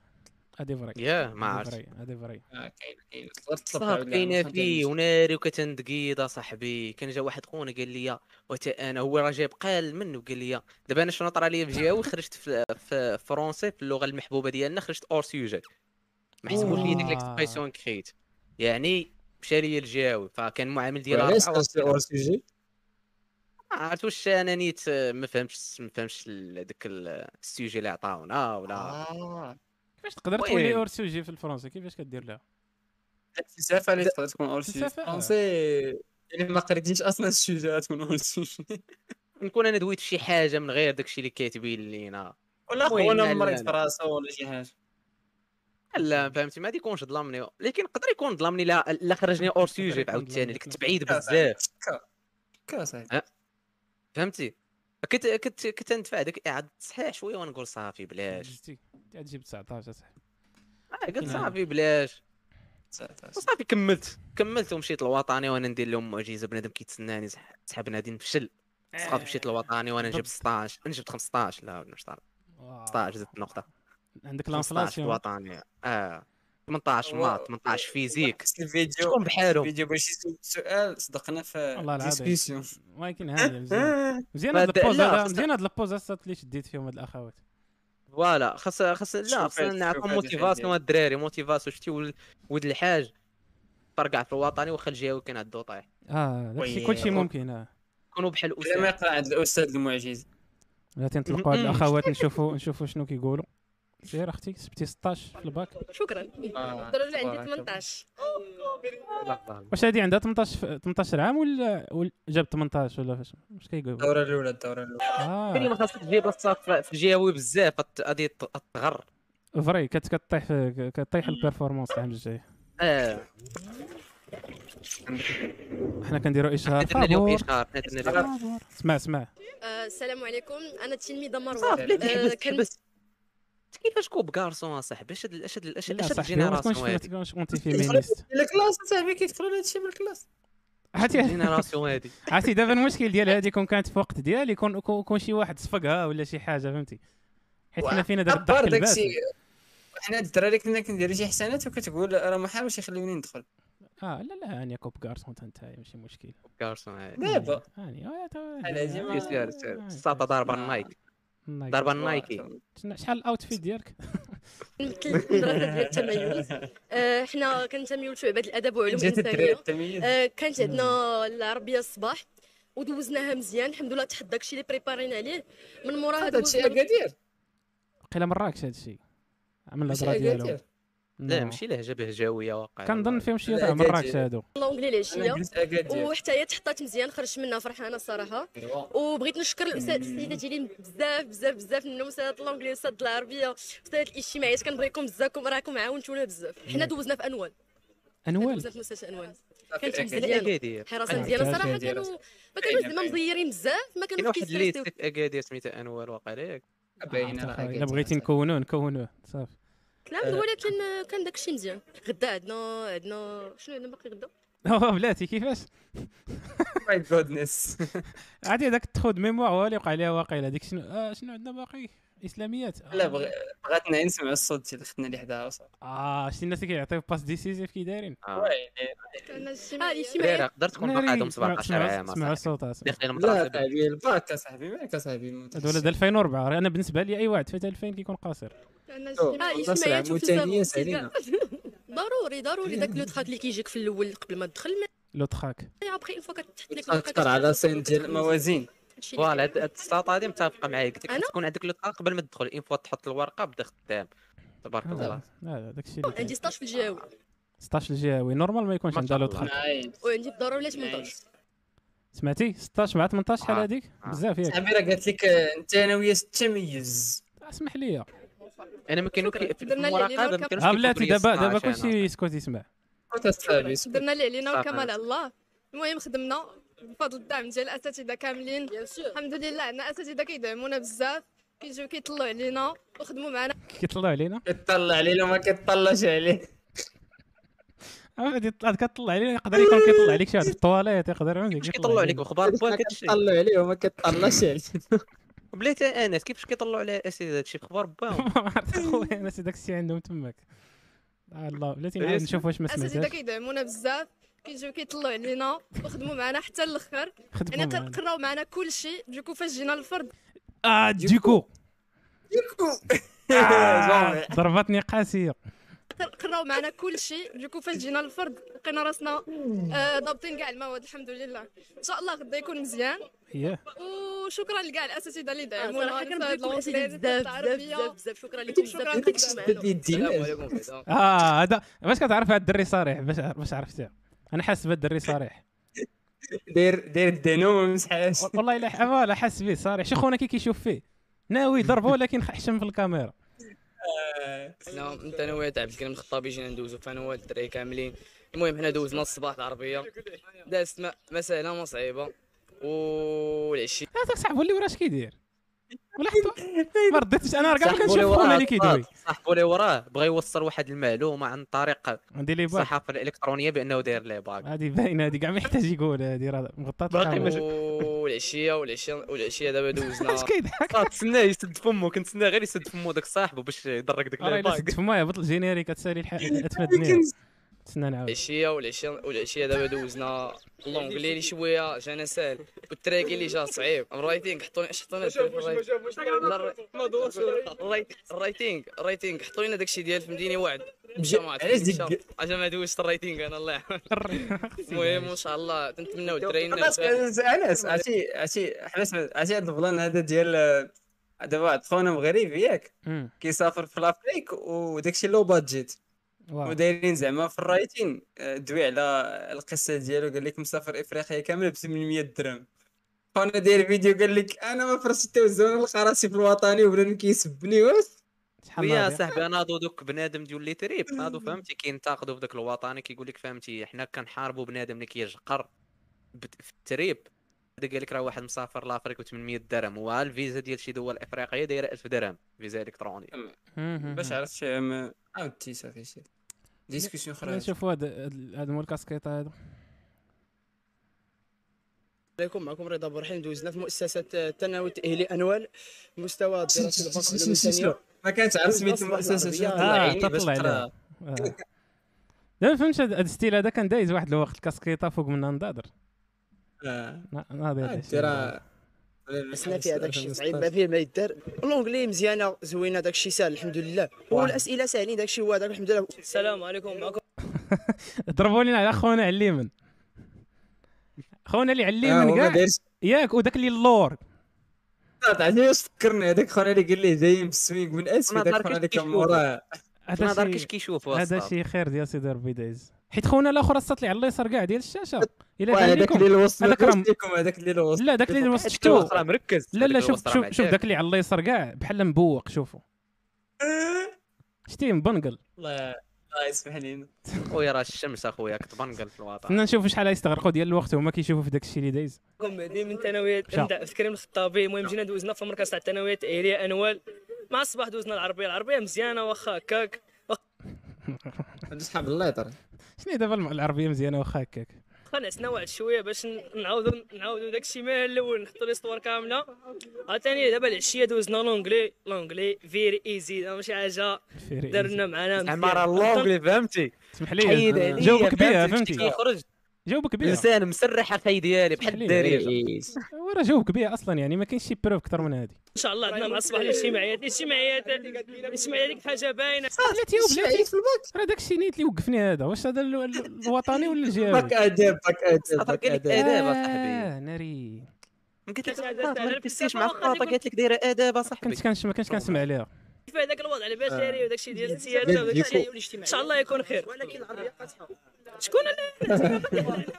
S2: هادي فري
S3: ياه ما
S2: هادي
S3: عرفت
S2: فري هادي فري
S4: آه، كاين كاين تقدر تطلب تعاود
S3: صاحب
S4: العام
S3: كاينه
S4: واخا
S3: فيه
S4: تعمل.
S3: وناري وكتندقيض صاحبي كان جا واحد خونا قال لي وتا انا هو راه جايب قال منه قال لي دابا انا شنو طرا لي في جهوي خرجت في في فرونسي في اللغه المحبوبه ديالنا خرجت اور سيوجي ما حسبوش لي ديك
S2: آه.
S3: ليكسبريسيون كريت يعني مشى لي الجهوي فكان معامل ديال
S4: وعلاش
S3: أربعة
S4: خاص
S3: وأربعين.
S4: اور سيجي
S3: ما عرفت واش انا نيت آه، ما فهمتش ما فهمتش ال- داك ال- السيجي اللي عطاونا ولا
S1: آه.
S4: اه
S2: كيفاش تقدر
S3: المهم.
S2: تولي اور سوجي في الفرنسي كيفاش كدير لها
S4: الفلسفه اللي تقدر تكون اور سيجي
S2: الفلسفة، آه.
S4: فرونسي
S1: يعني
S4: الا ما قريتيش اصلا السوجي غتكون اور سيجي
S3: نكون انا دويت شي حاجه من غير داكشي اللي كاتبين لينا
S4: ولا
S3: المهم، لا،
S4: خونا
S3: لا،
S4: مريض
S3: لا.
S4: في راسو ولا شي حاجه
S3: لا فهمتي ما غادي يكونش ظلمني لكن يقدر يكون ظلمني لا لا خرجني اور
S2: يقدر
S3: سيجي
S2: يكون
S3: عاوتاني اللي
S2: ظلمك،
S3: كنت
S2: نعم.
S3: بعيد
S4: كا صاحبي،
S3: بزاف
S4: كا كا صاحبي
S3: فهمتي كنت كنت كنت ندفع ديك اعاده تصحيح شويه ونقول صافي بلاش
S2: جزتي انت تجيب 19 اصاحبي
S3: آه، قلت
S2: نعم.
S3: صافي بلاش
S4: صافي، صافي.
S3: وصافي كملت كملت ومشيت للوطني وانا ندير لهم معجزه بنادم كيتسناني سحبنا غادي نفشل سقط مشيت للوطني وانا نجيب 16 انا جبت 15 لا ولا 16
S2: آه.
S3: 16 زدت نقطه
S2: عندك
S3: 15
S2: لانفلاسيون
S3: الوطني اه 18
S1: هو-
S3: ماط 18 فيزيك
S1: خص الفيديو
S3: شكون بحالهم
S1: الفيديو باش يسول سؤال صدقنا في
S2: الله العظيم.
S1: ديسكسيون
S2: ولكن هذه مزيان مزيان هاد
S3: بعد-
S2: البوز
S3: لا،
S2: هذا
S3: خصنا-
S2: مزيان هاد البوز هسه اللي شديت فيهم هاد الاخوات
S3: فوالا خاص خاص
S1: شوف
S3: لا خاصنا
S1: هاد- شوف
S3: نعطيهم
S1: هاد الحاجة.
S3: موتيفاسيون هاد الدراري موتيفاسيون شتي ول- ولد الحاج فرقع في الوطني وخا الجهوي كان عندو طايح
S2: اه داكشي
S1: وي-
S2: كلشي ممكن اه
S3: كونوا بحال
S1: بلا
S3: اسامه
S1: ما يقرا عند الاستاذ المعجز
S2: بلاتي نطلقوا هاد
S3: مم.
S2: الاخوات نشوفوا نشوفوا شنو كيقولوا سير اختي سبتي 16 في الباك
S7: شكرا
S1: آه،
S7: الدرجه
S1: تبارك
S7: عندي
S1: الله.
S7: 18
S3: لا لا
S2: واش هادي عندها 18 ف- 18 عام ولا ولا جاب 18 ولا فاش واش كيقول
S1: الدوره الاولى الدوره الاولى
S3: لا
S2: اه
S3: ما خاصك تجيب الصاف في الجهوي بزاف هت- غادي ت- تغر
S2: فري كت- كطيح في- كطيح البيرفورمانس العام الجاي آه،
S3: اه
S2: حنا كنديروا اشهار
S3: درنا اليوم
S2: فابور
S3: اشهار حنا درنا اليوم
S2: اسمع اسمع
S7: آه، السلام عليكم انا تلميذه مروه
S3: صافي لا تحبس
S7: آه، كان-
S3: تحبس أنت كيفاش كوب كارسون اصاحبي اشد ال- اشد ال-
S2: لا
S3: اشد
S2: صاحبي ما تكونش
S3: الجينيراسيون
S2: ما
S3: هادي
S2: تكونش اونتي فيمينيست
S1: الكلاس صاحبي كيدخلوا لهذا الشيء من الكلاس
S2: عرفتي
S3: الجينيراسيون هادي
S2: عرفتي دابا المشكل ديال هذه كون كانت في وقت ديالي كون كون كون شي واحد صفقها ولا شي حاجه فهمتي حيت حنا فينا دابا الضحك
S1: داك
S2: الباس
S1: الشيء حنا الدراري كنا كنديروا شي حسنات وكتقول راه ما حاولش يخلوني ندخل
S2: اه لا لا هاني كوب كارسون حتى انت ماشي مشكل
S3: كارسون هادي
S1: دابا
S2: هاني اه
S1: على جماعة.
S3: سير- سير-
S2: آه،
S3: سير. الساطة ضاربة النايك ضاربة النايكي
S2: شنا- شحال الاوتفيت ديالك
S7: نمثل المدرسه ديال التميز آه، حنا كنتميو لشعبه الادب وعلوم
S1: جات الدراري
S7: الانسانيه
S1: التمييز
S7: آه، كانت عندنا العربيه الصباح ودوزناها مزيان الحمد لله تحط داكشي اللي بريبارينا عليه من موراها
S1: هذا الشيء
S7: دوزنا
S1: اكادير
S2: قيل مراكش هذا الشيء عمل
S1: ماشي
S2: الهضره ديالو
S1: اكادير
S3: لا
S2: No.
S3: ماشي لهجة بهجاوية واقع
S2: نعم. كنظن فيهم شي
S1: لا،
S2: تاع
S1: جاي-
S2: مراكش
S1: جاي.
S2: هادو
S7: لونجلي
S1: انا
S7: العشيه
S1: قلت اكادير
S7: وحتى هي تحطات مزيان خرجت منها فرحانه الصراحه
S1: ايوا
S7: وبغيت نشكر الاستاذ السيده ديالي بزاف بزاف بزاف منهم استاذ الانجلي استاذ العربيه استاذ الاجتماعيات كنبغيكم بزاف راكم عاونتونا بزاف حنا دوزنا في انوال
S2: انوال
S7: دوزنا في مستشفى انوال
S1: صافي
S7: كانت
S1: الأكادير.
S7: مزيانه
S3: اكادير
S7: الحراسه
S2: آه،
S7: ديالها
S2: كانت
S7: صراحه
S1: مزيانة.
S7: كانوا ما كانوش زعما
S1: باينة.
S7: مزيرين بزاف ما
S3: كاين
S7: كانوش
S3: واحد اللي
S7: كيستريسيو
S3: في اكادير سميتو انوار واقع ليك
S1: باينه
S2: آه،
S1: راه
S2: الا
S1: أكادير.
S2: بغيتي نكونوه نكونوه صافي
S7: كلام ولكن آه، كان داكشي مزيان غدا عندنا عندنا شنو عندنا باقي غدا آه،
S2: اه بلاتي كيفاش
S1: ماي جودنس
S2: عادي هذاك تخود ميموار هو اللي وقع ليها واقيلا ديك شنو آه شنو عندنا باقي اسلاميات آه.
S1: لا بغ- بغاتنا نسمع الصوت ديال اختنا اللي حداها وصافي
S2: اه شتي الناس اللي كيعطيو باس ديسيزيف كي دايرين
S7: اه
S3: دراري
S7: الاجتماعيات
S3: قدرت تكون
S2: ناري.
S3: مقعدهم
S2: اسمعوا-
S3: 17 عام أصاحبي.
S2: اسمعوا الصوت اسمعوا.
S3: داخلين
S1: لا
S3: المدرسة
S1: صاحبي الباك صاحبي مالك صاحبي
S2: هذا ولد 2004 راه انا بالنسبه لي اي واحد فات 2000 كيكون قاصر
S6: آه،
S7: اه الاجتماعيات
S1: متانيس علينا
S7: ضروري ضروري داك لو تراك اللي كيجيك في الاول قبل ما تدخل
S2: لو تخاك
S7: مي ابخي اون فوا كتحط لك
S1: تخطر على سين ديال الموازين
S3: فوالا هاد هاد السلطة هادي متفقة معاك كنت
S7: أنا؟
S3: تكون عندك لو طاق قبل ما تدخل اين فوا تحط الورقة بدا خدام تبارك
S2: هذا-
S3: الله
S2: هذا داك الشيء اللي كاين.
S7: عندي 16 في الجهوي
S2: 16 الجهوي نورمال ما يكونش
S3: ما
S2: عندها
S3: شاء
S2: لو
S3: الله.
S2: تخاك
S7: وعندي في ضروري 18
S2: سمعتي 16 مع 18 شحال
S3: آه،
S2: هذيك
S3: آه.
S2: بزاف ياك
S1: صاحبي راه قالت لك آه، الثانويه التميز
S2: اسمح لي
S3: انا ما كانوا كي- في
S7: درنا لي
S3: المراقبة
S7: ليلة
S3: ما كانوش
S2: ها
S3: كيكتبوا
S2: بلاتي
S3: لي
S2: دابا
S3: 16
S2: دابا
S3: أنا.
S2: كلشي يسكت يسمع
S1: كنت صاحبي
S8: درنا اللي علينا
S3: صافي.
S8: والكمال على الله المهم خدمنا بفضل الدعم ديال الاساتذه كاملين الحمد لله عندنا اساتذه كيدعمونا بزاف كيجيو كيطلعوا علينا وخدموا معنا
S2: كيطلعوا علينا
S1: كتطلع عليه لو ما كتطلعش عليه
S2: آه، غادي يطلع- كتطلع علينا يقدر يكون كيطلع عليك شي واحد في الطواليت يقدر عندك
S3: كيفاش كيطلعوا عليك اخبار بوان كتشي
S1: كتطلع عليه وما كتطلعش عليه
S3: بلاتي انس كيفاش كيطلعوا على الاساتذه هادشي في اخبار بوان
S2: ما عرفت اخويا انا سي داك الشيء عندهم تماك آه الله بلاتي نعاود نشوف واش ما
S8: الاساتذه
S2: سمعتهاش
S8: كيدعمونا بزاف كيجيو كيطلعوا علينا وخدموا معنا حتى الاخر
S2: خدموا
S8: يعني
S2: معنا.
S8: قر- قراو معنا كل شيء دوكو فاش جينا الفرد
S2: اه ديكو
S1: آه،
S2: آه، ضربتني قاسيه
S8: قر- قراو معنا كل شيء دوكو فاش جينا الفرد لقينا راسنا آه، ضابطين كاع المواد الحمد لله ان شاء الله غدا يكون مزيان
S2: ياه
S8: وشكرا لكاع الاساتذه اللي
S7: آه،
S8: دعمونا
S7: صراحه
S8: الأستاذ
S7: كنبغيكم
S8: الأنجليزي،
S7: اسئله بزاف
S8: الأستاذ
S7: بزاف
S8: العربية.
S7: بزاف بزاف شكرا لكم
S8: شكرا
S7: بزاف
S8: لكم
S7: كنتو
S8: بزاف.
S7: معنا.
S2: اه هذا باش كتعرف هاد الدري صريح باش عر- باش عرفتيه انا حاسس بهاد الدري صريح
S1: داير داير الدينو ما مسحهاش
S2: وال- والله الا ح- لا حاس به صريح شي خونا كي كيشوف فيه ناوي ضربه ولكن حشم في الكاميرا
S9: حنا انت انا وياه عبد الكريم الخطابي جينا ندوزو فانا وياه الدراري كاملين المهم حنا دوزنا الصباح العربيه دازت ما ما سهله ما صعيبه والعشيه
S2: هذاك صاحبو اللي وراش كيدير ولحظه ما رديتش انا راه كاع ما
S3: صاحبو
S2: كنشوف
S3: اللي
S2: خونا
S3: وراه
S2: اللي كيدوي
S3: الطاط، صاحبو اللي وراه بغى يوصل واحد المعلومه عن طريق
S2: عندي لي باك
S3: الصحافه الالكترونيه بانه داير لي باك
S2: هذه باينه هذه كاع ما يحتاج يقول هذه راه مغطاه
S3: باقي
S2: الخاوة.
S3: ما مش-
S9: والعشيه والعشيه والعشيه دابا دوزنا
S2: اش كيضحك
S3: آه، تسناه يسد فمو كنتسناه غير يسد فمو داك صاحبه باش يضرك داك
S2: راه
S3: لي
S2: الا
S3: باك
S2: سكت فما يهبط الجينيريك كتسالي الحال اتفاد الدنيا تسنى نعاود
S9: العشيه والعشيه والعشيه دابا دوزنا اللونجلي اللي شويه جانا ساهل والتراكي اللي جا صعيب ام رايتينغ حطونا اش حطونا الرايتينغ الرايتينغ حطوا لنا داكشي ديال فهمتيني واحد مشى ما
S1: علاش ديك-
S9: عرفتش اجا ما دوزت الرايتينغ انا الله يعاون المهم ان شاء الله تنتمناو درينا
S1: خلاص انس عرفتي عرفتي حبس عرفتي هذا البلان هذا ديال دابا واحد خونا مغربي ياك
S2: أمم،
S1: كيسافر في لافريك وداكشي لو بادجيت
S2: واو.
S1: ودايرين زعما في الرايتين آه، دوي على القصه ديالو قال لك مسافر افريقيا كامله ب 800 درهم خونا داير فيديو قال لك انا ما فرستش حتى الزون لقى راسي في الوطني وبنادم كيسبني واش
S2: شحال
S3: ويا
S2: ناضي.
S3: صاحبي انا هادو دوك بنادم ديال لي تريب هادو فهمتي كينتقدوا في داك الوطني كيقول لك فهمتي حنا كنحاربوا بنادم اللي كيجقر بت- في التريب هذا قال لك راه واحد مسافر لافريك و800 درهم وها الفيزا ديال شي دول افريقيه دايره 1000 درهم فيزا الكترونيه
S2: أمم،
S1: باش
S2: أمم.
S1: عرفت شي ما عاودتي صافي شي ديسكسيون اخرى
S2: نشوفوا هذا هذا مول الكاسكيط هذا
S9: عليكم معكم رضا برحيم دوزنا في مؤسسه الثانوي التاهيلي انوال مستوى الدراسي البحث الانسانيه
S1: ما كانت عارف
S9: دوز
S1: سميت
S9: أصلاً
S1: المؤسسه شنو
S9: العربية.
S1: طلع
S2: آه،
S1: عيني باش
S2: تطلع
S1: تقرا
S2: آه. لا ما فهمتش هاد هاد الستيل هذا كان دايز واحد الوقت الكاسكيطه فوق منا نضادر
S1: آه،
S2: نا- ناضي هذا
S1: عرفتي
S2: الشيء.
S1: راه طيب،
S9: حسنا فيها داك الشيء صعيب ما فيه ما يدار لونجلي مزيانه زوينه داك الشيء ساهل الحمد لله والاسئله ساهلين داك الشيء هو داك الحمد لله السلام عليكم معكم
S2: ضربوا لنا على خونا عليمن خونا اللي
S1: آه،
S2: عليمن
S1: هو ما
S2: كاع
S1: دايرش
S2: ياك وداك اللي اللور
S1: عرفتي واش فكرني هذاك خونا اللي قال لي جاي بالسويق من اسفل
S3: ما
S1: هذاك
S3: داركش
S1: خونا اللي كان
S3: كيشوفو.
S1: وراه
S2: هذا
S3: ما دار
S2: شي
S3: كاش كيشوف
S2: هذا
S3: هذا
S2: شي خير ديال سيدي ربي دايز حيت خونا الاخر السط اللي على اليسار كاع ديال الشاشه الا جا
S1: هذاك
S2: ليكم
S1: اللي الوسط
S2: هذاك راه-
S1: ليكم هذاك اللي الوسط
S2: لا داك اللي الوسط شفتو
S3: راه مركز
S2: لا لا
S3: هذاك
S2: شوف
S3: الوسط راه
S2: شوف
S3: معدل.
S2: شوف داك اللي على اليسار كاع بحال مبوق شوفو شتي مبنقل
S1: الله الله يسمح لينا
S3: خويا راه الشمس اخويا كتبنقل في الوطن
S2: كنا نشوف شحال يستغرقوا ديال الوقت وهما كيشوفوا في داك الشيء اللي دايز
S10: مهدي من ثانويه
S2: شا.
S10: عند عبد الكريم الخطابي المهم جينا دوزنا في مركز تاع الثانويه التاهيليه انوال مع الصباح دوزنا العربيه العربيه مزيانه واخا هكاك
S1: هذا صحاب الليطر
S2: شنو هي دابا الم- العربيه مزيانه واخا هكاك
S10: واخا نعسنا واحد شويه باش ن- نعاودو نعاودو داكشي من الاول نحطو ليستوار كامله عاوتاني دابا العشيه دوزنا لونجلي لونجلي فيري ايزي ماشي حاجه
S2: فيري
S10: دار
S2: إيزي.
S10: لنا معانا
S3: زعما راه لونجلي فهمتي
S2: اسمح لي جاوبك بها فهمتي
S3: كيخرج
S2: جاوبك بها
S3: انسان مسرح اخي ديالي بحال
S2: خليه.
S3: الدارجه
S2: هو راه جاوبك بها اصلا يعني ما كاينش شي بروف اكثر من هذه
S10: ان شاء الله عندنا مع الصباح الاجتماعيات الاجتماعيات الاجتماعيات ديك حاجه باينه
S2: بلاتي يا بلاتي
S1: في الباك
S2: راه داك الشيء نيت اللي وقفني هذا واش هذا ال- ال- الوطني ولا الجهوي
S1: باك اداب باك اداب
S3: خاطر
S1: باك
S3: قال لك
S1: اداب
S3: اداب اصاحبي
S2: آه، ناري
S3: ما قلت لك
S10: كنت
S3: الخطاطة،
S10: عاد
S3: ما
S10: على
S3: ركزتيش
S10: البلاصة
S3: مع
S10: واخا
S3: الخطاطه
S10: تكون-
S3: قالت لك دايره اداب اصاحبي
S2: كنت كنش ما كنتش كنسمع عليها
S10: في هذاك الوضع
S7: آه.
S10: البشري آه. وداكشي ديال السياسه
S1: ديال
S10: وداكشي
S1: الديكو.
S10: ان شاء الله يكون خير ولكن العربيه فاتحه شكون اللي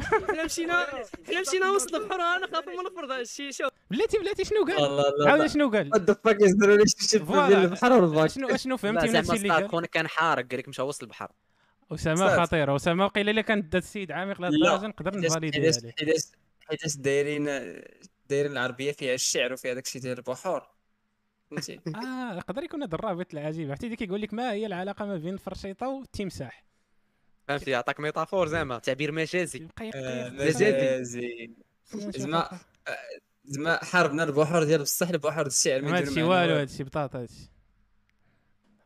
S10: حنا مشينا حنا مشينا وسط البحر انا خاف من الفرض هذا الشيء شوف
S2: بلاتي بلاتي شنو قال
S1: الله
S2: عاود
S1: الله
S2: شنو قال
S1: وات ذا فاك يزدروا لي شي
S2: فوالا.
S1: بين البحر والباك
S2: شنو شنو فهمتي
S3: فهمتي
S2: من هادشي اللي
S3: زعما
S2: قال
S3: كون كان حارق قال لك مشى وسط البحر
S2: اسامه
S1: صافي.
S2: خطيره اسامه وقيل الا كان دا السيد عامق لهاد
S1: لا.
S2: الدرجه نقدر نفاليدي
S1: حيتاش-
S2: عليه
S1: حيتاش حيتاش دايرين دايرين العربيه فيها الشعر وفيها داك الشيء ديال البحور فهمتي
S2: اه يقدر يكون هذا الرابط العجيب عرفتي اللي كيقول لك ما هي العلاقه ما بين الفرشيطه والتمساح
S3: فهمتي يعطاك ميتافور زعما تعبير مجازي
S2: يبقى
S1: آه،
S2: يبقى
S3: مزاجي.
S1: مزازي
S2: زعما
S1: زعما زعما حاربنا البحور ديال بصح البحور ديال الشعر ما
S2: ما
S1: يديروا
S2: هادشي
S1: معنا
S2: والو هادشي بطاطا هادشي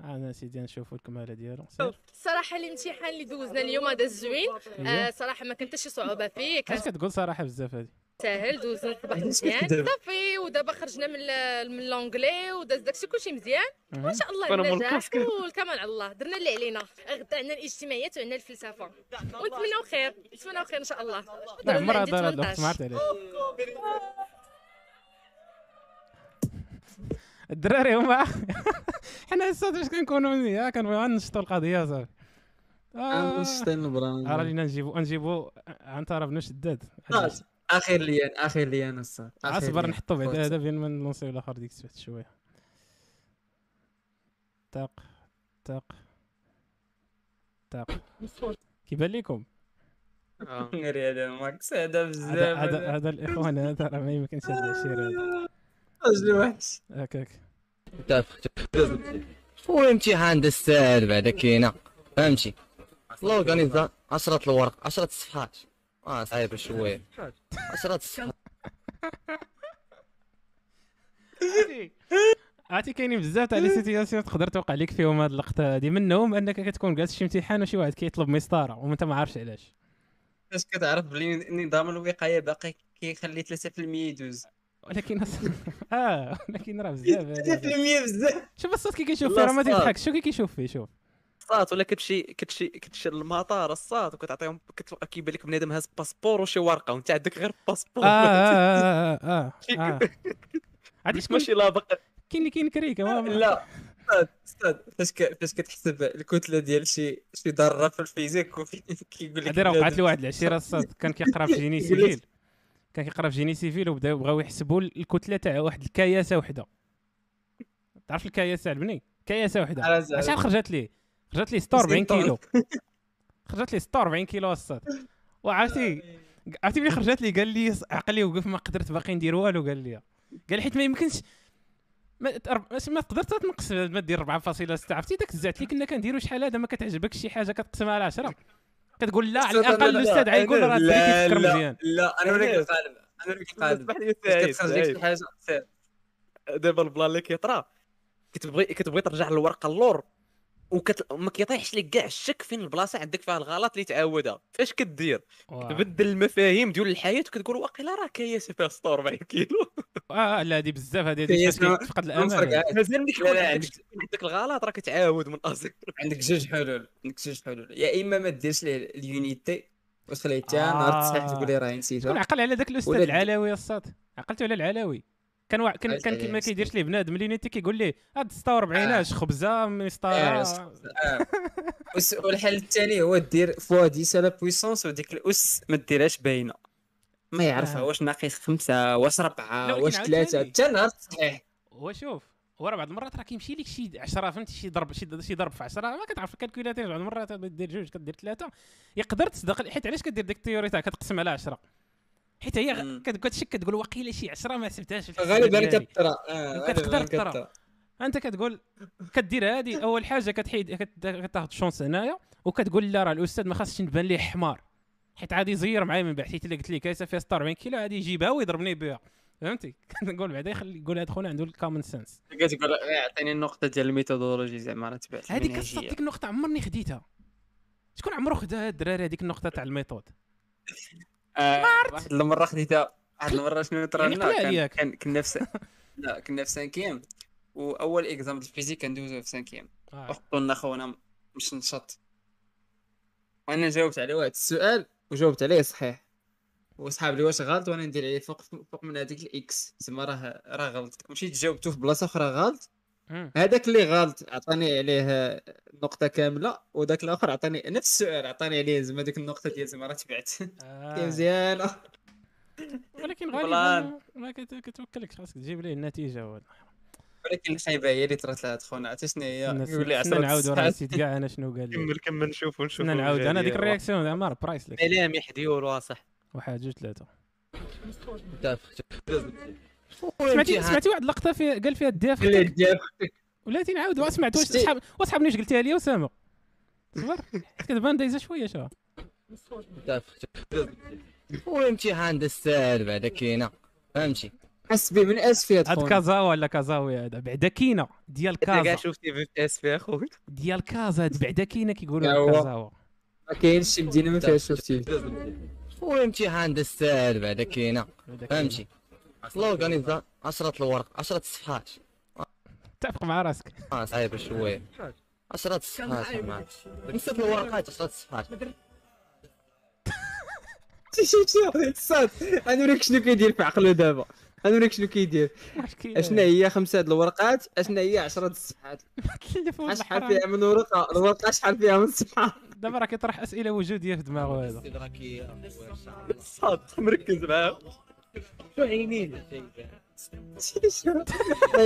S2: آه، انا سيدي نشوفوا الكماله ديالو سير.
S6: صراحه الامتحان اللي دوزنا اليوم داز زوين آه،
S2: إيه.
S6: صراحه ما كانت حتى شي صعوبه فيه كان
S2: اش كتقول صراحه بزاف هادي
S6: ساهل دوزنا الصباح
S1: علاش
S6: مزيان
S1: كدابا؟
S6: صافي ودابا خرجنا من ال- من لونجلي وداز داكشي كلشي مزيان وان شاء الله
S3: أنا مول
S6: النجاح
S3: الكاسك.
S6: والكمال على الله درنا اللي علينا غدا عندنا الاجتماعيات وعندنا الفلسفه ونتمناو خير نتمناو خير ان شاء الله
S2: ما
S6: درنا
S2: عمرها
S6: عندي
S2: دار هاد الوقت
S6: 18.
S2: ما عرفت علاش الدراري هما حنا الصاد فاش كنكونوا يا كنبغيو غير نشطوا القضيه صافي
S1: آه،
S2: آه،
S1: نشطين البران
S2: راه لينا نجيبو نجيبو عنتر بن شداد
S1: خلاص. اخر ليان اخر ليان الصاد
S2: اصبر نحطو بعد هذا بين ما نلونسيو الاخر ديك سبعت شويه طاق طاق طاق كيبان لكم
S3: آه.
S1: هذا ماكس هذا
S2: هذا
S1: بزاف
S2: هذا هذا الاخوان هذا راه ما يمكنش هذا العشير هذا
S1: راجل وحش
S2: هاك هاك
S11: والامتحان دا الساهل بعدا كاينه فهمتي لورغانيزا 10 الورق 10 الصفحات اه صعيبه شويه 10 الصفحات
S2: عرفتي كاينين بزاف تاع لي سيتياسيون تقدر توقع لك فيهم هاد اللقطه هادي منهم انك كتكون جالس شي امتحان وشي واحد كيطلب مسطره وانت ما عارفش علاش
S1: باش كتعرف بلي نظام الوقايه باقي كيخلي 3% يدوز 3%
S2: ولكن أص- اه ولكن راه بزاف هادي.
S1: بزاف
S2: شوف الصوت كي كيشوف فيه
S3: والله
S2: راه ما
S3: صعب.
S2: تيضحكش شوف كي كيشوف فيه شوف
S3: الصاط ولا كتمشي كتمشي كتمشي للمطار الصاط وكتعطيهم كتلقى كيبان لك بنادم هاز باسبور وشي ورقه وانت عندك غير
S2: اه
S3: باسبور
S2: اه اه اه عرفتي شكون
S3: ماشي لا بقى
S2: كاين اللي كاين كريكه ما- ما-
S1: لا استاذ استاذ فاش ك- فاش كتحسب الكتله ديال شي شي ضاره في الفيزيك وفي- كيقول لك
S2: هادي راه وقعت
S1: بنادم.
S2: لواحد العشيره الصاد كان كيقرا في جيني
S1: يقول لك-
S2: سيفيل كان كيقرا في جيني سيفيل وبداو بغاو يحسبوا الكتله تاع واحد الكياسه وحده تعرف الكياسه البني كياسه وحده
S1: على زعما.
S2: شحال خرجت ليه خرجت ليه 46
S1: 60
S2: كيلو خرجت ليه 46 كيلو الصاد وعرفتي عرفتي ملي خرجت لي قال لي عقلي وقف ما قدرت باقي ندير والو قال لي قال لي حيت ما يمكنش ما تقر- ماشي ما تقدر تنقص ما دير 4.6 عرفتي داك الزعت اللي كنا كنديرو شحال هذا ما كتعجبكش شي حاجه كتقسمها على 10 كتقول لا على
S1: أستاذ،
S2: الاقل
S1: لا، لا،
S2: الاستاذ غيقول راه الدري
S1: لا،
S2: كيفكر
S1: لا،
S2: مزيان
S1: لا انا وريك القالب انا وريك القالب
S3: اسمح لي
S1: فاش
S3: سعيد،
S1: كتخرج
S3: سعيد.
S1: لك شي حاجه سير.
S3: دابا البلان اللي كيطرا كتبغي كتبغي ترجع للورقه اللور وكت ما كيطيحش لك كاع الشك فين البلاصه عندك فيها الغلط اللي تعاودها فاش كدير
S2: واه.
S3: تبدل المفاهيم ديال الحياه وكتقول واقيلا راه كياسه فيها 46 كيلو
S2: اه آه، لا هذه بزاف هذه
S1: هي
S2: هذه
S1: اسمها-
S2: تفقد
S1: نفرق
S2: الامل
S3: مازال ملي كيكون
S1: لا، لا،
S3: عندك
S1: عندك-
S3: عندك الغلط راه كتعاود من الاصل
S1: عندك جوج حلول عندك جوج حلول يا اما ما ديرش ليه اليونيتي وخليتها
S2: آه.
S1: نهار تصحيح تقول لي راه
S2: شكون
S1: نسيتها
S2: عقل على ذاك الاستاذ
S1: ولاد-
S2: العلاوي الصاد عقلتو على العلاوي كان وا... كان
S1: علاش
S2: كان كي-
S1: عليه
S2: ما
S1: مسكين؟
S2: كيديرش ليه بنادم اللي نيتي كيقول ليه هاد 46
S1: آه.
S2: اش خبزه
S1: آه،
S2: مسطره
S1: آه. والس- والحل الثاني هو دير فوا 10 لا بويسونس وديك الاس ما ديرهاش باينه ما يعرفها
S2: آه.
S1: واش ناقص خمسة واش
S2: لا،
S1: ربعة
S2: ولكن
S1: واش ثلاثة
S2: عاوتاني.
S1: حتى نهار تصحيح
S2: وشوف هو راه بعض المرات راه كيمشي لك شي 10 فهمتي شي ضرب شي شي ضرب في 10 ما كتعرف الكالكولاتير بعض المرات دير جوج كدير ثلاثه يقدر تصدق حيت علاش كدير ديك التيوري تاع كتقسم على 10 حيت هي غ-
S1: مم.
S2: كت- كتشك كتقول واقيلا شي 10 ما حسبتهاش في الحساب
S1: غالبا
S2: ديالي.
S1: كتطرى آه،
S2: وكتقدر
S1: غالباً
S2: تطرى.
S1: كتطرى.
S2: انت كتقول كدير هذه اول حاجه كتحيد كت- كتاخذ شونس هنايا وكتقول لا راه الاستاذ ما خاصش نبان ليه حمار حيت عادي يزير معايا من بعد حيت اللي قلت ليه كايسه فيها 46 كيلو عادي يجيبها ويضربني بها فهمتي كنقول بعدا يخلي يقول هاد خونا عنده الكومن سنس
S1: كتقول آه، عطيني النقطة ديال الميثودولوجي زعما راه تبعت
S2: هذيك كتصد ديك النقطه عمرني خديتها شكون عمرو خدا هاد الدراري هذيك النقطه تاع الميثود
S1: آه، واحد المرة خديتها واحد المرة شنو
S2: يعني
S1: طرالنا
S2: قلال
S1: كان
S2: ياك.
S1: كان كنا في س- لا كنا في سانكيام وأول إكزام ديال الفيزيك كندوزو في سانكيام
S2: آه.
S1: وحطوا لنا خونا مش نشط وانا جاوبت على واحد السؤال وجاوبت عليه صحيح وصحاب لي واش غلط وانا ندير عليه فوق فوق من هذيك الاكس تما راه راه غلط مشيت جاوبته في بلاصه اخرى غلط
S2: مم.
S1: هذاك اللي غلط عطاني عليه نقطه كامله وذاك الاخر عطاني نفس السؤال عطاني عليه زعما ديك النقطه ديال زعما راه تبعت
S2: آه.
S1: كي مزيانه
S2: ولكن
S1: بلان.
S2: غالبا ما كت- كتوكلك خاصك تجيب ليه النتيجه ولا
S1: ولكن الخايبه هي اللي طرات لها خونا عرفتي شنو هي يقول
S2: خصنا
S1: لي عصرت
S2: نعاودوا راه
S1: الصحاب.
S2: نسيت كاع انا شنو قال لي
S3: كمل كمل نشوفوا نشوفوا
S2: خصنا نعاود انا ديك الرياكسيون زعما برايسليس
S3: ملامح ديال واصح
S2: واحد جوج ثلاثة سمعتي
S11: والامتحان
S2: سمعتي واحد اللقطة فيها قال فيها الداف
S1: قال لي ديال-
S2: ولاتي نعاود واه سمعت واش
S1: شتي-
S2: تصحاب واش صحابني واش قلتها لي اسامة صبر كتبان دايزة شوية شوف
S11: والامتحان دا الساهل بعدا كاينه فهمتي
S1: حسبي من اسفي
S2: هاد كازا ولا كازاوي هذا بعدا كينا ديال
S3: انت كاع
S2: كازا
S3: شفتي في اس في اخويا
S2: ديال كازا هاد بعدا كينا كيقولوا
S1: هو.
S2: كازاوا
S1: ما كاينش شي مدينه ما فيهاش شفتي
S11: والامتحان دا الساهل بعدا كاينه
S2: بعدا كينا.
S11: فهمتي لورغانيزا 10 الورق 10 الصفحات
S2: اتفق مع راسك
S11: اه صعيبه شويه 10 الصفحات ما عرفتش. خمسة الورقات 10 الصفحات
S1: صاد انا نوريك شنو كيدير في عقله دابا انا نوريك شنو كيدير
S2: واش كاين
S1: اشنا هي خمسه د الورقات اشنا هي 10 د الصفحات
S2: تلف ولا
S1: شحال
S2: حرام.
S1: فيها من ورقه الورقه شحال فيها من صفحه
S2: دابا راه كيطرح اسئلة وجودية في دماغه هذا
S3: صاد مركز معاه
S1: والله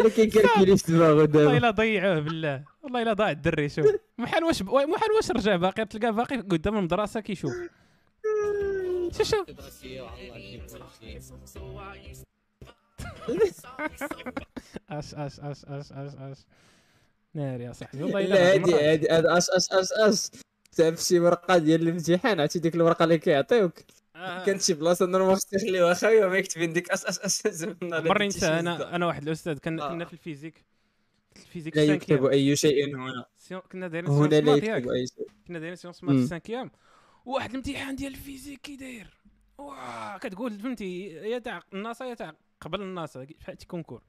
S1: الا كيدير كيلي في دماغه
S2: والله
S1: دابا
S2: الا ضيعوه بالله والله الا ضاع الدري شوف محال واش محال واش رجع باقي تلقى باقي قدام المدرسه كيشوف شوف شوف اش اش اش اش اش اش ناري يا صاحبي والله إلا
S1: لا
S2: غير مرة.
S1: هادي هادي هاد اش اش اش اش تعرف شي ورقه ديال الامتحان عرفتي ديك الورقه اللي كيعطيوك
S2: آه.
S1: كانت شي بلاصه نورمال خصك تخليوها خاويه ما يكتبين ديك اش اش اش زعما
S2: مرة ننسى انا انا واحد الاستاذ كنا كنا في الفيزيك الفيزيك
S1: لا يكتب
S2: السانكيام
S1: اي شيء هنا
S2: سيون- كنا دايرين
S1: هنا
S2: سيونس
S1: لا
S2: مات ياك
S1: يكتب اي شيء
S2: كنا دايرين سيونس مات
S1: مم.
S2: السانكيام واحد الامتحان ديال الفيزيك كي داير واه كتقول فهمتي يا تاع الناصا يا تاع قبل الناصا شحال تي كونكور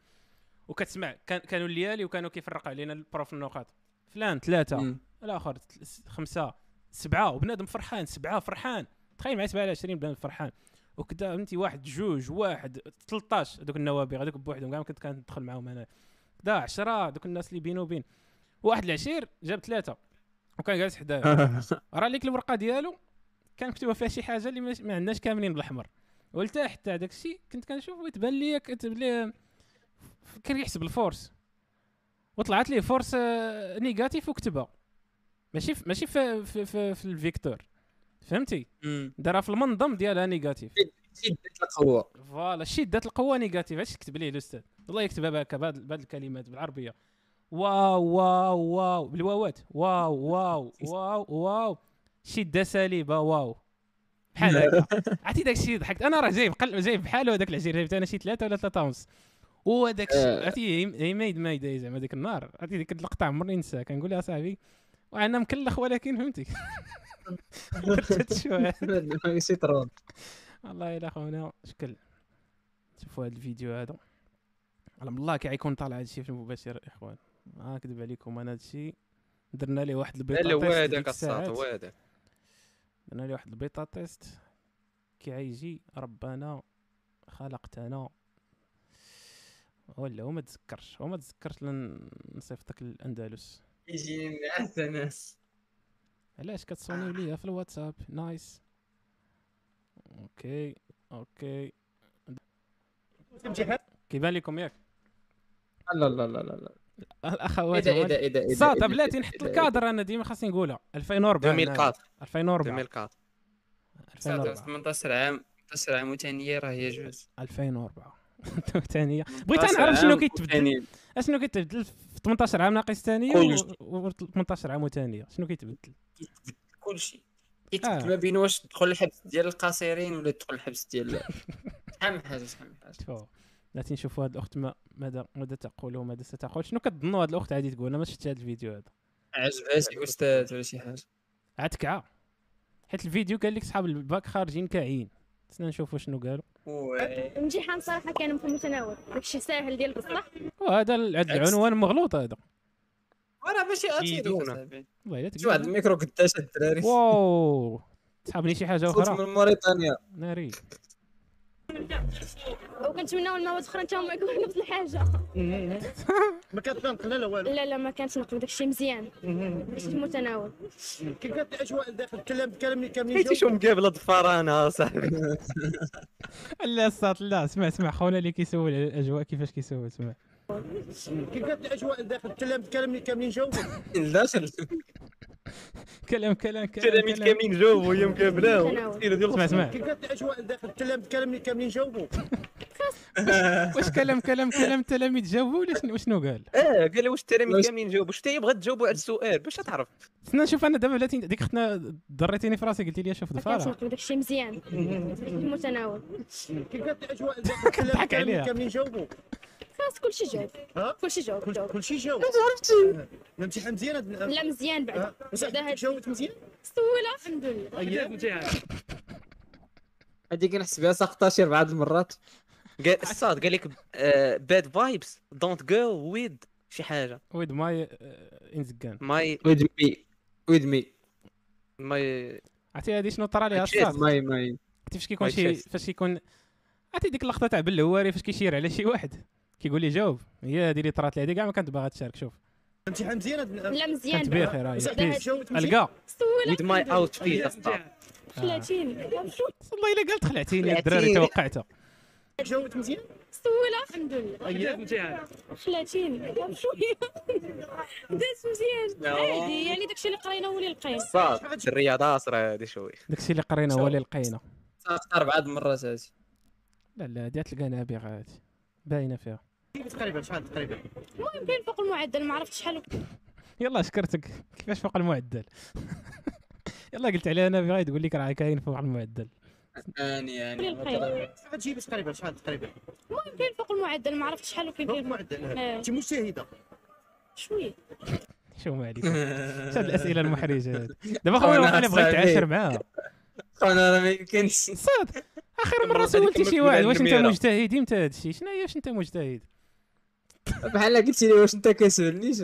S2: وكتسمع كان كانوا الليالي وكانوا كيفرقوا علينا البروف النقاط فلان ثلاثه
S1: مم.
S2: الاخر ثل- خمسه سبعه وبنادم فرحان سبعه فرحان تخيل معايا 7 على 20 بنادم فرحان وكدا فهمتي واحد جوج واحد 13 هذوك النوابغ هذوك بوحدهم كاع ما كنت كندخل معاهم انا كدا 10 دوك الناس اللي بينو وبين واحد العشير جاب ثلاثه وكان جالس حدايا راه ليك الورقه ديالو كان مكتوبه فيها شي حاجه اللي ماش- ما عندناش كاملين بالاحمر ولتا حتى هذاك الشيء كنت كنشوف ويتبان لي كتب لي كان يحسب الفورس وطلعت لي فورس آه، نيجاتيف وكتبها ماشي في ماشي في في, في, في الفيكتور فهمتي دارها في المنظم ديالها نيجاتيف
S1: شدة القوة
S2: فوالا شده القوه نيجاتيف هادشي كتب ليه الاستاذ والله يكتبها بهكا بهاد بهاد الكلمات بالعربيه واو واو واو بالواوات واو واو واو واو شده سالبه واو بحال هكا عرفتي داك الشيء ضحكت انا راه جايب قل... جايب بحاله هذاك العجير جايبت انا شي ثلاثه ولا ثلاثه ونص وهذاك الشيء
S1: آه.
S2: عرفتي هي- هي مايد مايد زعما ديك النهار عرفتي ديك اللقطه عمرني ننساها كنقول يا صاحبي وانا مكلخ ولكن فهمتي درت هاد الشوية.
S1: ماشي ترون
S2: والله الا خونا شكل شوفوا هذا الفيديو هذا على الله كي غيكون طالع هذا الشيء في المباشر اخوان ما نكذب عليكم انا هذا الشيء درنا ليه واحد
S3: لا
S2: البيطا تيست
S3: هو
S2: ديك
S3: هذاك
S2: الساعات.
S3: الساط هو هذاك
S2: درنا ليه واحد البيطا تيست كي غيجي ربنا خلقتنا ولا هو ما تذكرش هو ما تذكرش لن نصيفطك للاندلس
S1: يجي نعس ناس
S2: علاش كتصونيو ليا في الواتساب نايس اوكي اوكي كيبان لكم ياك
S1: لا لا لا لا لا
S2: الاخوات
S1: اذا
S2: هما
S1: اذا اذا اذا
S2: صات
S1: إذا-
S2: بلاتي نحط
S1: إذا-
S2: الكادر انا ديما خاصني نقولها 2004
S3: 2004
S2: 2004
S3: 2004
S1: صات،
S2: 2004
S1: 18 عام 18 عام وثانية راه يجوز
S2: 2004 ثانية بغيت نعرف شنو كيتبدل
S1: وثانية.
S2: شنو كيتبدل في 18 عام ناقص ثانية
S1: كلشي.
S2: و 18 عام وثانية شنو كيتبدل
S1: كل شيء
S2: آه.
S1: كيتبدل ما بين واش تدخل الحبس ديال القصيرين ولا تدخل الحبس ديال شحال من حاجه شحال من حاجه
S2: تفاو بلاتي نشوفوا هاد الاخت ما ماذا ماذا تقول وماذا ستقول شنو كتظنوا هاد الاخت عادي تقول انا ما شفت هاد الفيديو هذا
S1: عجبها شي استاذ ولا شي حاجه
S2: عتكعة حيت الفيديو قال لك صحاب الباك خارجين كاعيين خصنا نشوفوا شنو قالوا
S1: وي.
S6: الامتحان صراحه كان في المتناول داكشي ساهل ديال بصح
S2: وهذا ال- هاد العنوان مغلوط هذا
S1: وراه ماشي
S3: يدونا.
S1: غاتيدونا
S2: والله الا
S1: شو هاد
S2: تقول-
S1: الميكرو قداش هاد الدراري
S2: واو تسحبني شي حاجه
S1: صوت
S2: اخرى
S1: من موريتانيا
S2: ناري
S6: وكنتمناو المواد اخرى حتى هما يكونوا نفس الحاجه
S12: ما كتبان قلاله والو
S6: لا لا ما كانش نقبل داكشي مزيان داكشي في المتناول
S12: كي كانت الاجواء داخل الكلام الكلام كامل
S3: حيت شو مقابله الفرانه صاحبي
S2: لا الصوت لا اسمع اسمع خونا اللي كيسول على الاجواء كيفاش كيسول اسمع
S12: كي كانت الاجواء داخل الكلام الكلام كامل جاوب
S1: داخل
S2: كلام كلام كلام
S3: كلامي
S2: كلام
S3: كاملين جاوبوا هي مقابله
S6: متناول.
S2: اسمع اسمع
S12: كي كانت الاجواء داخل الكلام الكلام كامل جاوبوا
S2: واش كلام كلام كلام التلاميذ جاوبوا ولا شنو شنو قال
S3: اه قال لي واش التلاميذ
S1: واش-
S3: كاملين جاوبوا شتا يبغى تجاوبوا على السؤال باش تعرف
S2: خصنا نشوف انا دابا بلاتي ديك اختنا ضريتيني في راسي قلتي لي شوف
S6: ما كانش
S2: ضفارة
S6: نقبل داكشي مزيان داكشي في المتناول
S12: كي كانت الاجواء داخل الكلام
S2: كنضحك عليها.
S12: الكلام كامل جاوبوا
S6: خلاص كلشي جاوب
S12: ها؟
S6: كلشي جاوب
S12: كل-
S6: جاوب
S12: كلشي جاوب عرفتي الامتحان مزيان هاد ال-
S6: لا مزيان بعدا بعدا
S12: صح،
S6: هاد
S12: جاوبت مزيان
S6: السهوله الحمد لله
S1: هادي كنحس بها ساقطه شي اربعه د المرات
S3: قال الصاد قال لك آه، باد فايبس دونت جو ويد شي حاجه
S2: ويد ماي آه، انزكان
S3: ماي
S1: ويد مي ويد مي
S3: ماي
S2: عرفتي هادي شنو طرا ليها
S3: أكيد،
S2: الصاد
S1: ماي ماي
S2: عرفتي فاش كيكون
S3: وايت
S2: شي
S3: شيرت.
S2: فاش كيكون عرفتي ديك اللقطه تاع بالهواري فاش كيشير على شي واحد كيقول لي جاوب هي هذه اللي طرات لي هذه كاع ما كانت باغا تشارك شوف
S12: الامتحان مزيان هاد ال-
S6: لا مزيان
S2: كانت
S6: بعدا
S2: بخير هاي
S12: صح،
S2: بيس.
S12: جاوبت مزيان
S2: القى
S6: السهوله
S3: ويد ماي اوت فيت الصاد
S6: خلاتيني
S2: والله الا قال خلعتيني يا الدراري
S3: خلعتيني.
S2: توقعتها
S12: جاوبت مزيان
S6: السهوله الحمد لله خلاتيني شويه دازت مزيان
S10: آه.
S6: عادي يعني داكشي اللي قرينا هو اللي لقينا
S3: الصاد الرياضه صرا هذه شوي
S2: داكشي اللي قرينا هو اللي لقينا
S1: ساقطه اربعه د المرات هادي
S2: لا لا هادي تلقى نابغه هادي باينه فيها
S13: تقريبا شحال تقريبا
S12: المهم كاين فوق المعدل ما عرفتش شحال
S2: يلا شكرتك كيفاش فوق المعدل يلا قلت عليها انا غادي تقول لك راه كاين فوق المعدل
S1: يعني،
S13: اني
S12: قولي الخير.
S13: تجيب تقريبا شحال تقريبا
S12: المهم كاين فوق المعدل ما عرفتش شحال وكاين
S13: فوق
S12: كاين-
S13: المعدل
S12: آه.
S13: انت مجتهده
S12: شويه
S2: شو ما عليك شاد الاسئله المحرجه هذه دابا خويا انا بغيت نتعاشر معاها
S1: انا راه ما يمكنش
S2: صاد اخر مره سولتي شي واحد واش انت مجتهد امتى هذا الشيء شنو هي واش انت مجتهد
S1: بحال قلت لي واش انت كسولنيش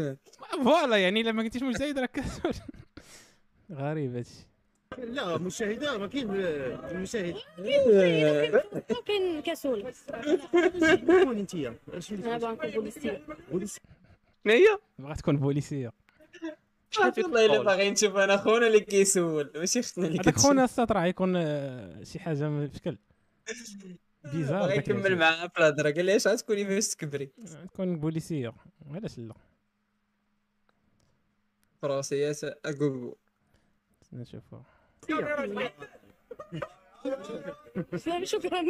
S2: فوالا يعني لما قلتيش مجتهد راك كسول غريب هذا الشيء
S13: لا مشاهده ما كاين آه، المشاهد
S12: ممكن كسول
S13: شكون انت اش
S12: انا باغي نكون بوليسيه
S3: شنو هي
S2: بغات تكون بوليسيه
S1: والله الا باغي نشوف انا خونا اللي كيسول ماشي اختنا اللي
S2: هذاك
S1: كتسول.
S2: خونا الساط راه يكون آه، شي حاجه من الشكل بيزار
S1: بغا
S2: داك
S1: يكمل
S2: العجل.
S1: معاه في الهضره قال لي اش غتكوني فاش تكبري
S2: تكون بوليسيه علاش لا
S1: فرنسيات اكوبو
S2: نشوفوا
S12: شكرا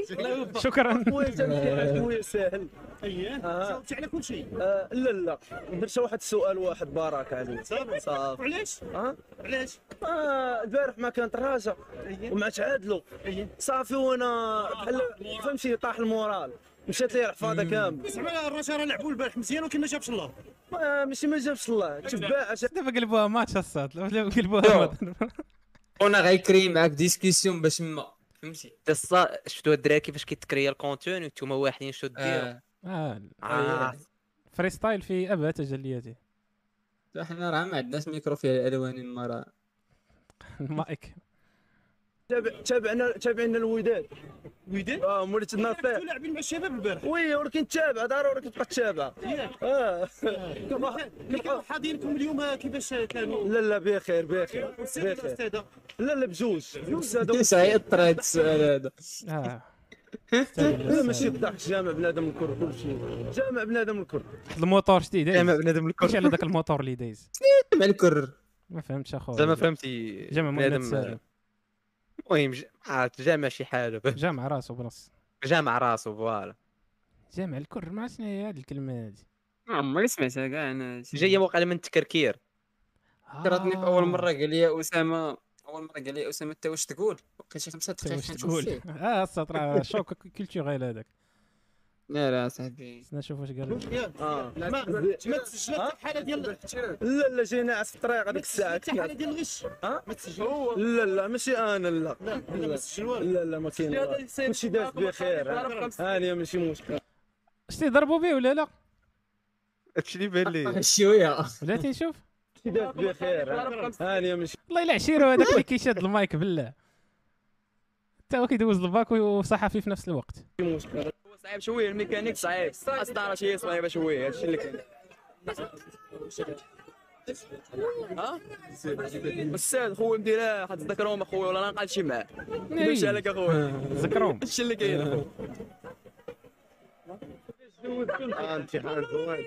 S2: شكرا
S14: خويا ساهل
S13: أيه.
S14: اييه جاوبتي على كل شيء آه. لا لا درت واحد السؤال واحد بارك عليك صافي صافي علاش ها علاش آه، البارح ما كانت راجع
S13: أيه.
S14: وما تعادلوا صافي وانا بحال فهمتي طاح المورال مشات لي الحفاظه كامل
S13: زعما الرجاء راه لعبوا البارح مزيان وكنا جابش الله
S14: آه، ماشي ما جابش الله تباع
S2: دابا قلبوها ماتش الساط دابا قلبوها ماتش.
S1: خونا غيكري معاك ديسكسيون باش ما فهمتي
S3: الصا شفتوا الدراري كيفاش كيتكريا الكونتون وانتم واحدين شنو ديروا
S1: آه.
S2: اه
S3: آه.
S2: فري ستايل في ابهى تجلياته
S1: حنا راه ما عندناش ميكرو فيه الالوان المراه
S2: المايك
S14: تابع تابعنا تابعنا الوداد الوداد اه مولات النصير لاعبين مع الشباب البارح وي ولكن تابع ضروري كتبقى تتابع اه كانوا حاضينكم اليوم كيفاش كانوا لا لا بخير بخير بخير لا لا بجوج
S1: كيفاش غيأثر هذا السؤال هذا
S2: اه
S14: لا ماشي الضحك جامع بنادم الكل كلشي جامع بنادم الكل
S2: واحد الموتور إيه. شتي دايز
S14: جامع بنادم الكل.
S2: كلشي على ذاك الموتور اللي دايز
S1: مع الكر
S2: ما فهمتش اخويا
S3: زعما فهمتي
S2: جمع مؤنث
S3: بنادم-
S2: سالم.
S3: المهم ج- عرفت جامع شي حاجه
S2: جامع راسو بنص
S3: جامع راسو فوالا
S2: جامع الكر ما عرفت شنو هي هذه الكلمه هذه
S1: ما عمري سمعتها كاع انا
S3: جايه وقع من التكركير
S1: كرهتني في اول
S2: آه.
S1: مره قال لي اسامه اول مره قال لي اسامه انت واش تقول وكان شي خمسه دقائق
S2: واش
S1: كنشوف
S2: تقول
S1: فيه.
S2: اه الساط راه شوك كولتيغيل هذاك
S1: لا لا صاحبي
S2: نشوف واش قال لك.
S14: آه. ما ما تسجلت الحاله ديال لا لا جينا عس في الطريق هذيك الساعه
S13: تسجلت الحالة ديال الغش
S14: ها ما تسجلوش لا لا ماشي انا لا لا
S13: لا، ما تسجل والو.
S14: لا لا ما كاين
S13: شتي هذا
S14: والو.
S13: السيد
S14: كلشي داز
S13: معاكم
S14: بخير
S13: أربعة وخمسين.
S14: انا ماشي مشكل
S2: شتي ضربوا به ولا لا
S14: هادشي اللي بان لي
S1: شويه
S2: بلاتي نشوف
S14: كلشي داز بخير انا ماشي
S2: والله الا عشيرو هذاك اللي كيشد المايك بالله حتى هو كيدوز الباك وصحفي في نفس الوقت
S14: مشكل
S15: صعيب شويه الميكانيك صعيب الصداره شي صعيبه شويه هادشي اللي كاين ها الاستاذ خويا مدير حد تذكرهم اخويا ولا انا نقعد شي معاه ماشي عليك اخويا
S2: تذكرهم
S15: هادشي اللي كاين اخويا
S14: امتحان زوين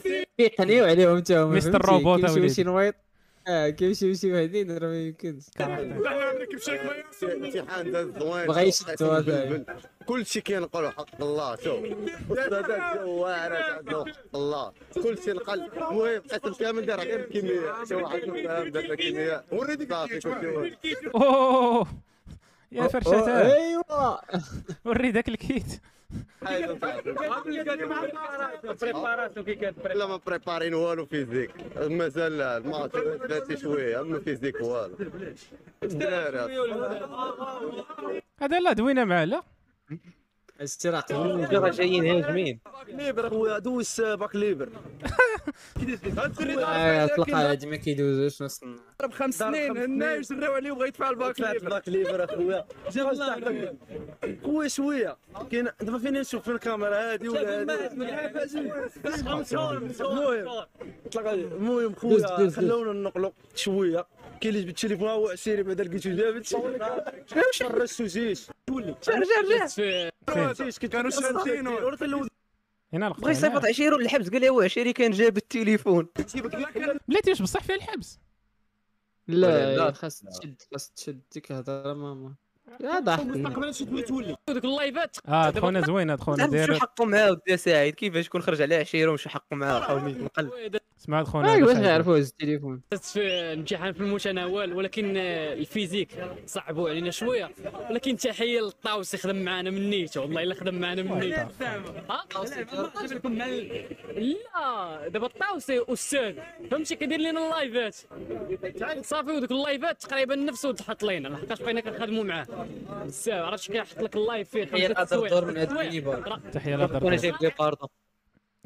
S1: كيقنيو يعني عليهم حتى هما
S2: مستر
S1: فهمتي؟
S2: روبوت
S1: كيمشيو
S2: أوليدي.
S1: شي نويط اه كيمشيو شي وحدين راه ما يمكنش
S14: امتحان داز زوين
S1: بغا يشد هذا.
S14: كلشي كينقلو حق الله شوف استاذات جوارات عندو حق الله كلشي نقل المهم القسم كامل دار غير الكيمياء شي واحد فاهم دار الكيمياء وريني صافي كلشي واحد.
S2: اوه يا
S14: أوه،
S2: فرشتها
S14: أوه، إيه.
S1: ايوا
S2: وري داك الكيت
S14: حاجة صعبة. لا ما بريبارين والو فيزيك مازال لا، الماتش ثلاثة شوية اما فيزيك والو
S2: هذا لا دوينا معاه لا
S1: استراق
S3: راه جايين هاجمين
S14: ليبر اخويا دوز باك ليبر
S1: آه، اطلق على هاد ما كيدوزوش نص النهار
S15: ضرب خمس سنين هنا يجراو عليه وبغى يدفع الباك
S14: طلعت
S15: ليبر
S14: باك ليبر اخويا جاب الله خويا شويه كاين دابا فين نشوف في الكاميرا هادي ولا المهم المهم خويا خلونا ننقلوا شويه كاين اللي جبت التليفون ها هو عشيري بعدا لقيتو جابت فرشتو جيش رجع رجع كانوا شادين
S2: هنا لقطة
S3: بغى يصيفط عشيرو للحبس قال لي هو عشيري كان جاب التليفون
S2: بلاتي واش بصح فيها الحبس
S1: لا
S3: لا.
S1: خاص تشد خاص تشد ديك الهضره ماما
S16: لا
S14: مستقبلا شي توي تولي
S17: ودوك اللايفات
S2: اه خونا زوينه خونا
S3: تعرف شو
S2: دايره
S3: حقه معاه ودي سعيد كيفاش كون خرج عليه عشيره وشو حقه معاه حاول نقل
S2: سمعت خونا
S3: آه،
S4: أيوة،
S2: هذا
S3: واش
S2: سعيد.
S3: نعرفوه
S16: التليفون
S17: فزت في امتحان في المتناول ولكن آه، الفيزيك صعبوا علينا شويه ولكن تحيه للطاوس اللي خدم معنا من نيته والله الا خدم معنا من نيته ها؟ جاب لكم مع ال- لا دابا الطاوسي استاذ فهمتي كيدير لنا اللايفات صافي ودوك اللايفات تقريبا نفسه تحط لينا لحقاش بقينا كنخدموا معاه بزاف عرفتش كيحط لك اللايف فيه
S10: تحية لأدر
S17: خمسة سوايع
S10: دور من هاد
S17: سوايع.
S10: المينيبار.
S17: راه-
S2: تحيه لهضر
S3: وانا جايب لي طاردة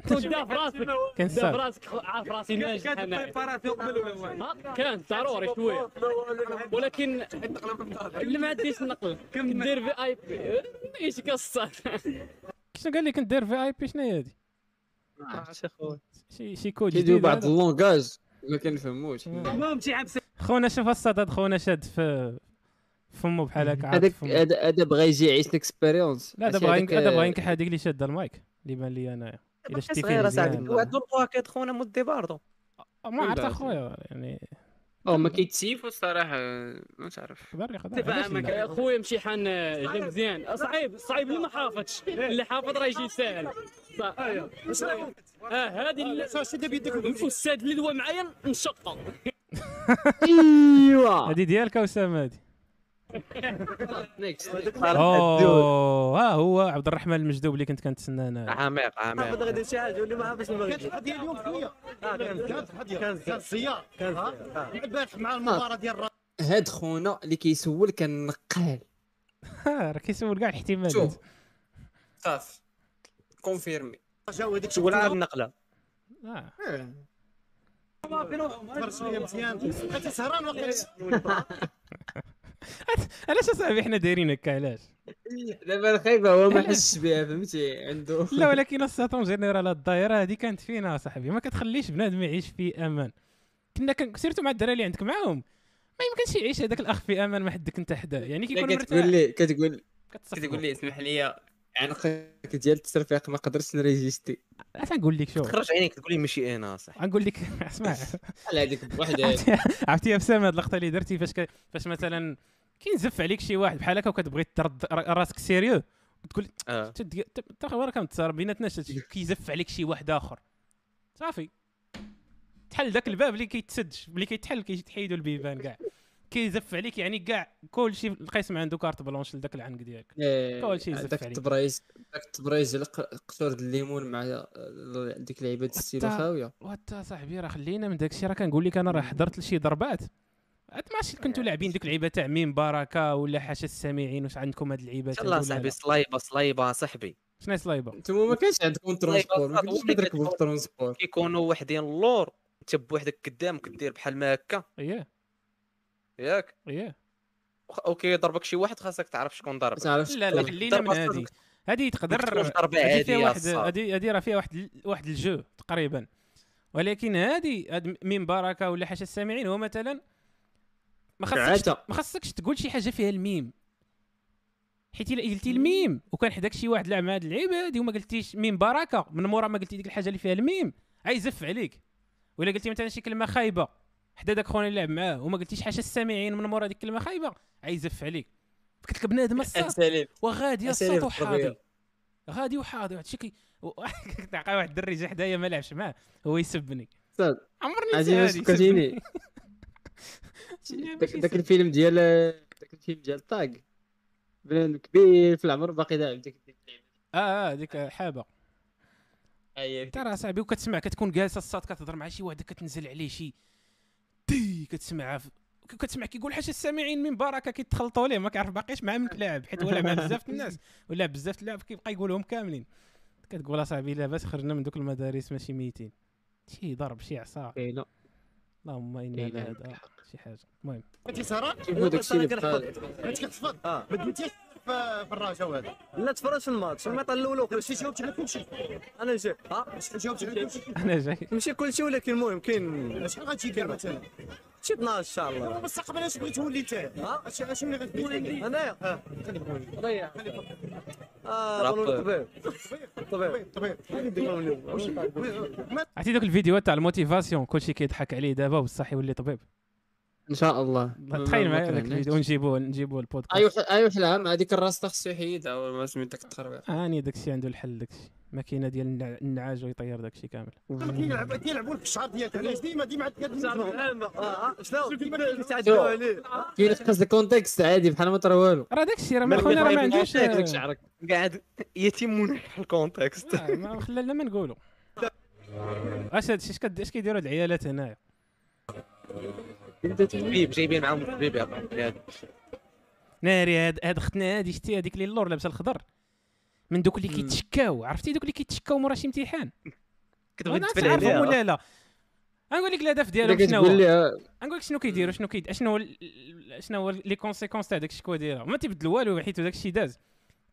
S17: دا في راسك
S2: كان
S17: دا في
S2: سار.
S17: راسك عارف راسي ناجح انا ها، كان ضروري شويه ولكن اللي ما عنديش نقل كندير في اي بي ماشي كالصاد
S2: شنو قال لي كنت داير في اي بي شنو هي هذه شي شي كود
S1: كيديروا
S2: جديد
S1: بعض
S2: هذا.
S1: اللونغاج ما كنفهموش
S14: المهم تيعب
S2: خونا شوف الصدد خونا شاد في فمو بحال هكا عاد
S1: هذاك
S2: فمو.
S1: هذا هذا بغى يجي يعيش الاكسبيريونس
S2: لا دابا غينك- دابا
S1: آه،
S2: غينكح هذيك اللي شاده المايك اللي بان لي انايا الا شتي فيه
S3: صغير
S2: مزيان.
S3: اساعدك وعندو الباكيت خونا مدي باردو
S2: ما عرفت اخويا يعني
S1: او ما كيتسيفوا الصراحه ما تعرف
S2: خضر خضر
S17: خويا امتحان جا مزيان صعيب صعيب اللي ما حافظش اللي حافظ راه يجي ساهل صح. اه هذه اللي شد بيدك الاستاذ اللي دوا معايا مشطه
S1: آه.
S2: ايوا هذه ديالك اسامه هذه اوه ها هو عبد الرحمن المجدوب اللي كنت كنتسنى انا
S16: عميق
S3: حافظ غادي شي حاجه واللي ما حافظش المغرب
S14: كانت القضيه اليوم شويه كانت القضيه كانت السيار
S3: كان
S14: ها؟ البارح مع المباراه ديال الرابطه
S1: هاد خونا اللي كيسول كان نقال
S2: راه كيسول كاع الاحتمالات
S1: شوف. صافي كونفيرمي
S14: جاو هذيك
S3: شغل عام النقله
S2: آه.
S14: تفرجت ليا مزيان بقيت سهران وقيت
S2: علاش اصاحبي حنا دايرين هكا علاش
S1: دابا الخايبه هو ما حسش بها فهمتي عنده
S2: لا ولكن الساتون جينيرال الدائره هذه كانت فينا صاحبي ما كتخليش بنادم يعيش في امان كنا كن... سيرتو مع الدراري اللي عندك معاهم ما يمكنش يعيش هذاك الاخ في امان مع حدك انت حداه يعني كيكون
S1: لا،
S2: مرتاح
S1: كتقول لي كتقول
S2: كتصفقوا.
S1: كتقول لي اسمح لي عنقك ديال الترفيق ما قدرتش نريجيستي
S2: اش نقول لك شوف
S3: خرج عينيك تقول لي ماشي انا صح آه.
S2: غنقول لك اسمع
S1: على هذيك
S4: إيه.
S1: بوحدها
S2: عرفتي- عرفتي يا بسام هاد اللقطه اللي درتي فاش ك... فاش مثلا كينزف عليك شي واحد بحال هكا وكتبغي ترد را- راسك سيريو وتقول
S3: آه.
S2: تد- ت- تا هو راه كنتصار بيناتنا شي- شي- كيزف عليك شي واحد اخر صافي تحل ذاك الباب اللي كيتسد ملي كيتحل كيتحيدوا البيبان كاع كيزف عليك يعني كاع كلشي القسم عنده كارت بلونش لذاك العنق ديالك كلشي يزف
S1: داك
S2: عليك
S1: التبريز داك التبريز ديال ق- قطور الليمون مع ال- ديك لعيبه الستيلو
S2: تا-
S1: خاويه
S2: وتا صاحبي راه خلينا من داك الشيء راه كنقول لك انا راه حضرت لشي ضربات عاد ماشي كنتو لاعبين دوك اللعيبه تاع ميم بركه ولا حاشا السامعين واش عندكم هاد اللعيبات هادو
S3: يلا
S2: ولا
S3: صاحبي
S2: لا؟
S3: صلايبه صلايبه صاحبي
S2: شنو هي صلايبه
S1: انتم ما كانش عندكم ترونسبور ما كنتوش
S3: صاحبي،
S1: تركبوا في الترونسبور
S3: كيكونوا وحدين اللور انت بوحدك قدامك دير بحال ما هكا
S2: اييه
S3: ياك
S2: اييه
S3: وخ- اوكي ضربك شي واحد خاصك تعرف شكون ضربك
S2: لا لا خلينا من هادي هذه
S3: تكونش
S2: تقدر
S3: ضربة
S2: هذه
S3: عادية
S2: فيها واحد
S3: الصراحة.
S2: هذه هذه راه فيها واحد واحد الجو تقريبا ولكن هذه هاد ميم بركه ولا حاشا السامعين هو مثلا ما خصكش
S1: عتا.
S2: ما خصكش تقول شي حاجه فيها الميم حيت الا قلتي الميم وكان حداك شي واحد لعب مع هاد اللعيبه هادي وما قلتيش ميم بركه من مورا ما قلتي ديك الحاجه اللي فيها الميم عيزف عليك ولا قلتي مثلا شي كلمه خايبه حدا داك خونا اللي لعب معاه وما قلتيش حاجه السامعين من مورا ديك الكلمه خايبه عيزف عليك قلت لك بنادم الصاد
S1: أساليب.
S2: وغادي الصاد
S1: أساليب
S2: وحاضي
S1: طبيعية.
S2: غادي وحاضي واحد شكي تلقى واحد الدري جا حدايا ما لعبش معاه هو يسبني
S1: صاد
S2: عمرني
S1: عجيب
S2: سهل
S1: فكرتيني
S2: يسبني.
S1: داك داك الفيلم ديال داك الفيلم ديال طاق بنادم كبير في العمر باقي لاعب ديك
S2: اه اه ديك حابه
S1: اييه
S2: ترى صاحبي وكتسمع كتكون جالسه الصاد كتهضر مع شي واحد كتنزل عليه شي تي كتسمعها في... ك- كتسمع كيقول حاجه السامعين من بركه كيتخلطوا ليه ما كيعرف باقيش مع من كلاعب حيت هو لعب مع بزاف د الناس ولا بزاف د اللعب كيبقى يقولهم كاملين كتقول اصاحبي لاباس خرجنا من دوك المدارس ماشي ميتين شي ضرب شي عصا
S1: كاينه
S2: اللهم انا
S1: كاينة
S2: لهذا آه، شي حاجه المهم
S14: كنتي سهران
S1: شوفوا داكشي اللي بقى.
S14: كنت كتحفظ ما تبديش في في الرجاء هذا
S11: لا تفرجت الماتش الميطه الاولى وكل
S14: شي جاوبت على كلشي
S11: انا جاي ها
S14: جاوبت على كلشي
S2: انا جاي
S11: ماشي كلشي ولكن المهم كاين
S14: شحال غتجي كان مثلا
S11: شي 12 ان شاء الله
S14: مستقبلا اش بغيت تولي انت ها اش اش اللي غتولي
S11: انايا
S14: اه خلي بقولي. خلي بقولي.
S11: اه بنون الطبيب
S14: طبيب طبيب
S2: عرفتي دوك الفيديوهات تاع الموتيفاسيون كلشي كيضحك عليه دابا بصح يولي طبيب
S1: ان شاء الله
S2: تخيل معايا هذاك الفيديو ونجيبوه نجيبوه البودكاست
S4: أيوه.
S1: أيوة،
S18: ايوح ايوح العام هذيك الراسطه خصو يحيدها وما سميت داك التخربيق
S2: اني داكشي عنده الحل داكشي ماكينه ديال النع- النعاج ويطير داكشي كامل
S15: كيلعب كيلعبوا لك الشعر ديالك علاش ديما ديما عاد كتنزلهم شنو ديما كيتعدوا عليه
S1: كينقص الكونتكست عادي بحال ما طرا والو
S2: راه داكشي راه ما خونا راه ما عندوش
S1: داك
S2: آه،
S1: شعرك
S17: قاعد يتم منح الكونتكست
S2: آه، ما خلى لا ما نقولوا اش هادشي اش كد- اش كيديروا هاد العيالات هنايا
S3: تلبيب جايبين معاهم تلبيب يا قبل.
S2: ناري هاد هاد اختنا هادي شتي هذيك اللي اللور لابسه الخضر من دوك اللي كيتشكاو عرفتي دوك اللي كيتشكاو مورا شي امتحان
S17: كتبغي
S2: أنا
S17: تفل
S2: تعرفهم
S17: عليها.
S2: ولا لا غنقول لك الهدف ديالهم
S1: إلا
S2: شنو هو
S1: كتقول لي-
S2: غنقول لك شنو كيديروا شنو كيد شنو هو ال- ال- شنو هو لي كونسيكونس تاع داك الشكوى ديالها ما تيبدل والو حيت داك الشيء داز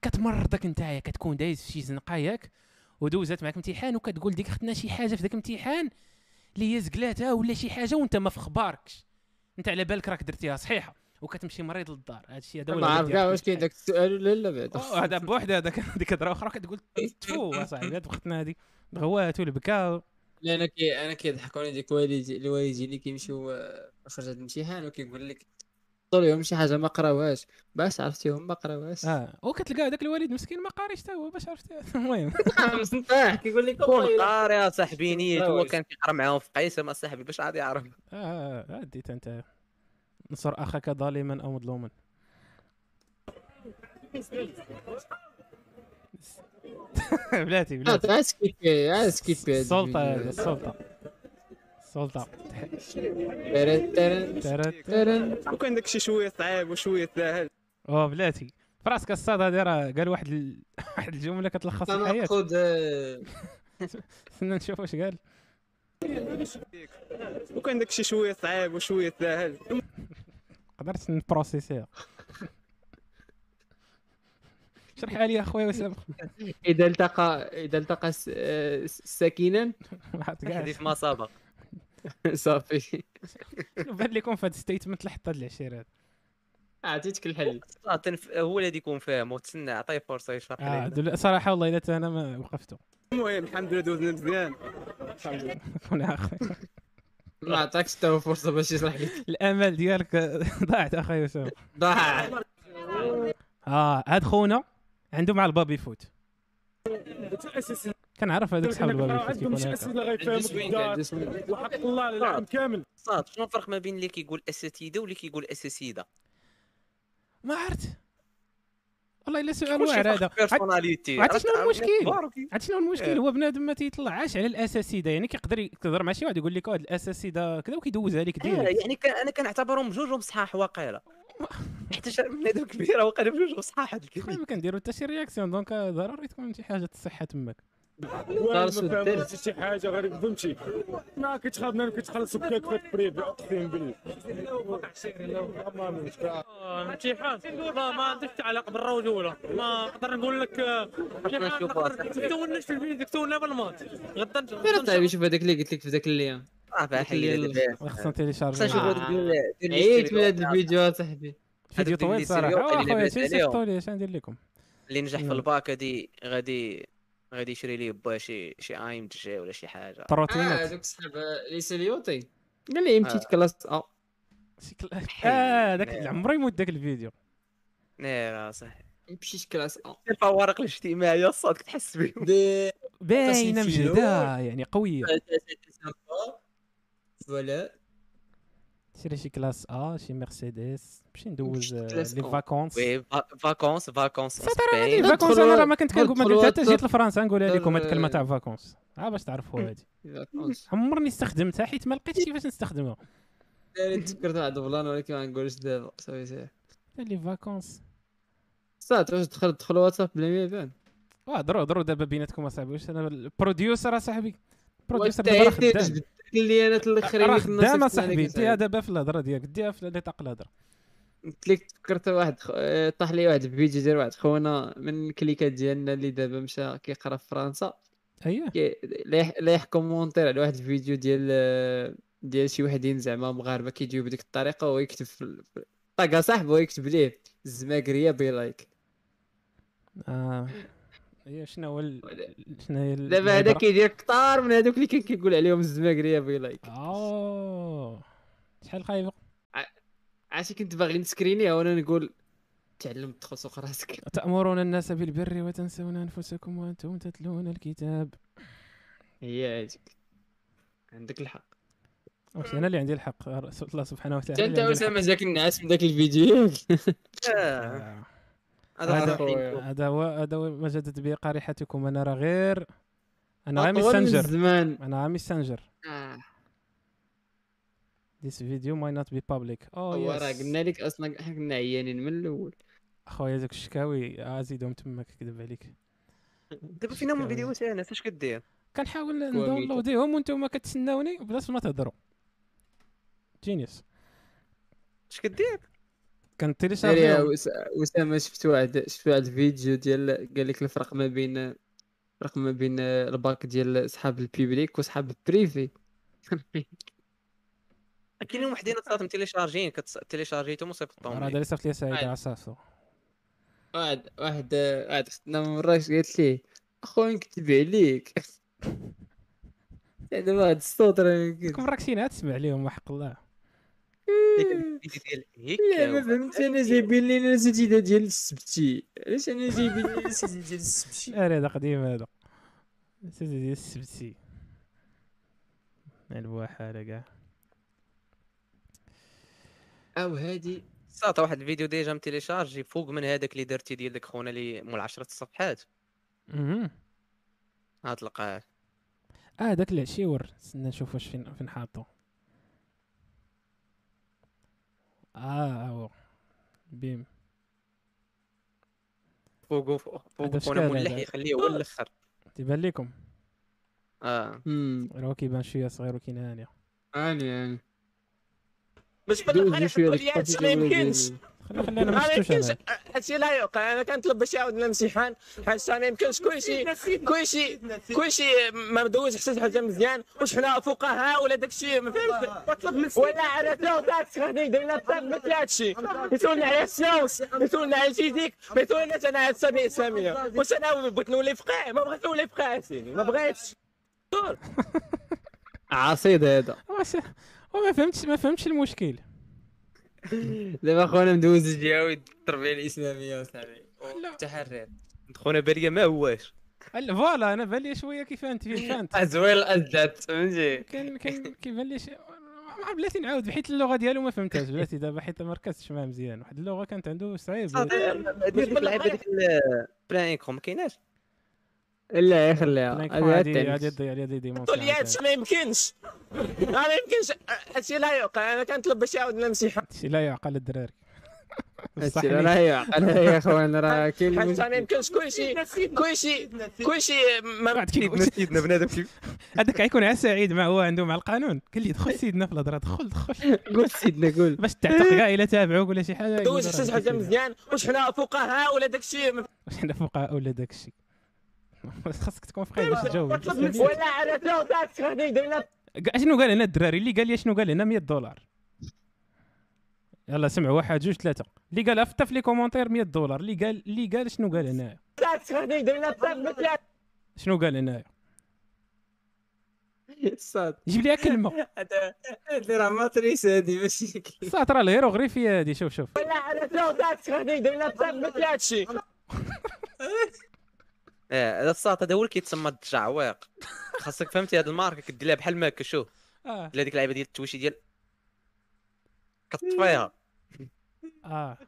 S2: كتمرضك نتايا كتكون دايز في شي زنقه ياك ودوزات معك امتحان وكتقول ديك اختنا شي حاجه في ذاك الامتحان اللي هي زقلاتها ولا شي حاجه وانت ما في خباركش انت على بالك راك درتيها صحيحه وكتمشي مريض للدار هذا الشيء هذا هو
S1: ما عارف
S2: الهدف ديالك.
S1: كاع واش كاين داك السؤال ولا لا
S2: أوه،
S1: بعدا
S2: هذا بوحده هذاك هذيك الهضره اخرى كتقول تفو اصاحبي هاد اختنا هذه غوات والبكا
S18: لا انا كي انا كيضحكوني ديك والدي الوالدين اللي كيمشيو آه، خرجت الامتحان وكيقول لك
S1: طول يوم شي حاجه ما قراوهاش باش عرفتيهم ما قراوهاش
S2: اه وكتلقى هذاك الوالد مسكين ما قاريش حتى هو باش عرفتي المهم
S1: مسنطاح كيقول لك
S3: كون قاري يا صاحبي نيت هو
S2: تلاوز.
S3: كان كيقرا معاهم في قيسم اصاحبي باش عاد يعرف
S2: اه آه، ديت انت انصر اخاك ظالما او مظلوما بلاتي بلاتي
S1: عاد سكيبي عاد سكيبي
S2: السلطة هذا، السلطة. السلطه
S1: ترن ترن
S2: ترن
S1: ترن
S17: وكان داك الشيء شويه صعيب وشويه ساهل
S2: اوه بلاتي فراسك الصاد هذه راه قال واحد ال... واحد الجمله كتلخص الحياه
S1: تناقض
S2: استنى نشوف واش قال
S17: وكان داك الشيء شويه صعيب وشويه ساهل
S2: قدرت نبروسيسيها شرحها لي اخويا وسام
S1: اذا التقى اذا التقى س- آه، س- ساكنا
S3: حديث ما سبق
S1: صافي
S2: شنو بان لكم في هذا الستيتمنت لحد هاد العشير هذا
S1: عطيتك الحل
S3: آه، تنف- هو اللي يكون فاهم وتسنى عطيه فرصه يشرح
S2: آه
S3: لنا
S2: دل... صراحه والله الا انا ما وقفته
S17: المهم الحمد لله دوزنا مزيان الحمد لله
S2: انا اخويا
S1: ما عطاكش حتى هو فرصه باش يشرح لك
S2: الامل ديالك ضاعت اخويا وسام
S1: ضاع
S2: اه هاد خونا عنده مع البابي فوت
S15: اساسي
S2: كنعرف هذاك صاحب البابي فوت كيكون
S15: عندهم شي
S2: هكا
S15: اسئله غيفهمك الدار وحق الله على العام كامل
S3: صاد شنو الفرق ما بين اللي كيقول اساتذه واللي كيقول اساسيده
S2: ما عرفت والله الا سؤال
S3: كلشي فرق
S2: واعر هذا
S3: personality.
S2: عرفت شنو
S3: عرفت-
S2: المشكل
S3: عرفت-
S2: عرفت شنو المشكل
S3: إيه.
S2: هو بنادم ما تيطلعش على الاساسيده يعني كيقدر يهضر مع شي واحد يقول لك هاد الاساسيده كذا وكيدوزها لك
S3: آه،
S17: إيه،
S2: ديريكت
S3: يعني كان انا كنعتبرهم بجوجهم صحاح واقيلا حيت بنادم كبير واقيلا بجوجهم صحاح هاد الكلمه
S2: ما كنديروا حتى شي رياكسيون دونك ضروري تكون شي حاجه تصحى تماك
S15: وين ما فهمتش شي حاجه غير فهمتي ما كتخابنا انا كتخلص بكاك في التبريد اقسم بالله
S14: امتحان ما ما عندكش تعلق بالرجوله ما نقدر نقول لك آه، امتحان
S1: نشوفه
S14: نقدر- كتولناش في الفيديو كتولنا بالماط غدا نش-
S1: فين طيب شوف هذاك اللي قلت لك في ذاك الليل
S3: اه فيها حيلة دابا.
S2: خصنا تيليشارجي
S3: خصنا نشوفوا هذوك ديال- ديال
S2: إيه،
S1: عييت من
S3: السيريو.
S1: هذا الفيديو صاحبي
S2: فيديو
S3: هذوك
S2: طويل
S3: اللي
S2: صراحه
S3: سيريو
S2: آه،
S3: اللي
S2: اخويا
S3: لاباس عليهم.
S2: سيفطوا لي اش ندير لكم
S3: اللي نجح في
S2: يلا.
S3: الباك هادي غادي غادي يشري ليه با شي شي اي ام جي ولا شي حاجه
S1: اه هذوك صاحب لي سيليوطي قال لي إيه، مشيت
S3: آه.
S1: كلاس ا
S2: اه داك عمرو يموت داك الفيديو
S3: نير صح
S1: مشيت كلاس ا
S3: الفوارق الاجتماعيه الصاد كتحس بهم
S2: باينه مجهده يعني
S3: آه،
S2: قويه
S18: فوالا
S2: شري شي كلاس ا شي مرسيدس نمشي ندوز آه،
S3: كلاس
S2: لي
S3: أو.
S2: فاكونس
S3: وي فا- فاكونس فاكونس
S2: هادي
S3: اسبانيا
S2: فاكونس انا راه ما كنت كنقول ما قلت حتى جيت لفرنسا نقولها لكم هاد الكلمه تاع فاكونس ها آه، باش تعرفوا هادي عمرني استخدمتها حيت ما لقيتش كيفاش نستخدمها
S1: تفكرت واحد البلان ولكن ما نقولش دابا صافي صافي
S2: لي فاكونس
S1: صات واش دخل دخل واتساب بلا ما يبان
S2: واه ضرو ضرو دابا بيناتكم اصاحبي واش انا البروديوسر اصاحبي البروديوسر
S1: وانت
S2: دابا راه
S1: عيتني
S2: خدام
S1: جبت اللي انا تلخري
S2: راه
S1: لك النصيب
S2: خدام
S1: تاعك
S2: اصاحبي ديها
S1: أصاحبي.
S2: دابا في الهضره ديالك ديها في نطاق الهضره
S1: قلت لك تفكرت واحد خ- آه، طاح لي واحد الفيديو ديال واحد خونا من الكليكات ديالنا اللي دابا مشى كيقرا في فرنسا
S2: اييه
S1: كي- لا يح- لا يحكومونتير على واحد الفيديو ديال آه، ديال شي وحدين زعما مغاربه كيجيو بديك الطريقه وهو يكتب في ال- في- طاقه صاحبه ويكتب ليه الزماكريه بلايك
S2: اه هي شنو هو ال- شنو هي ال-
S1: دابا هذا
S2: الهضرة؟
S1: كيدير كثار من
S2: آه.
S1: هذوك اللي كان كيقول عليهم الزماكريه بلايك
S2: اوه شحال خايبه
S19: عرفتي كنت باغي نسكرينيها وانا نقول تعلم تدخل سوق راسك
S2: تأمرون الناس بالبر وتنسون أنفسكم وأنتم تتلون الكتاب
S19: هي هذيك عندك الحق
S2: واش أنا اللي عندي الحق الله سبحانه
S19: حتى
S2: وتعالى
S19: انت
S2: اللي عندي
S19: اسامه
S2: الحق.
S19: جاك النعاس من ذاك الفيديو
S17: آه.
S2: هذا
S19: أخويا.
S2: هذا هو هذا هو ما جدت به قريحتكم انا راه غير انا غير
S19: أطول من
S2: مستنجر
S19: الزمان.
S2: انا غير مستنجر
S19: آه.
S2: This video might not be public. Oh
S19: هو راه
S2: yes.
S19: قلنا لك اصلا حنا كنا عيانين من الاول
S2: خويا ذوك الشكاوي ازيدهم تماك كذب عليك.
S3: دابا فينا هما الفيديوهات انا اش كدير
S2: كنحاول
S3: كوميدي.
S2: نداونلوديهم وانتم كتسناوني بلاص ما تهضروا. جينيوس.
S3: اش كدير؟
S19: داري
S2: كنتيليشارجيهم.
S19: وس- وسام شفت واحد شفت واحد الفيديو ديال قال لك الفرق ما بين الفرق ما بين الباك ديال صحاب البيبليك وصحاب البريفي
S3: كاينين وحدين صارت تيليشارجين تيليشارجيتهم وصيفطتهم
S2: راه هذا
S3: لي.
S2: اللي صيفط لي سعيد عصاصو.
S19: واحد واحد واحد خدنا من مراكش قالت ليه اخويا نكتب عليك دابا هاد الصوت راه
S2: ديك مراكشين عاد تسمع ليهم وحق الله.
S19: لا ما فهمت انا جايبين لينا الاساتذه ديال السبتي علاش انا جايبين لينا الاساتذه ديال السبتي
S2: لا لا هذا قديم هذا. سيتي ديال السبتي. البواحاله كاع.
S19: او هادي
S3: صات واحد الفيديو ديجا متيليشارجي فوق من هذاك اللي درتي ديال داك خونا اللي مول 10 الصفحات
S2: مهم.
S3: غتلقاه
S2: اه داك العشيور استنى نشوف واش فين فين حاطو اه ها هو بيم
S3: فوق فوق
S2: هذا
S3: فوق خونا
S2: شكال
S3: ملح
S2: هذا؟
S3: يخليه هو الاخر
S2: تيبان ليكم
S3: اه
S2: راه كيبان شويه صغير وكاين هانيه
S19: هاني هاني
S17: باش بالله
S2: دوزي شوية
S17: نحطوا
S2: لك فاتي
S17: لي هادشي
S2: دوزي.
S17: ما يمكنش
S2: خلي- خلي أنا ما
S17: ما
S2: شفتوش
S17: يمكنش
S2: أنا.
S17: هادشي لا يوقع انا كنطلب باش يعاود لنا الامتحان هادشي ما يمكنش كلشي كلشي كلشي ما مدوز حتى حاجه مزيان واش حنا فوقها ولا داكشي ما فهمتش ولا على تاكس غادي يدير لنا بزاف مثل هادشي يسولنا على السيونس يسولنا على الفيزيك ما يسولناش انا على السابقه الاسلاميه واش انا بغيت نولي فقيه ما بغيت نولي فقيه سيدي ما بغيتش
S19: عصيد هذا
S2: واش وما فهمتش ما فهمتش المشكل
S19: دابا خونا مدوز جاوي التربيه الاسلاميه وصافي
S4: التحرير
S3: خونا بالي ما هواش
S2: هلا فوالا انا بان لي شويه كيف انت فين فانت
S4: ازويل ازدت فهمتي
S2: كان كان كيبان لي شي مع بلاتي نعاود حيت اللغه ديالو ما فهمتهاش بلاتي دابا حيت ما ركزتش معاه مزيان واحد اللغه كانت عنده صعيب
S3: دير ديك اللعيبه ديك ال- بلا انكم ما كايناش
S19: لا يخليها
S2: بلانك
S19: هذا
S2: عادي
S19: التنس.
S2: عادي يضيع عليها دي ديمون
S17: قلت لي هادشي ما يمكنش ما يمكنش هادشي لا يوقع انا كنطلب باش يعاود لنا الامتحان
S2: شي لا يعقل الدراري
S19: هادشي لا يعقل يا اخوان راه كاين
S17: حيت ما
S19: المشكل.
S17: يمكنش كلشي كلشي كلشي ما
S2: سيدنا
S3: سيدنا بنادم كيف
S2: هذاك غيكون عا سعيد مع هو عنده مع القانون قال لي دخل سيدنا في الهضره دخل دخل
S19: قول سيدنا قول
S2: باش تعتق كاع الا تابعوك ولا شي حاجه يقول
S17: دوز
S2: راه
S17: شي حاجه
S2: كيف-
S17: مزيان واش حنا فقهاء ولا داكشي ما
S2: واش حنا فقهاء ولا داك الشيء خاصك تكون فقيه باش تجاوب
S17: طلب منك ولا على تاكس غادي يدير لنا
S2: قا- اشنو قال هنا الدراري اللي قال لي اشنو قال هنا 100 دولار يلا سمعوا واحد جوج ثلاثه اللي قالها حتى في لي كومونتير 100 دولار اللي قال اللي قال شنو قال هنايا
S17: تاكس غادي يدير لنا بزاف مثل
S2: شنو قال هنايا
S19: الصاد
S2: جيب لي كلمه
S19: هذا هذا راه ماتريس هادي ماشي
S2: صات راه الهيروغليفيه هادي شوف شوف
S17: ولا على تاكس غادي يدير لنا بزاف مثل هادشي
S3: اه هذا الساط هذا هو اللي كيتسمى التجعويق خاصك فهمتي هاد الماركه كدير لها بحال ما هكا شوف
S2: اه
S3: دير هذيك اللعيبه ديال التوشي ديال كطفيها
S2: اه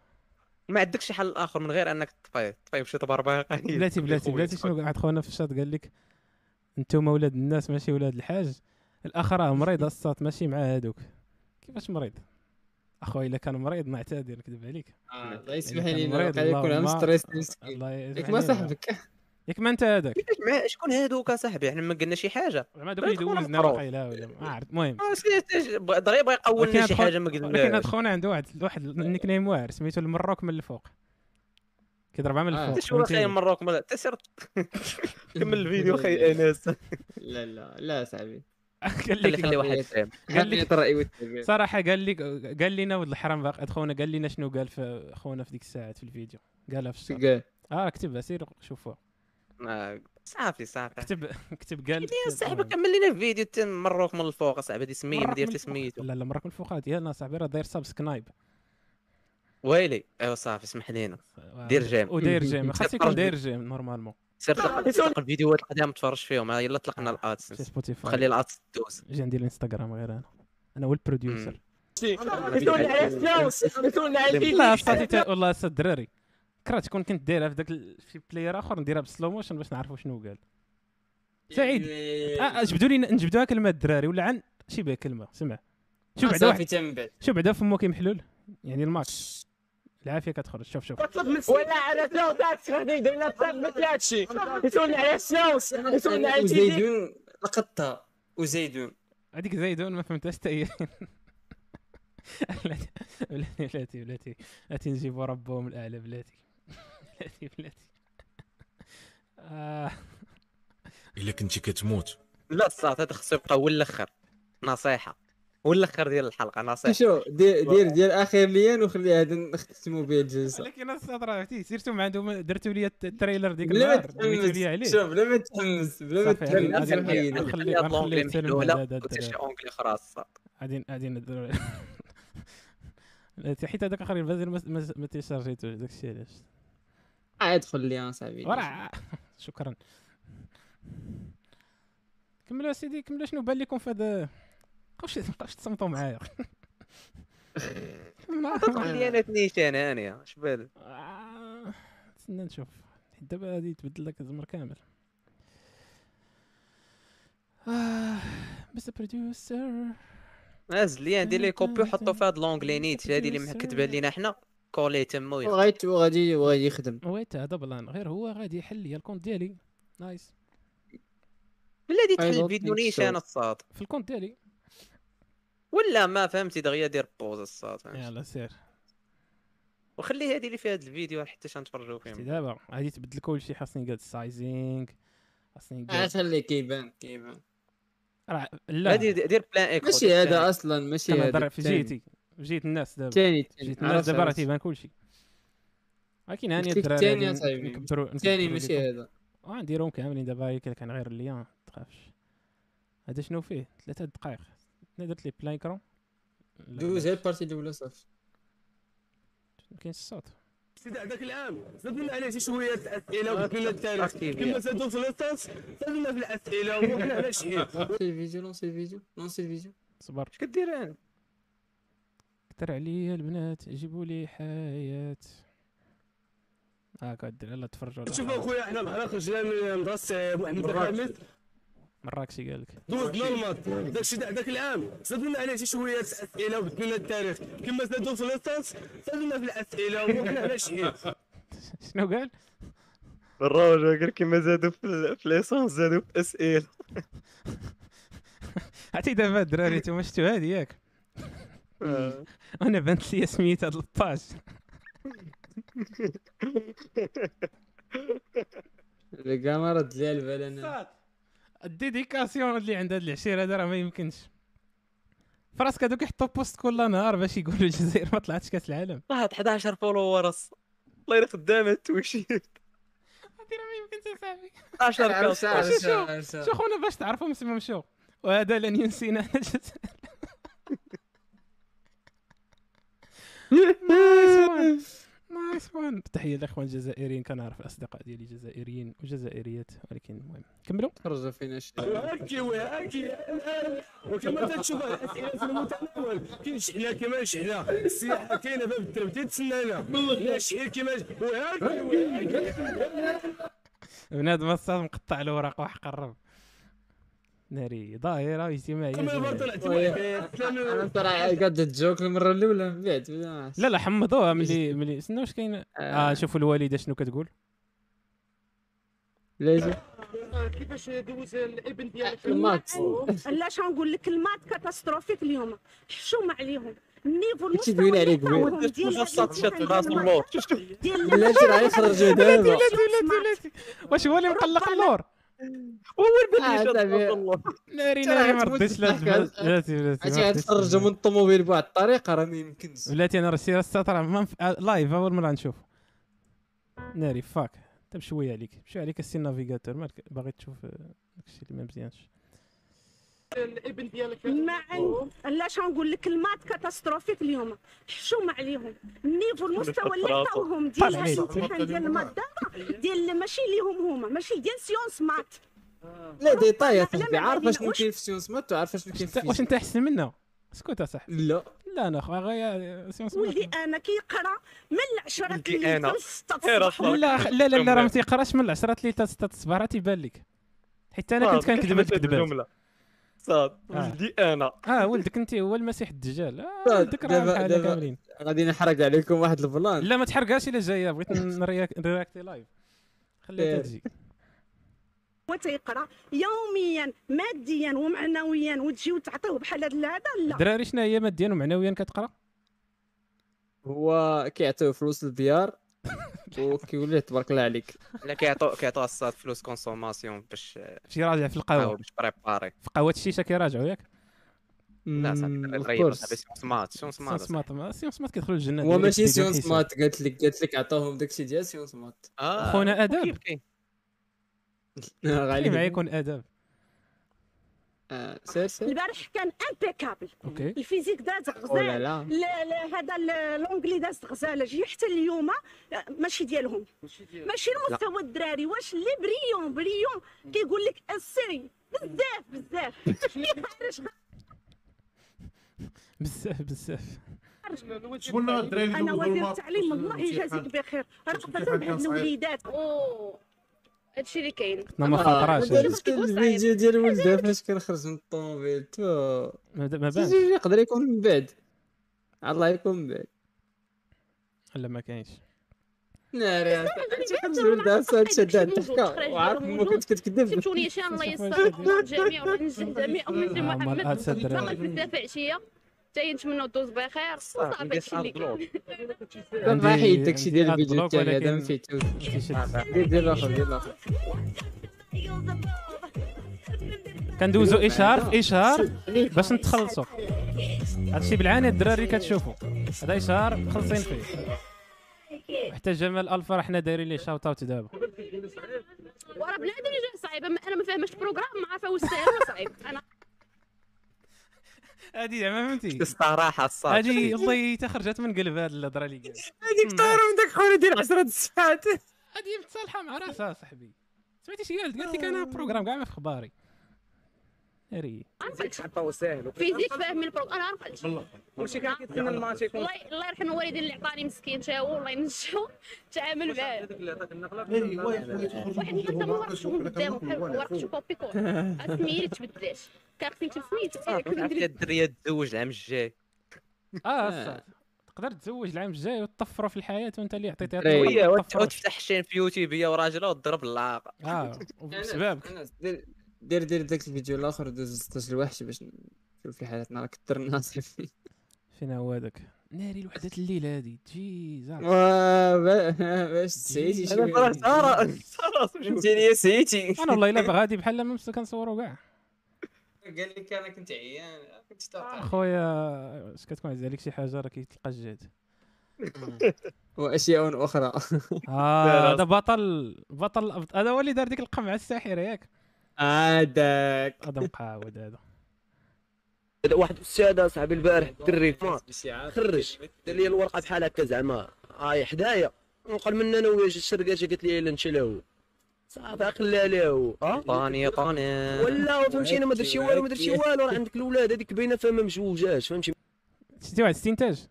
S3: ما عندكش شي حل اخر من غير انك تطفيه تطفيه بشي طبر باقي
S2: بلاتي بلاتي بلاتي شنو قال واحد خونا في الشات قال لك انتم ولاد الناس ماشي ولاد الحاج الاخ راه مريض الصات ماشي مع هادوك كيفاش مريض اخويا الا كان مريض نعتذر نكذب عليك
S19: الله يسمح
S2: إلا كان
S19: لي
S2: مريض،
S19: قال يكون عم
S2: اللهم-
S19: ستريس
S2: الله يسمح
S19: ياك ما
S2: لي.
S19: صاحبك
S2: ياك ما انت هذاك
S3: شكون هادوك اصاحبي احنا ما قلنا شي آه، حاجه
S2: زعما دوك اللي دوزنا واقيلا ولا ما عرفت المهم
S3: دغيا يبغى يقول
S2: ولكن
S3: لنا
S2: هاد
S3: شي
S2: خو-
S3: حاجه ما
S2: ولكن هاد
S3: قلناش
S2: خونا عنده واحد واحد النيك نيم واعر سميتو المروك من الفوق كيضربها من
S19: آه.
S2: الفوق
S3: انت شو
S2: فهمتيني؟
S3: خاي مروك ملا تسير كمل الفيديو خاي انس
S19: لا لا لا صاحبي
S2: قال لك
S3: خلي واحد يتعب.
S2: قال لك
S19: الراي والتعبير
S2: صراحه قال لك قال لنا ولد الحرام باقي خونا قال لنا شنو قال في خونا في ديك الساعات في الفيديو قالها في الشات
S19: قال؟
S2: اه كتبها سير شوفوها
S3: آه، صافي صافي
S2: كتب كتب قال
S3: صاحبي كمل لنا الفيديو تن مروك من الفوق اصاحبي هذه سميه ما
S2: مروك من
S3: ديرتي
S2: الفوق.
S3: سميتو
S2: لا لا مراك من الفوق ديالنا صاحبي راه داير سبسكرايب
S3: ويلي ايوا صافي اسمح لينا دير جيم
S2: وداير آه، جيم خاص يكون داير جيم نورمالمون
S3: سير طلق طلق الفيديوهات القدام تفرج فيهم ها، يلا طلقنا الادس
S2: سبوتيفاي
S3: خلي الادس دوز
S2: جا ندير الانستغرام غير انا انا هو البروديوسر
S17: يسولنا
S14: إيه.
S17: على الفلوس يسولنا على
S2: لا
S17: الفلوس
S2: صافي تا- والله أستاذ الدراري كرهت كون كنت دايرها في ذاك ال- في بلاير اخر نديرها بالسلو موشن باش نعرفوا شنو قال سعيد
S1: إيه.
S2: آه، جبدوا لي نجبدوها كلمه الدراري ولا عن شي بها كلمه سمع شوف
S20: آه،
S2: بعدا
S20: صافي
S2: واحد
S20: تم بعد.
S2: شوف بعدا فمك محلول يعني الماتش العافيه كتخرج شوف شوف
S17: طلب من ولا على الفلوس داك غادي درنا طلب مثل هادشي يسولنا على الفلوس يسولنا على الفيديو
S20: لقطتها وزيدون
S2: هذيك زيدون ما فهمتهاش حتى هي بلاتي بلاتي بلاتي بلاتي بلاتي نجيبو ربهم الاعلى بلاتي بلاتي بلاتي آه.
S21: الا كنتي كتموت
S3: لا الصاط هذا خصو يبقى هو الاخر نصيحه هو الاخر ديال الحلقه نصيحه
S1: شو دير دير ديال اخر ليان وخلي هذا نختمو به الجلسه
S2: ولكن الصاد راه عرفتي سيرتو ما عندهم درتو لي الت- التريلر ديك
S1: بلا ما
S2: النهار دويتو لي عليه
S1: تحمس شوف بلا ما تحمس بلا ما
S2: صافي، هذه- هذه
S1: تحمس
S2: نخلي-
S1: نخلي-
S2: نخلي- نخلي نسلم على هذا
S3: ودير شي
S2: الدراري.
S3: اونجلي خرا الصاط
S2: غادي غادي نديرو حيت هذاك اخر الفازل ما- ما ما تيشارجيتوش داك الشيء علاش
S1: آه، ادخل لي صاحبي
S2: ورا شكرا كملوا سيدي كملوا شنو بان لكم في هذا بقاوش بقاوش تصمتوا معايا آه.
S3: عطاتني انا تنيشان هانيه اش بالك
S2: نستنى نشوف حيت دابا غادي يتبدل لك الزمر كامل آه، مستر بروديوسر
S3: نازل لي عندي لي
S2: آه،
S3: كوبي وحطوا في هاد لونجلي نيت هادي اللي كتبان لينا حنا كولي تما ويخ-
S1: وغادي وغادي وغادي يخدم
S2: ويت هذا بلان غير هو غادي يحل لي الكونت ديالي نايس
S3: بلادي تحل فيديو نيشان الصاط
S2: في الكونت ديالي
S3: ولا ما فهمتي دغيا دير بوز الصاط
S2: يلا سير
S3: وخلي هادي اللي في هاد الفيديو حتى شنتفرجو
S2: شتي
S3: فيهم
S2: دابا غادي تبدل كلشي خاصني نقاد السايزينغ خاصني
S1: آه،
S2: نقاد
S1: خليه كيبان كيبان
S2: راه لا
S1: هادي
S3: دير بلان ايكو
S1: ماشي هذا اصلا ماشي هذا
S2: هذا في جيتي في جيت الناس دابا
S1: الثاني،
S2: في جيت
S1: الثاني.
S2: الناس
S1: عرفت،
S2: دابا راه
S1: عرفت.
S2: تيبان كلشي ولكن هاني
S1: قلت لك
S2: الدراري
S1: الثاني
S2: غادي
S1: أصاحبي،
S2: نكبروا
S1: الثاني
S2: نكبروا
S1: ماشي
S2: ليكم.
S1: هذا.
S2: وغنديرهم كاملين دابا هيك كان غير الليان ما تخافش هذا شنو فيه ثلاثة دقائق انا درت لي بلاي كرون
S1: دوز غير البارتي الاولى صافي
S2: ما كاينش الصوت
S14: سيدي هذاك العام زاد لنا عليه شي شويه الاسئله وقلت لنا التاريخ
S1: أركيبيا.
S14: كما زادوا في الاساس زاد لنا في الاسئله وحنا على شي
S1: لونسي الفيديو لونسي الفيديو لونسي الفيديو
S2: صبر
S3: اش كدير انا
S2: كثر عليا البنات جيبوا لي حياة هاكا الدراري يلا تفرجوا
S14: شوف اخويا حنا بحال خرجنا من مدرسه محمد الخامس
S2: مراكشي قالك
S14: دوزنا الماط داكشي تاع داك العام زاد لنا عليه شي شويه الاسئله وقلت لنا التاريخ كما زادوا في الاساس زاد لنا في الاسئله وحنا على شي
S2: شنو قال؟
S3: الراجل قال كيما زادوا في ليسونس زادوا في اسئله
S2: عرفتي دابا الدراري نتوما شفتوا هادي ياك
S3: آه.
S2: انا بانت لي سميت هاد الباج
S1: الكاميرا ديال بال انا
S2: الديديكاسيون اللي عند هاد العشير هذا راه ما يمكنش فراسك هادوك يحطوا بوست كل نهار باش يقولوا الجزائر ما طلعتش كاس العالم
S3: واحد 11 فولور الصاط الله يري خدامه توشي
S2: صاحبي
S3: 11
S2: عرفت-
S3: كاس.
S2: عرفت-
S3: شوف- شوف.
S2: عرفت. شو خونا باش تعرفوا مسمى مشو وهذا لن ينسينا نايس وان تحيه الاخوان الجزائريين كنعرف الاصدقاء ديالي جزائريين وجزائريات ولكن المهم كملوا
S1: خرجوا فينا شي
S14: هاكي وهاكي الان وكما تشوف الاسئله في المتناول كاين شحنه كما شحنه السياحه كاينه باب الدرب تتسنانا لا شحير كما ش- وهاكي وهاكي
S2: بنادم الصاد مقطع الاوراق وحق الرب ناري ظاهره اجتماعيه جماعية.
S1: انت راه قاد الجوك المره الاولى من بعد ما-
S2: لا لا حمضوها ملي ملي استنى واش كاين اه شوفوا الوالده شنو كتقول
S1: لازم
S22: كيفاش دوز الابن ديالك
S1: الماتش.
S22: لا شنقول لك المات كاتاستروفيك اليوم حشومه عليهم النيفو
S1: كنتي دوينا عليه قبيل.
S22: المستوى اللي
S1: درت
S22: تاعهم
S1: مفصل
S22: ديال-
S1: شط راسو الموت.
S22: ديال-
S1: بلاتي راه يخرجوا دابا.
S22: بلاتي- بلاتي- بلاتي-
S2: بلاتي. واش هو اللي مقلق اللور
S3: هو
S1: آه،
S3: البني
S1: صافي.
S2: ناري
S1: أنت
S2: ناري
S1: راه
S2: ما
S1: غتموت
S2: رديتش لا
S1: بالضحك.
S2: بلاتي بلاتي
S1: عرفتي
S2: ما رديتش
S1: غتخرجوا من الطوموبيل بواحد الطريقه راه ما يمكنش
S2: بلاتي انا رسي الساط راه ما نف- آه، لايف اول مره نشوف ناري طيب، فاك انت مشوي عليك مشوي عليك السي نافيغاتور مالك باغي تشوف آه، داكشي اللي ما مزيانش
S22: الابن ديالك معا علاش غنقول لك المات كاتاستروفيك اليوم حشومة عليهم النيفو المستوى اللي
S23: الترافو.
S22: عطاوهم
S23: طلع
S2: طيب،
S22: ديال
S23: عليك.
S22: هاد الامتحان ديال المات دابا ديال ماشي ليهم هما ماشي ديال سيونس مات
S1: لا ديطاي يا صاحبي عارف اشنو كاين في سيونس مات وعارف اشنو كاين في
S2: واش انت احسن منا اسكت اصاحبي
S1: لا
S2: لا انا اخويا غير سيونس
S22: ولدي انا كيقرا من العشرة
S2: ولدي
S22: الليل
S2: أنا. إيه
S22: حتى للستة
S2: لا
S22: الصباح
S2: لا لا لا راه ما تيقراش من العشرة حتى لتلاتة الصباح راه تيبان لك حيت انا كنت كنكذب هاد الكذبات
S1: صاد
S2: آه.
S1: ولدي انا
S2: اه ولدك انت هو المسيح الدجال آه، ولدك راه
S1: دابا
S2: بحالنا
S1: دابا
S2: كاملين
S1: غادي نحرق عليكم واحد البلان
S2: لا ما تحرقهاش الا جايه بغيت نرياك- نرياكتي لايف خليها
S1: داير.
S2: تجي
S22: هو تيقرا يوميا ماديا ومعنويا وتجي وتعطيه بحال هاد هذا لا
S2: الدراري شنو هي ماديا ومعنويا كتقرا
S1: هو كيعطيو فلوس للديار وكيولي تبارك الله عليك
S3: لا كيعطوا كيعطوا الصاد فلوس كونسوماسيون باش
S2: شي راجع في القهوه
S3: آه، باش بريباري
S2: في قهوه الشيشه كيراجعوا ياك
S3: لا صافي الريب صافي سيونس مات سيونس مات
S2: سيونس مات ما- سيونس مات كيدخلوا الجنه
S1: هو ماشي سيونس مات قالت لك قالت لك عطاهم داكشي ديال سيونس مات
S3: آه،
S2: خونا اداب
S1: غالبا.
S2: غالبا إيه، يكون اداب
S1: سير سير
S22: البارح كان امبيكابل
S2: اوكي
S22: الفيزيك داز
S1: أولا
S22: غزال
S1: لا.
S22: لا- لا، هذا ال- لونجلي داز غزاله جي حتى اليوم ماشي ديالهم ماشي
S1: لا.
S22: المستوى الدراري واش اللي بريون بريون كيقول لك السري بزاف بزاف خارج
S2: بزاف بزاف
S22: خارج
S2: شكون اللي غادري يدوز
S22: انا وزير
S2: بالماط؟
S22: التعليم الله
S2: شكون اللي
S22: يجازيك بخير راه
S2: شكون
S22: قدرنا
S2: اللي كان
S22: بهاد
S2: صعيب؟
S22: الوليدات هادشي اللي كاين
S2: لا، نعم، ما
S1: آه،
S2: خطراش.
S1: الفيديو ديال ولده فاش كنخرج من الطوموبيل تو
S2: ما بانش.
S1: يقدر يكون من بعد الله يكون من بعد
S2: لا ما كاينش
S1: ناري كنخرج من داسا تشدها تحكا
S6: تخرج
S1: وعارف
S6: ديالهم
S1: ما كنت كتكذب
S6: تمشوني شان الله يستر الجميع وننجح الجميع وننجح
S2: آه، مال
S6: محمد
S2: أسد راه.
S6: نتلاقى في في عشيه حتى نتمنى دوز بخير
S1: صافي،
S6: وصافي هادشي اللي
S1: ندير أن
S6: كاين
S1: كان
S2: عندي-
S1: راحي داكشي ديال
S2: عندي
S1: الفيديو
S2: أدبلوك
S1: الثاني هذا ما
S2: ولكن-
S1: فيتو
S2: كيشد.
S1: دير دير الاخر دير الاخر
S2: كندوزو اشهار في اشهار باش نتخلصوا هادشي بالعاني الدراري كتشوفوا هذا اشهار مخلصين فيه حتى جمال الفا راه حنا دايرين ليه شاوت اوت دابا
S6: وراه بنادم اللي جاه صعيب أما انا ما فاهمش البروغرام ما عارفه واش ساهل ولا صعيب انا
S2: هادي زعما فهمتي
S3: الصراحه الصاد
S2: هادي الله تا خرجت من قلب هاد الهضره اللي قالت
S1: هذيك طار من داك خونا دير 10 الصفحات
S2: هادي متصالحه مع راسها صاحبي سمعتي شي قالت قالت لك انا
S1: آه.
S2: بروغرام كاع ما في خباري ناري
S17: حطاو ساهل
S6: فيزيك فاهمين البروغرام انا عرفت
S17: والله وشي كان كيتسنى الماتش يكون
S6: الله الله يرحم الوالدين اللي عطاني مسكين تا هو الله ينجحو تعامل معاه واحد النهار تما ورقت شكون قدام ورقت شكون بيكو اسمي اللي تبدلاش كان خدمتي
S3: عرفتي
S6: بسميتو
S3: الدريه تزوج العام الجاي
S2: اه
S1: آه.
S2: أصاحبي. تقدر تتزوج العام الجاي وتطفروا في الحياه وانت اللي عطيتيها
S3: وي،
S2: الطفرة.
S3: إيه، وت- وتفتح الشين في يوتيوب هي وراجلها وتضرب اللعاقه
S2: اه
S1: سبابك دير دير دير داك الفيديو الاخر ودوز 16 الوحش باش نشوف حالتنا راه كثرنا صافي
S2: فين هو هذاك ناري الوحدات الليل هادي تجي
S1: آه،
S2: زعما
S1: وا- با- باش سيتي شي
S2: أنا فرحت، أرى-
S1: انت لي سيتي
S2: انا والله الا غادي بحال ما مسك كنصوروا كاع
S1: قال لك انا كنت عيان كنت طاقع
S2: خويا اش كتكون عز عليك شي حاجه راه كيتلقى الجهد
S1: واشياء اخرى
S2: اه هذا بطل بطل الأبط- هذا هو اللي دار ديك القمعه الساحره ياك
S1: هذاك
S2: هذا مقاود هذا
S14: واحد السيد صاحبي البارح الدري مات خرج دار لي الورقه بحال هكا زعما هاي حدايا نقل من انا وياه جات السرقاشه قالت لي لا نمشي له صافي خلاها له
S2: آه.
S14: ها
S3: طاني طاني
S14: ولا فهمتيني ما درتش والو ما درتش والو راه عندك الاولاد هذيك باينه فما مجوجاش فهمتي
S2: شتي واحد استنتاج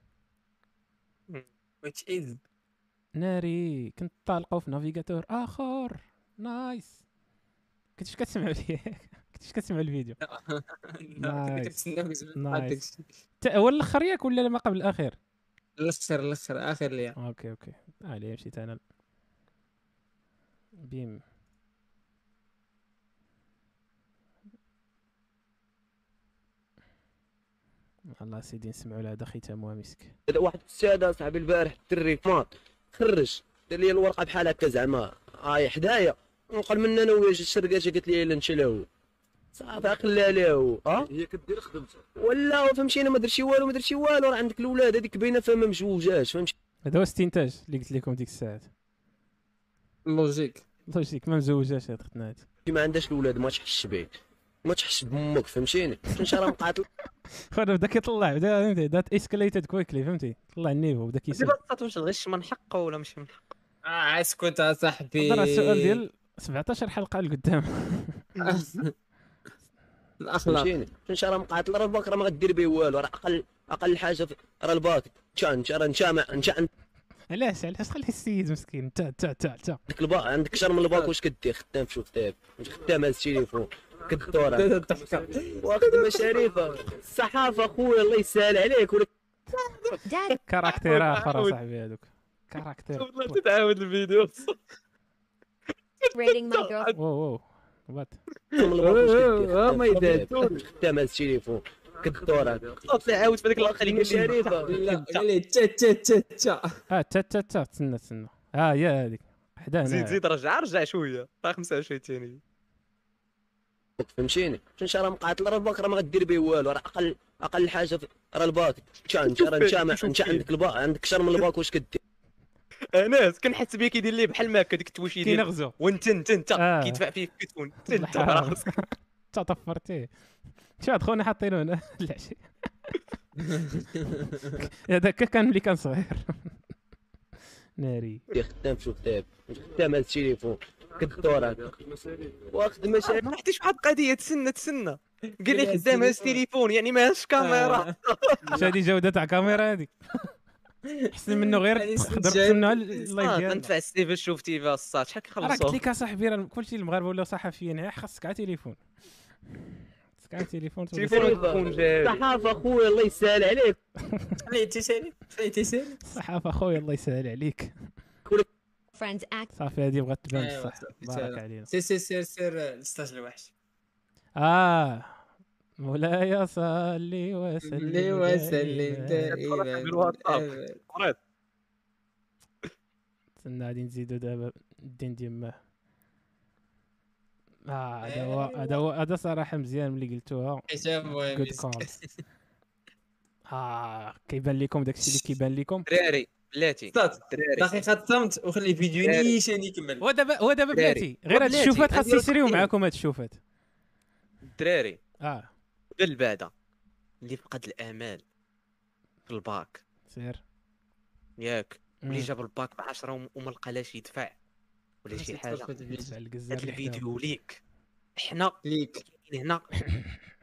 S14: which is
S2: ناري كنت طالقه في نافيغاتور اخر نايس كنتش كتسمع كنتش كتسمع الفيديو نايس نايس تا هو الاخر ياك ولا ما قبل الاخير
S1: الاخر الاخر اخر ليا
S2: اوكي اوكي اه ليه مشيت انا بيم الله سيدي نسمعوا لهذا ختامها مسك
S14: واحد السيد صاحبي البارح الدري مات خرج دار لي الورقه بحال هكا زعما هاي حدايا نقل من انا وياه جات السرقاشه قالت لي لا نمشي له صافي خلاها له ها
S24: هي كدير خدمتها
S14: ولا فهمتيني ما درتش والو ما درتش والو راه عندك الاولاد هذيك باينه فما مجوجاش فهمتي
S2: هذا هو استنتاج اللي قلت لكم ديك الساعات
S1: لوجيك
S2: لوجيك ما مزوجاش هاد ختنا هادي
S14: ما عندهاش الاولاد ما تحش بك ما تحس بامك فهمتيني كنت راه مقاتل
S2: خرج بدا كيطلع بدا فهمتي ذات اسكليتد كويكلي فهمتي طلع النيفو بدا كيسول
S3: دابا الصوت واش الغش من حقه ولا مش من حقه
S1: اه عاد اسكت اصاحبي
S2: هضر على السؤال ديال 17 حلقه لقدام
S1: الأخلاق.
S14: فهمتيني كنت راه مقاتل راه الباك راه ما غدير به والو راه اقل اقل حاجه في- راه الباك انت انت راه انت ما انت عندك
S2: علاش علاش خلي السيد مسكين تا تا تا تا
S14: الباك عندك شر من الباك واش كدير خدام في كتاب خدام هاز التليفون كدور وخدمه شريفه الصحافه خويا الله يسهل عليك ولا
S2: كاركتير اخر صاحبي هذوك كاركتير
S3: والله تتعاود الفيديو
S17: Rating my girl.
S2: واو واو وات
S14: اه ما يدار خدام هاز التليفون كدور
S10: صوت عاود في ديك اللقطه اللي
S14: شريفه
S10: قال لي تا تا تا تا
S2: اه تا تا تا تسنى تسنى اه يا هذيك حدا
S3: زيد
S2: هنا
S3: زيد رجع رجع شويه راه 25 ثانيه
S14: فهمتيني انت راه مقاتل راه الباك راه ما غدير به والو راه اقل اقل حاجه في- راه الباك انت انت راه انت ما- انت عندك الباك عندك شر من الباك واش كدير
S3: انس كنحس بيه كيدير ليه بحال ما هكا ديك التوشي ديال
S2: كينغزو.
S3: وانت انت انت
S2: آه.
S3: كيدفع فيه كتون انت
S2: الحرام.
S3: راسك
S2: تا طفرتيه شاد خونا حاطينه هنا العشي هذاك كان ملي كان صغير ناري
S14: خدام في كتاب خدام هذا التليفون كدور واخد مشاريع
S3: ما رحتش واحد القضيه تسنى تسنى قال لي خدام هاز التليفون يعني ما هاش
S2: آه،
S3: كاميرا
S2: واش هذه جوده تاع كاميرا هذه احسن منه غير تقدر تسنى على اللايف
S3: يعني آه،
S2: ديالنا
S3: تنفع السيف شوف تيفا الصاد شحال
S2: راه قلت
S3: خلصوا
S2: لك اصاحبي راه كلشي المغاربه ولاو صحفيين يعني خاصك على تليفون خاصك على تليفون
S14: صحافه خويا الله يسهل عليك
S2: خليتي سالي خليتي سالي الصحافه خويا الله يسهل عليك
S17: Friends act.
S2: صافي هذه بغات تبان
S25: أيوا،
S2: بصح
S25: صافي،
S2: بارك
S25: سير-
S2: علينا
S25: سير سير سير سير الاستاج الوحش
S2: اه مولاي صلي وسلم
S1: لي
S2: إيه.
S1: وسلم دائما إيه،
S2: دائما استنى غادي نزيدو دابا الدين ديما اه هذا هو هذا هو هذا صراحه مزيان ملي قلتوها
S25: حسام
S1: أيوة،
S25: مهم
S2: Good call. اه كيبان لكم داكشي اللي كيبان لكم
S3: دراري بلاتي
S1: دقيقه الصمت وخلي الفيديو
S2: دراري.
S1: نيشان يكمل
S2: ودابا ودابا بلاتي غير هاد الشوفات خاص يسريو معاكم هاد الشوفات
S3: الدراري
S2: اه
S3: بالبعدة اللي فقد الامال في الباك
S2: سير
S3: ياك اللي
S2: مم.
S3: جاب الباك ب 10 وم- وما لقاش يدفع ولا شي
S2: خاص
S3: حاجه
S2: يدخل في الفيديو. يدفع الجزار
S3: هاد
S2: اللي حداه.
S3: الفيديو ليك حنا ليك هنا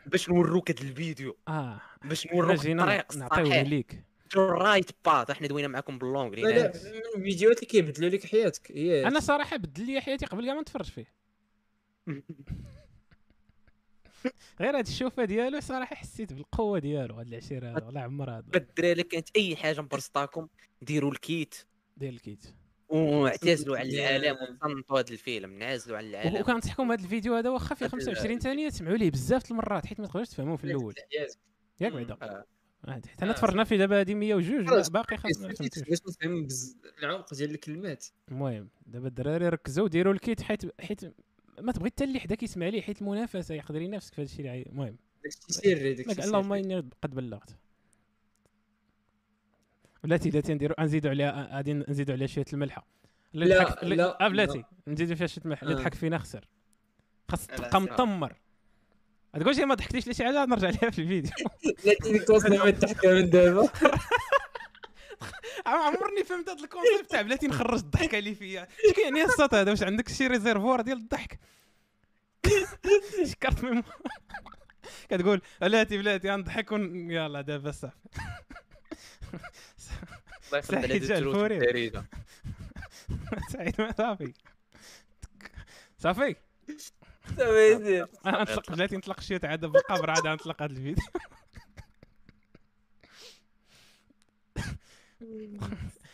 S3: باش نوروك هاد الفيديو
S2: اه
S3: باش
S2: حنا
S3: نوروك
S2: جينا
S3: الطريق
S2: نعطيوه
S3: الصحيح
S2: ليك.
S3: رايت باث احنا دوينا معاكم يعني باللونغ
S1: لا لا من الفيديوهات اللي كيبدلوا لك حياتك هي
S2: انا صراحه بدل لي حياتي قبل كاع ما نتفرج فيه غير هاد الشوفه ديالو صراحه حسيت بالقوه ديالو هاد العشيره هذا الله عمر هذا
S3: الدراري اللي كانت اي حاجه مبرسطاكم ديروا الكيت
S2: ديال الكيت
S3: واعتزلوا على العالم وصنتوا هذا الفيلم نعزلوا على
S2: و-
S3: العالم
S2: وكنصحكم هذا الفيديو هذا واخا فيه
S3: هاد ال-
S2: 25 ثانيه تسمعوا ليه بزاف د المرات حيت ما تقدروش تفهموه في الاول ياك بعدا عاد، حيت انا
S1: آه.
S2: تفرجنا فيه دابا هذه 102 باقي خاص ما فهمتوش
S1: باش نفهم بز- العمق ديال الكلمات
S2: المهم دابا الدراري ركزوا وديروا الكيت حيت حيت ما تبغي حتى اللي حداك يسمع ليه حيت المنافسه يقدر ينافسك في هذا الشيء اللي عاي- المهم
S1: داكشي سري، داكشي
S2: ما-
S1: سري.
S2: اللهم اني قد بلغت بلاتي بلاتي نديروا نزيدوا عليها آه، غادي نزيدوا عليها شويه الملحه اللي
S1: لا،
S2: ضحك- اللي-
S1: لا،
S2: آه بلاتي
S1: لا.
S2: نزيدوا فيها شويه الملح اللي
S1: آه.
S2: ضحك فينا خسر خاص
S1: لا،
S2: تبقى
S1: صراحة.
S2: مطمر تقولش ما ضحكتيش لشي حاجه نرجع لها في الفيديو
S1: لكن توصلنا ما تحكى من دابا
S2: عم- عمرني فهمت هذا الكونسيبت تاع بلاتي نخرج الضحكه اللي فيا اش كيعني الصوت هذا واش عندك شي ريزيرفوار ديال الضحك شكرت من كتقول بلاتي بلاتي غنضحك ون- يلا دابا صافي
S3: الله يخلي
S2: سعيد
S3: بلاد
S2: جا
S3: التروت
S2: الفوري.
S3: والدارجة.
S2: سعيد ما صافي صافي
S1: صافي
S2: انا نطلق بلاتي نطلق شي عاد بالقبر عاد نطلق هذا الفيديو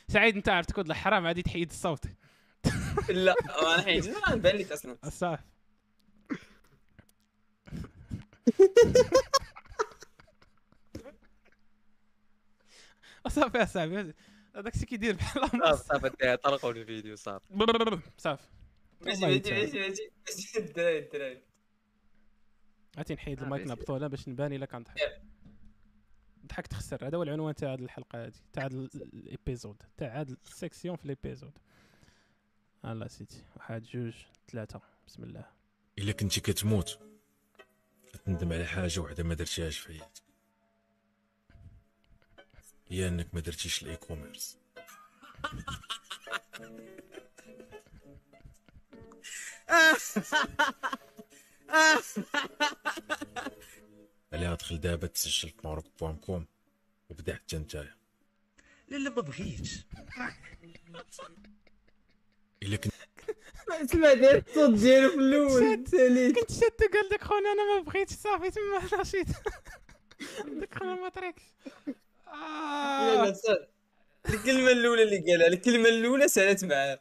S2: سعيد انت عرفت كود الحرام عادي تحيد الصوت
S1: لا ما نحيدش ما نبان لك اصلا
S2: صافي صافي اصاحبي هذاك الشيء كيدير بحال
S3: صافي صافي الدراري طلقوا الفيديو صافي
S2: برررر، صافي
S1: ماشي ماشي ماشي ماشي ماشي الدراري الدراري
S2: عرفتي نحيد المايكنا بطوله باش نبان الا كنضحك ضحكت خسر هذا هو العنوان تاع هاد الحلقه هادي تاع هاد ال- الابيزود تاع هاد السيكسيون في آه، الابيزود الله سيدي واحد جوج ثلاثه بسم الله
S21: الا كنتي كتموت تندم على حاجه وحده ما درتيهاش في حياتك هي انك ما درتيش الاي كوميرس عليها دخل دابا تسجل في ماروك بوان كوم وبدا حتى نتايا
S14: لا لا ما بغيتش
S21: الا كنت
S17: تسمع داير الصوت ديالو في الاول
S2: كنت شادو قال لك خونا انا ما بغيتش صافي تما انا مشيت داك خونا ما طريقش Ah. آه،
S1: لا لا صار. الكلمة الأولى اللي قالها الكلمة الأولى سالت معاه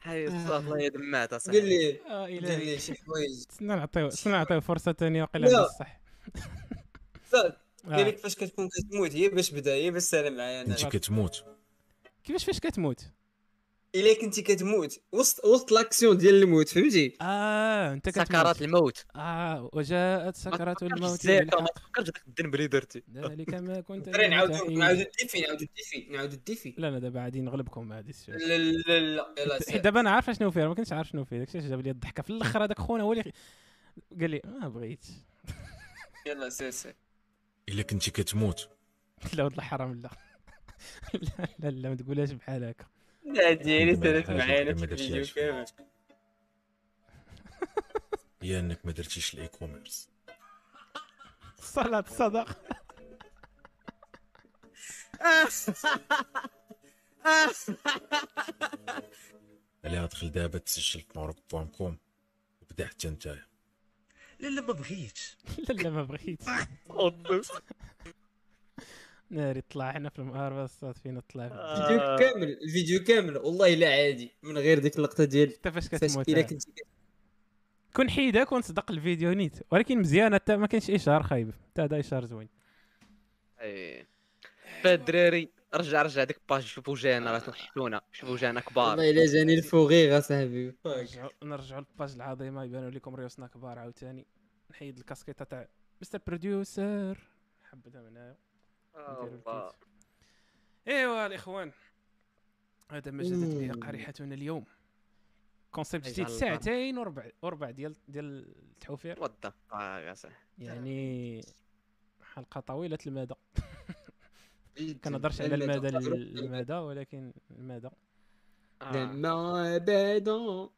S3: حي الله يا دمعت اصاحبي
S1: قال لي
S2: آه، إلهي.
S1: قال لي شي حوايج
S2: سنا نعطيو سنا نعطيو فرصه ثانيه وقيلا
S1: لا. يعني-
S2: عنده الصح
S1: صار.
S2: آه.
S1: قال لك فاش كتكون كتموت هي باش بدا هي باش سال معايا انا
S21: كنتي كتموت
S2: كيفاش فاش كتموت
S1: الا كنتي كتموت وسط وسط لاكسيون ديال الموت فهمتي
S2: اه انت كتموت.
S1: سكرات
S3: الموت
S2: اه وجاءت سكرات الموت
S1: الزيت،
S2: بالحق.
S3: فكرت داك الذنب اللي درتي
S2: ذلك ما كنت
S1: دري نعاودو
S2: متحيز.
S1: نعاودو الديفي نعاودو الديفي نعاودو الديفي
S2: لا لا دابا عادي نغلبكم عادي السؤال.
S1: لا لا لا يلا
S2: حيت
S1: سير.
S2: دابا انا عارف شنو فيه أنا ما كنتش عارف شنو فيه داكشي علاش جاب لي الضحكه في الاخر هذاك خونا هو اللي قال لي ما بغيتش
S1: يلا سير سير
S21: الا كنتي كتموت
S2: لا ولد الحرام لا لا لا لا ما تقولهاش بحال هكا
S1: لا ديالي
S21: عندما
S1: سالت
S21: الحاجة
S1: معايا انا
S21: عندما
S1: في الفيديو
S21: درتيهاش.
S1: كامل
S21: هي انك ما درتيش الاي كوميرس
S2: صلاة صدق
S21: عليها دخل دابا تسجل في ماروك بوان كوم وبدا حتى نتايا
S14: لا لا ما بغيتش
S2: لا لا ما بغيتش ناري طلع حنا في المغاربه الصاد فينا طلع
S1: الفيديو كامل الفيديو كامل والله الا عادي من غير ديك اللقطه ديال
S2: حتى فاش كتموت
S1: الا
S2: عاد.
S1: كنتي
S2: كون حيدك ونصدق الفيديو نيت ولكن مزيان حتى ما كانش اشهار خايب حتى هذا اشهار زوين
S3: اي فالدراري رجع رجع ديك باج شوف وجهنا راه تنحتونا شوف وجهنا كبار
S17: والله الا جاني الفوغيغ اصاحبي
S2: نرجعوا نرجعوا للباج العظيمه يبانوا لكم ريوسنا كبار عاوتاني نحيد الكاسكيطه تاع مستر بروديوسر حبتها من هنايا نديرو
S3: الله.
S2: الكيت. ايوا الاخوان هذا ما جازت به
S3: أوه.
S2: قريحتنا اليوم كونسيبت
S3: أجعل
S2: جديد
S3: الله.
S2: ساعتين وربع وربع ديال ديال التحوفير
S3: وات ذا
S2: يعني حلقه طويله المدى كنهضرش على
S17: المدى.
S2: المدى المدى ولكن المدى
S4: آه.
S2: آه.
S17: لما بعدا
S2: ديما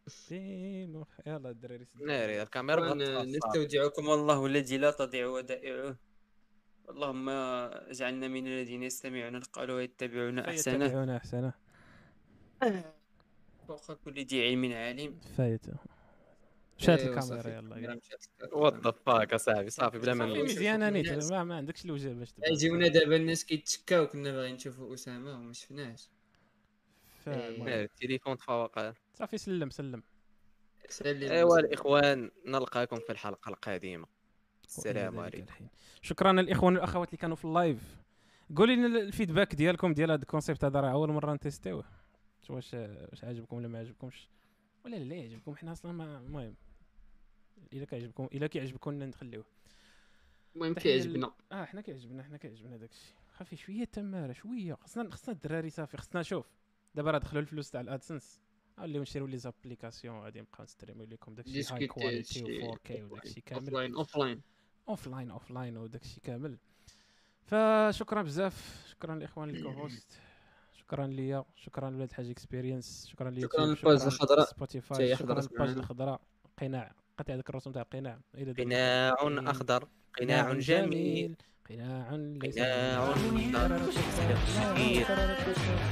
S2: يلا الدراري سدوا.
S3: ناري الكاميرا بغات تفصل.
S1: نستودعكم الله الذي لا تضيع ودائعه اللهم اجعلنا من الذين يستمعون القول ويتبعون احسنه
S2: فيتبعونا احسنه
S1: فوق كل ذي علم عليم نعم،
S2: فايت مشات
S1: إيوا
S2: الكاميرا
S1: صافي،
S2: يلا
S1: الكاميرا
S2: يلا.
S1: مشات.
S3: وات ذا فاك اصاحبي صافي بلا ما
S2: صافي
S3: نلوش.
S2: مزيانه نيت
S1: الناس.
S2: ما, ما عندكش الوجه باش تبان.
S1: يجيونا دابا الناس كيتشكاو كنا باغيين نشوفوا اسامه وما شفناش
S2: فالمهم.
S3: ناري التليفون تفوق
S2: صافي سلم سلم
S3: ايوا الاخوان نلقاكم في الحلقه القادمه السلام
S2: ذلك
S3: عليكم
S2: الحين. شكرا الاخوان والاخوات اللي كانوا في اللايف قولوا لنا الفيدباك ديالكم ديال هذا الكونسيبت هذا راه اول مره نتيستيوه شو واش واش عجبكم ولا ما عجبكمش ولا لا يعجبكم حنا اصلا ما المهم الا كيعجبكم الا كيعجبكم نخليوه
S17: المهم
S2: تحية
S17: كيعجبنا
S2: ل- اه حنا كيعجبنا حنا كيعجبنا داكشي خافي شويه تماره شويه خصنا خصنا الدراري صافي خصنا شوف دابا راه دخلوا الفلوس تاع الادسنس غنوليو نشريو لي زابليكاسيون غادي نبقاو نستريمو لكم داكشي هاي
S17: ديسكوتي
S2: كواليتي
S17: شي-
S2: و 4K وداكشي كامل
S17: اوفلاين اوفلاين
S2: اوف لاين اوف لاين وداكشي كامل فشكرا بزاف شكرا الاخوان الكوهوست شكرا ليا شكرا لولاد الحاج اكسبيرينس شكرا ليوتيوب
S17: للباج الخضراء. حتى
S2: سبوتيفاي
S17: هي
S2: شكرا
S17: حضرت
S2: للباج
S17: معنا.
S2: الخضراء قناع قطع ذاك الرسم تاع القناع إلى ذلك.
S3: قناع اخضر قناع جميل
S2: قناع ليس
S3: قناع أخضر.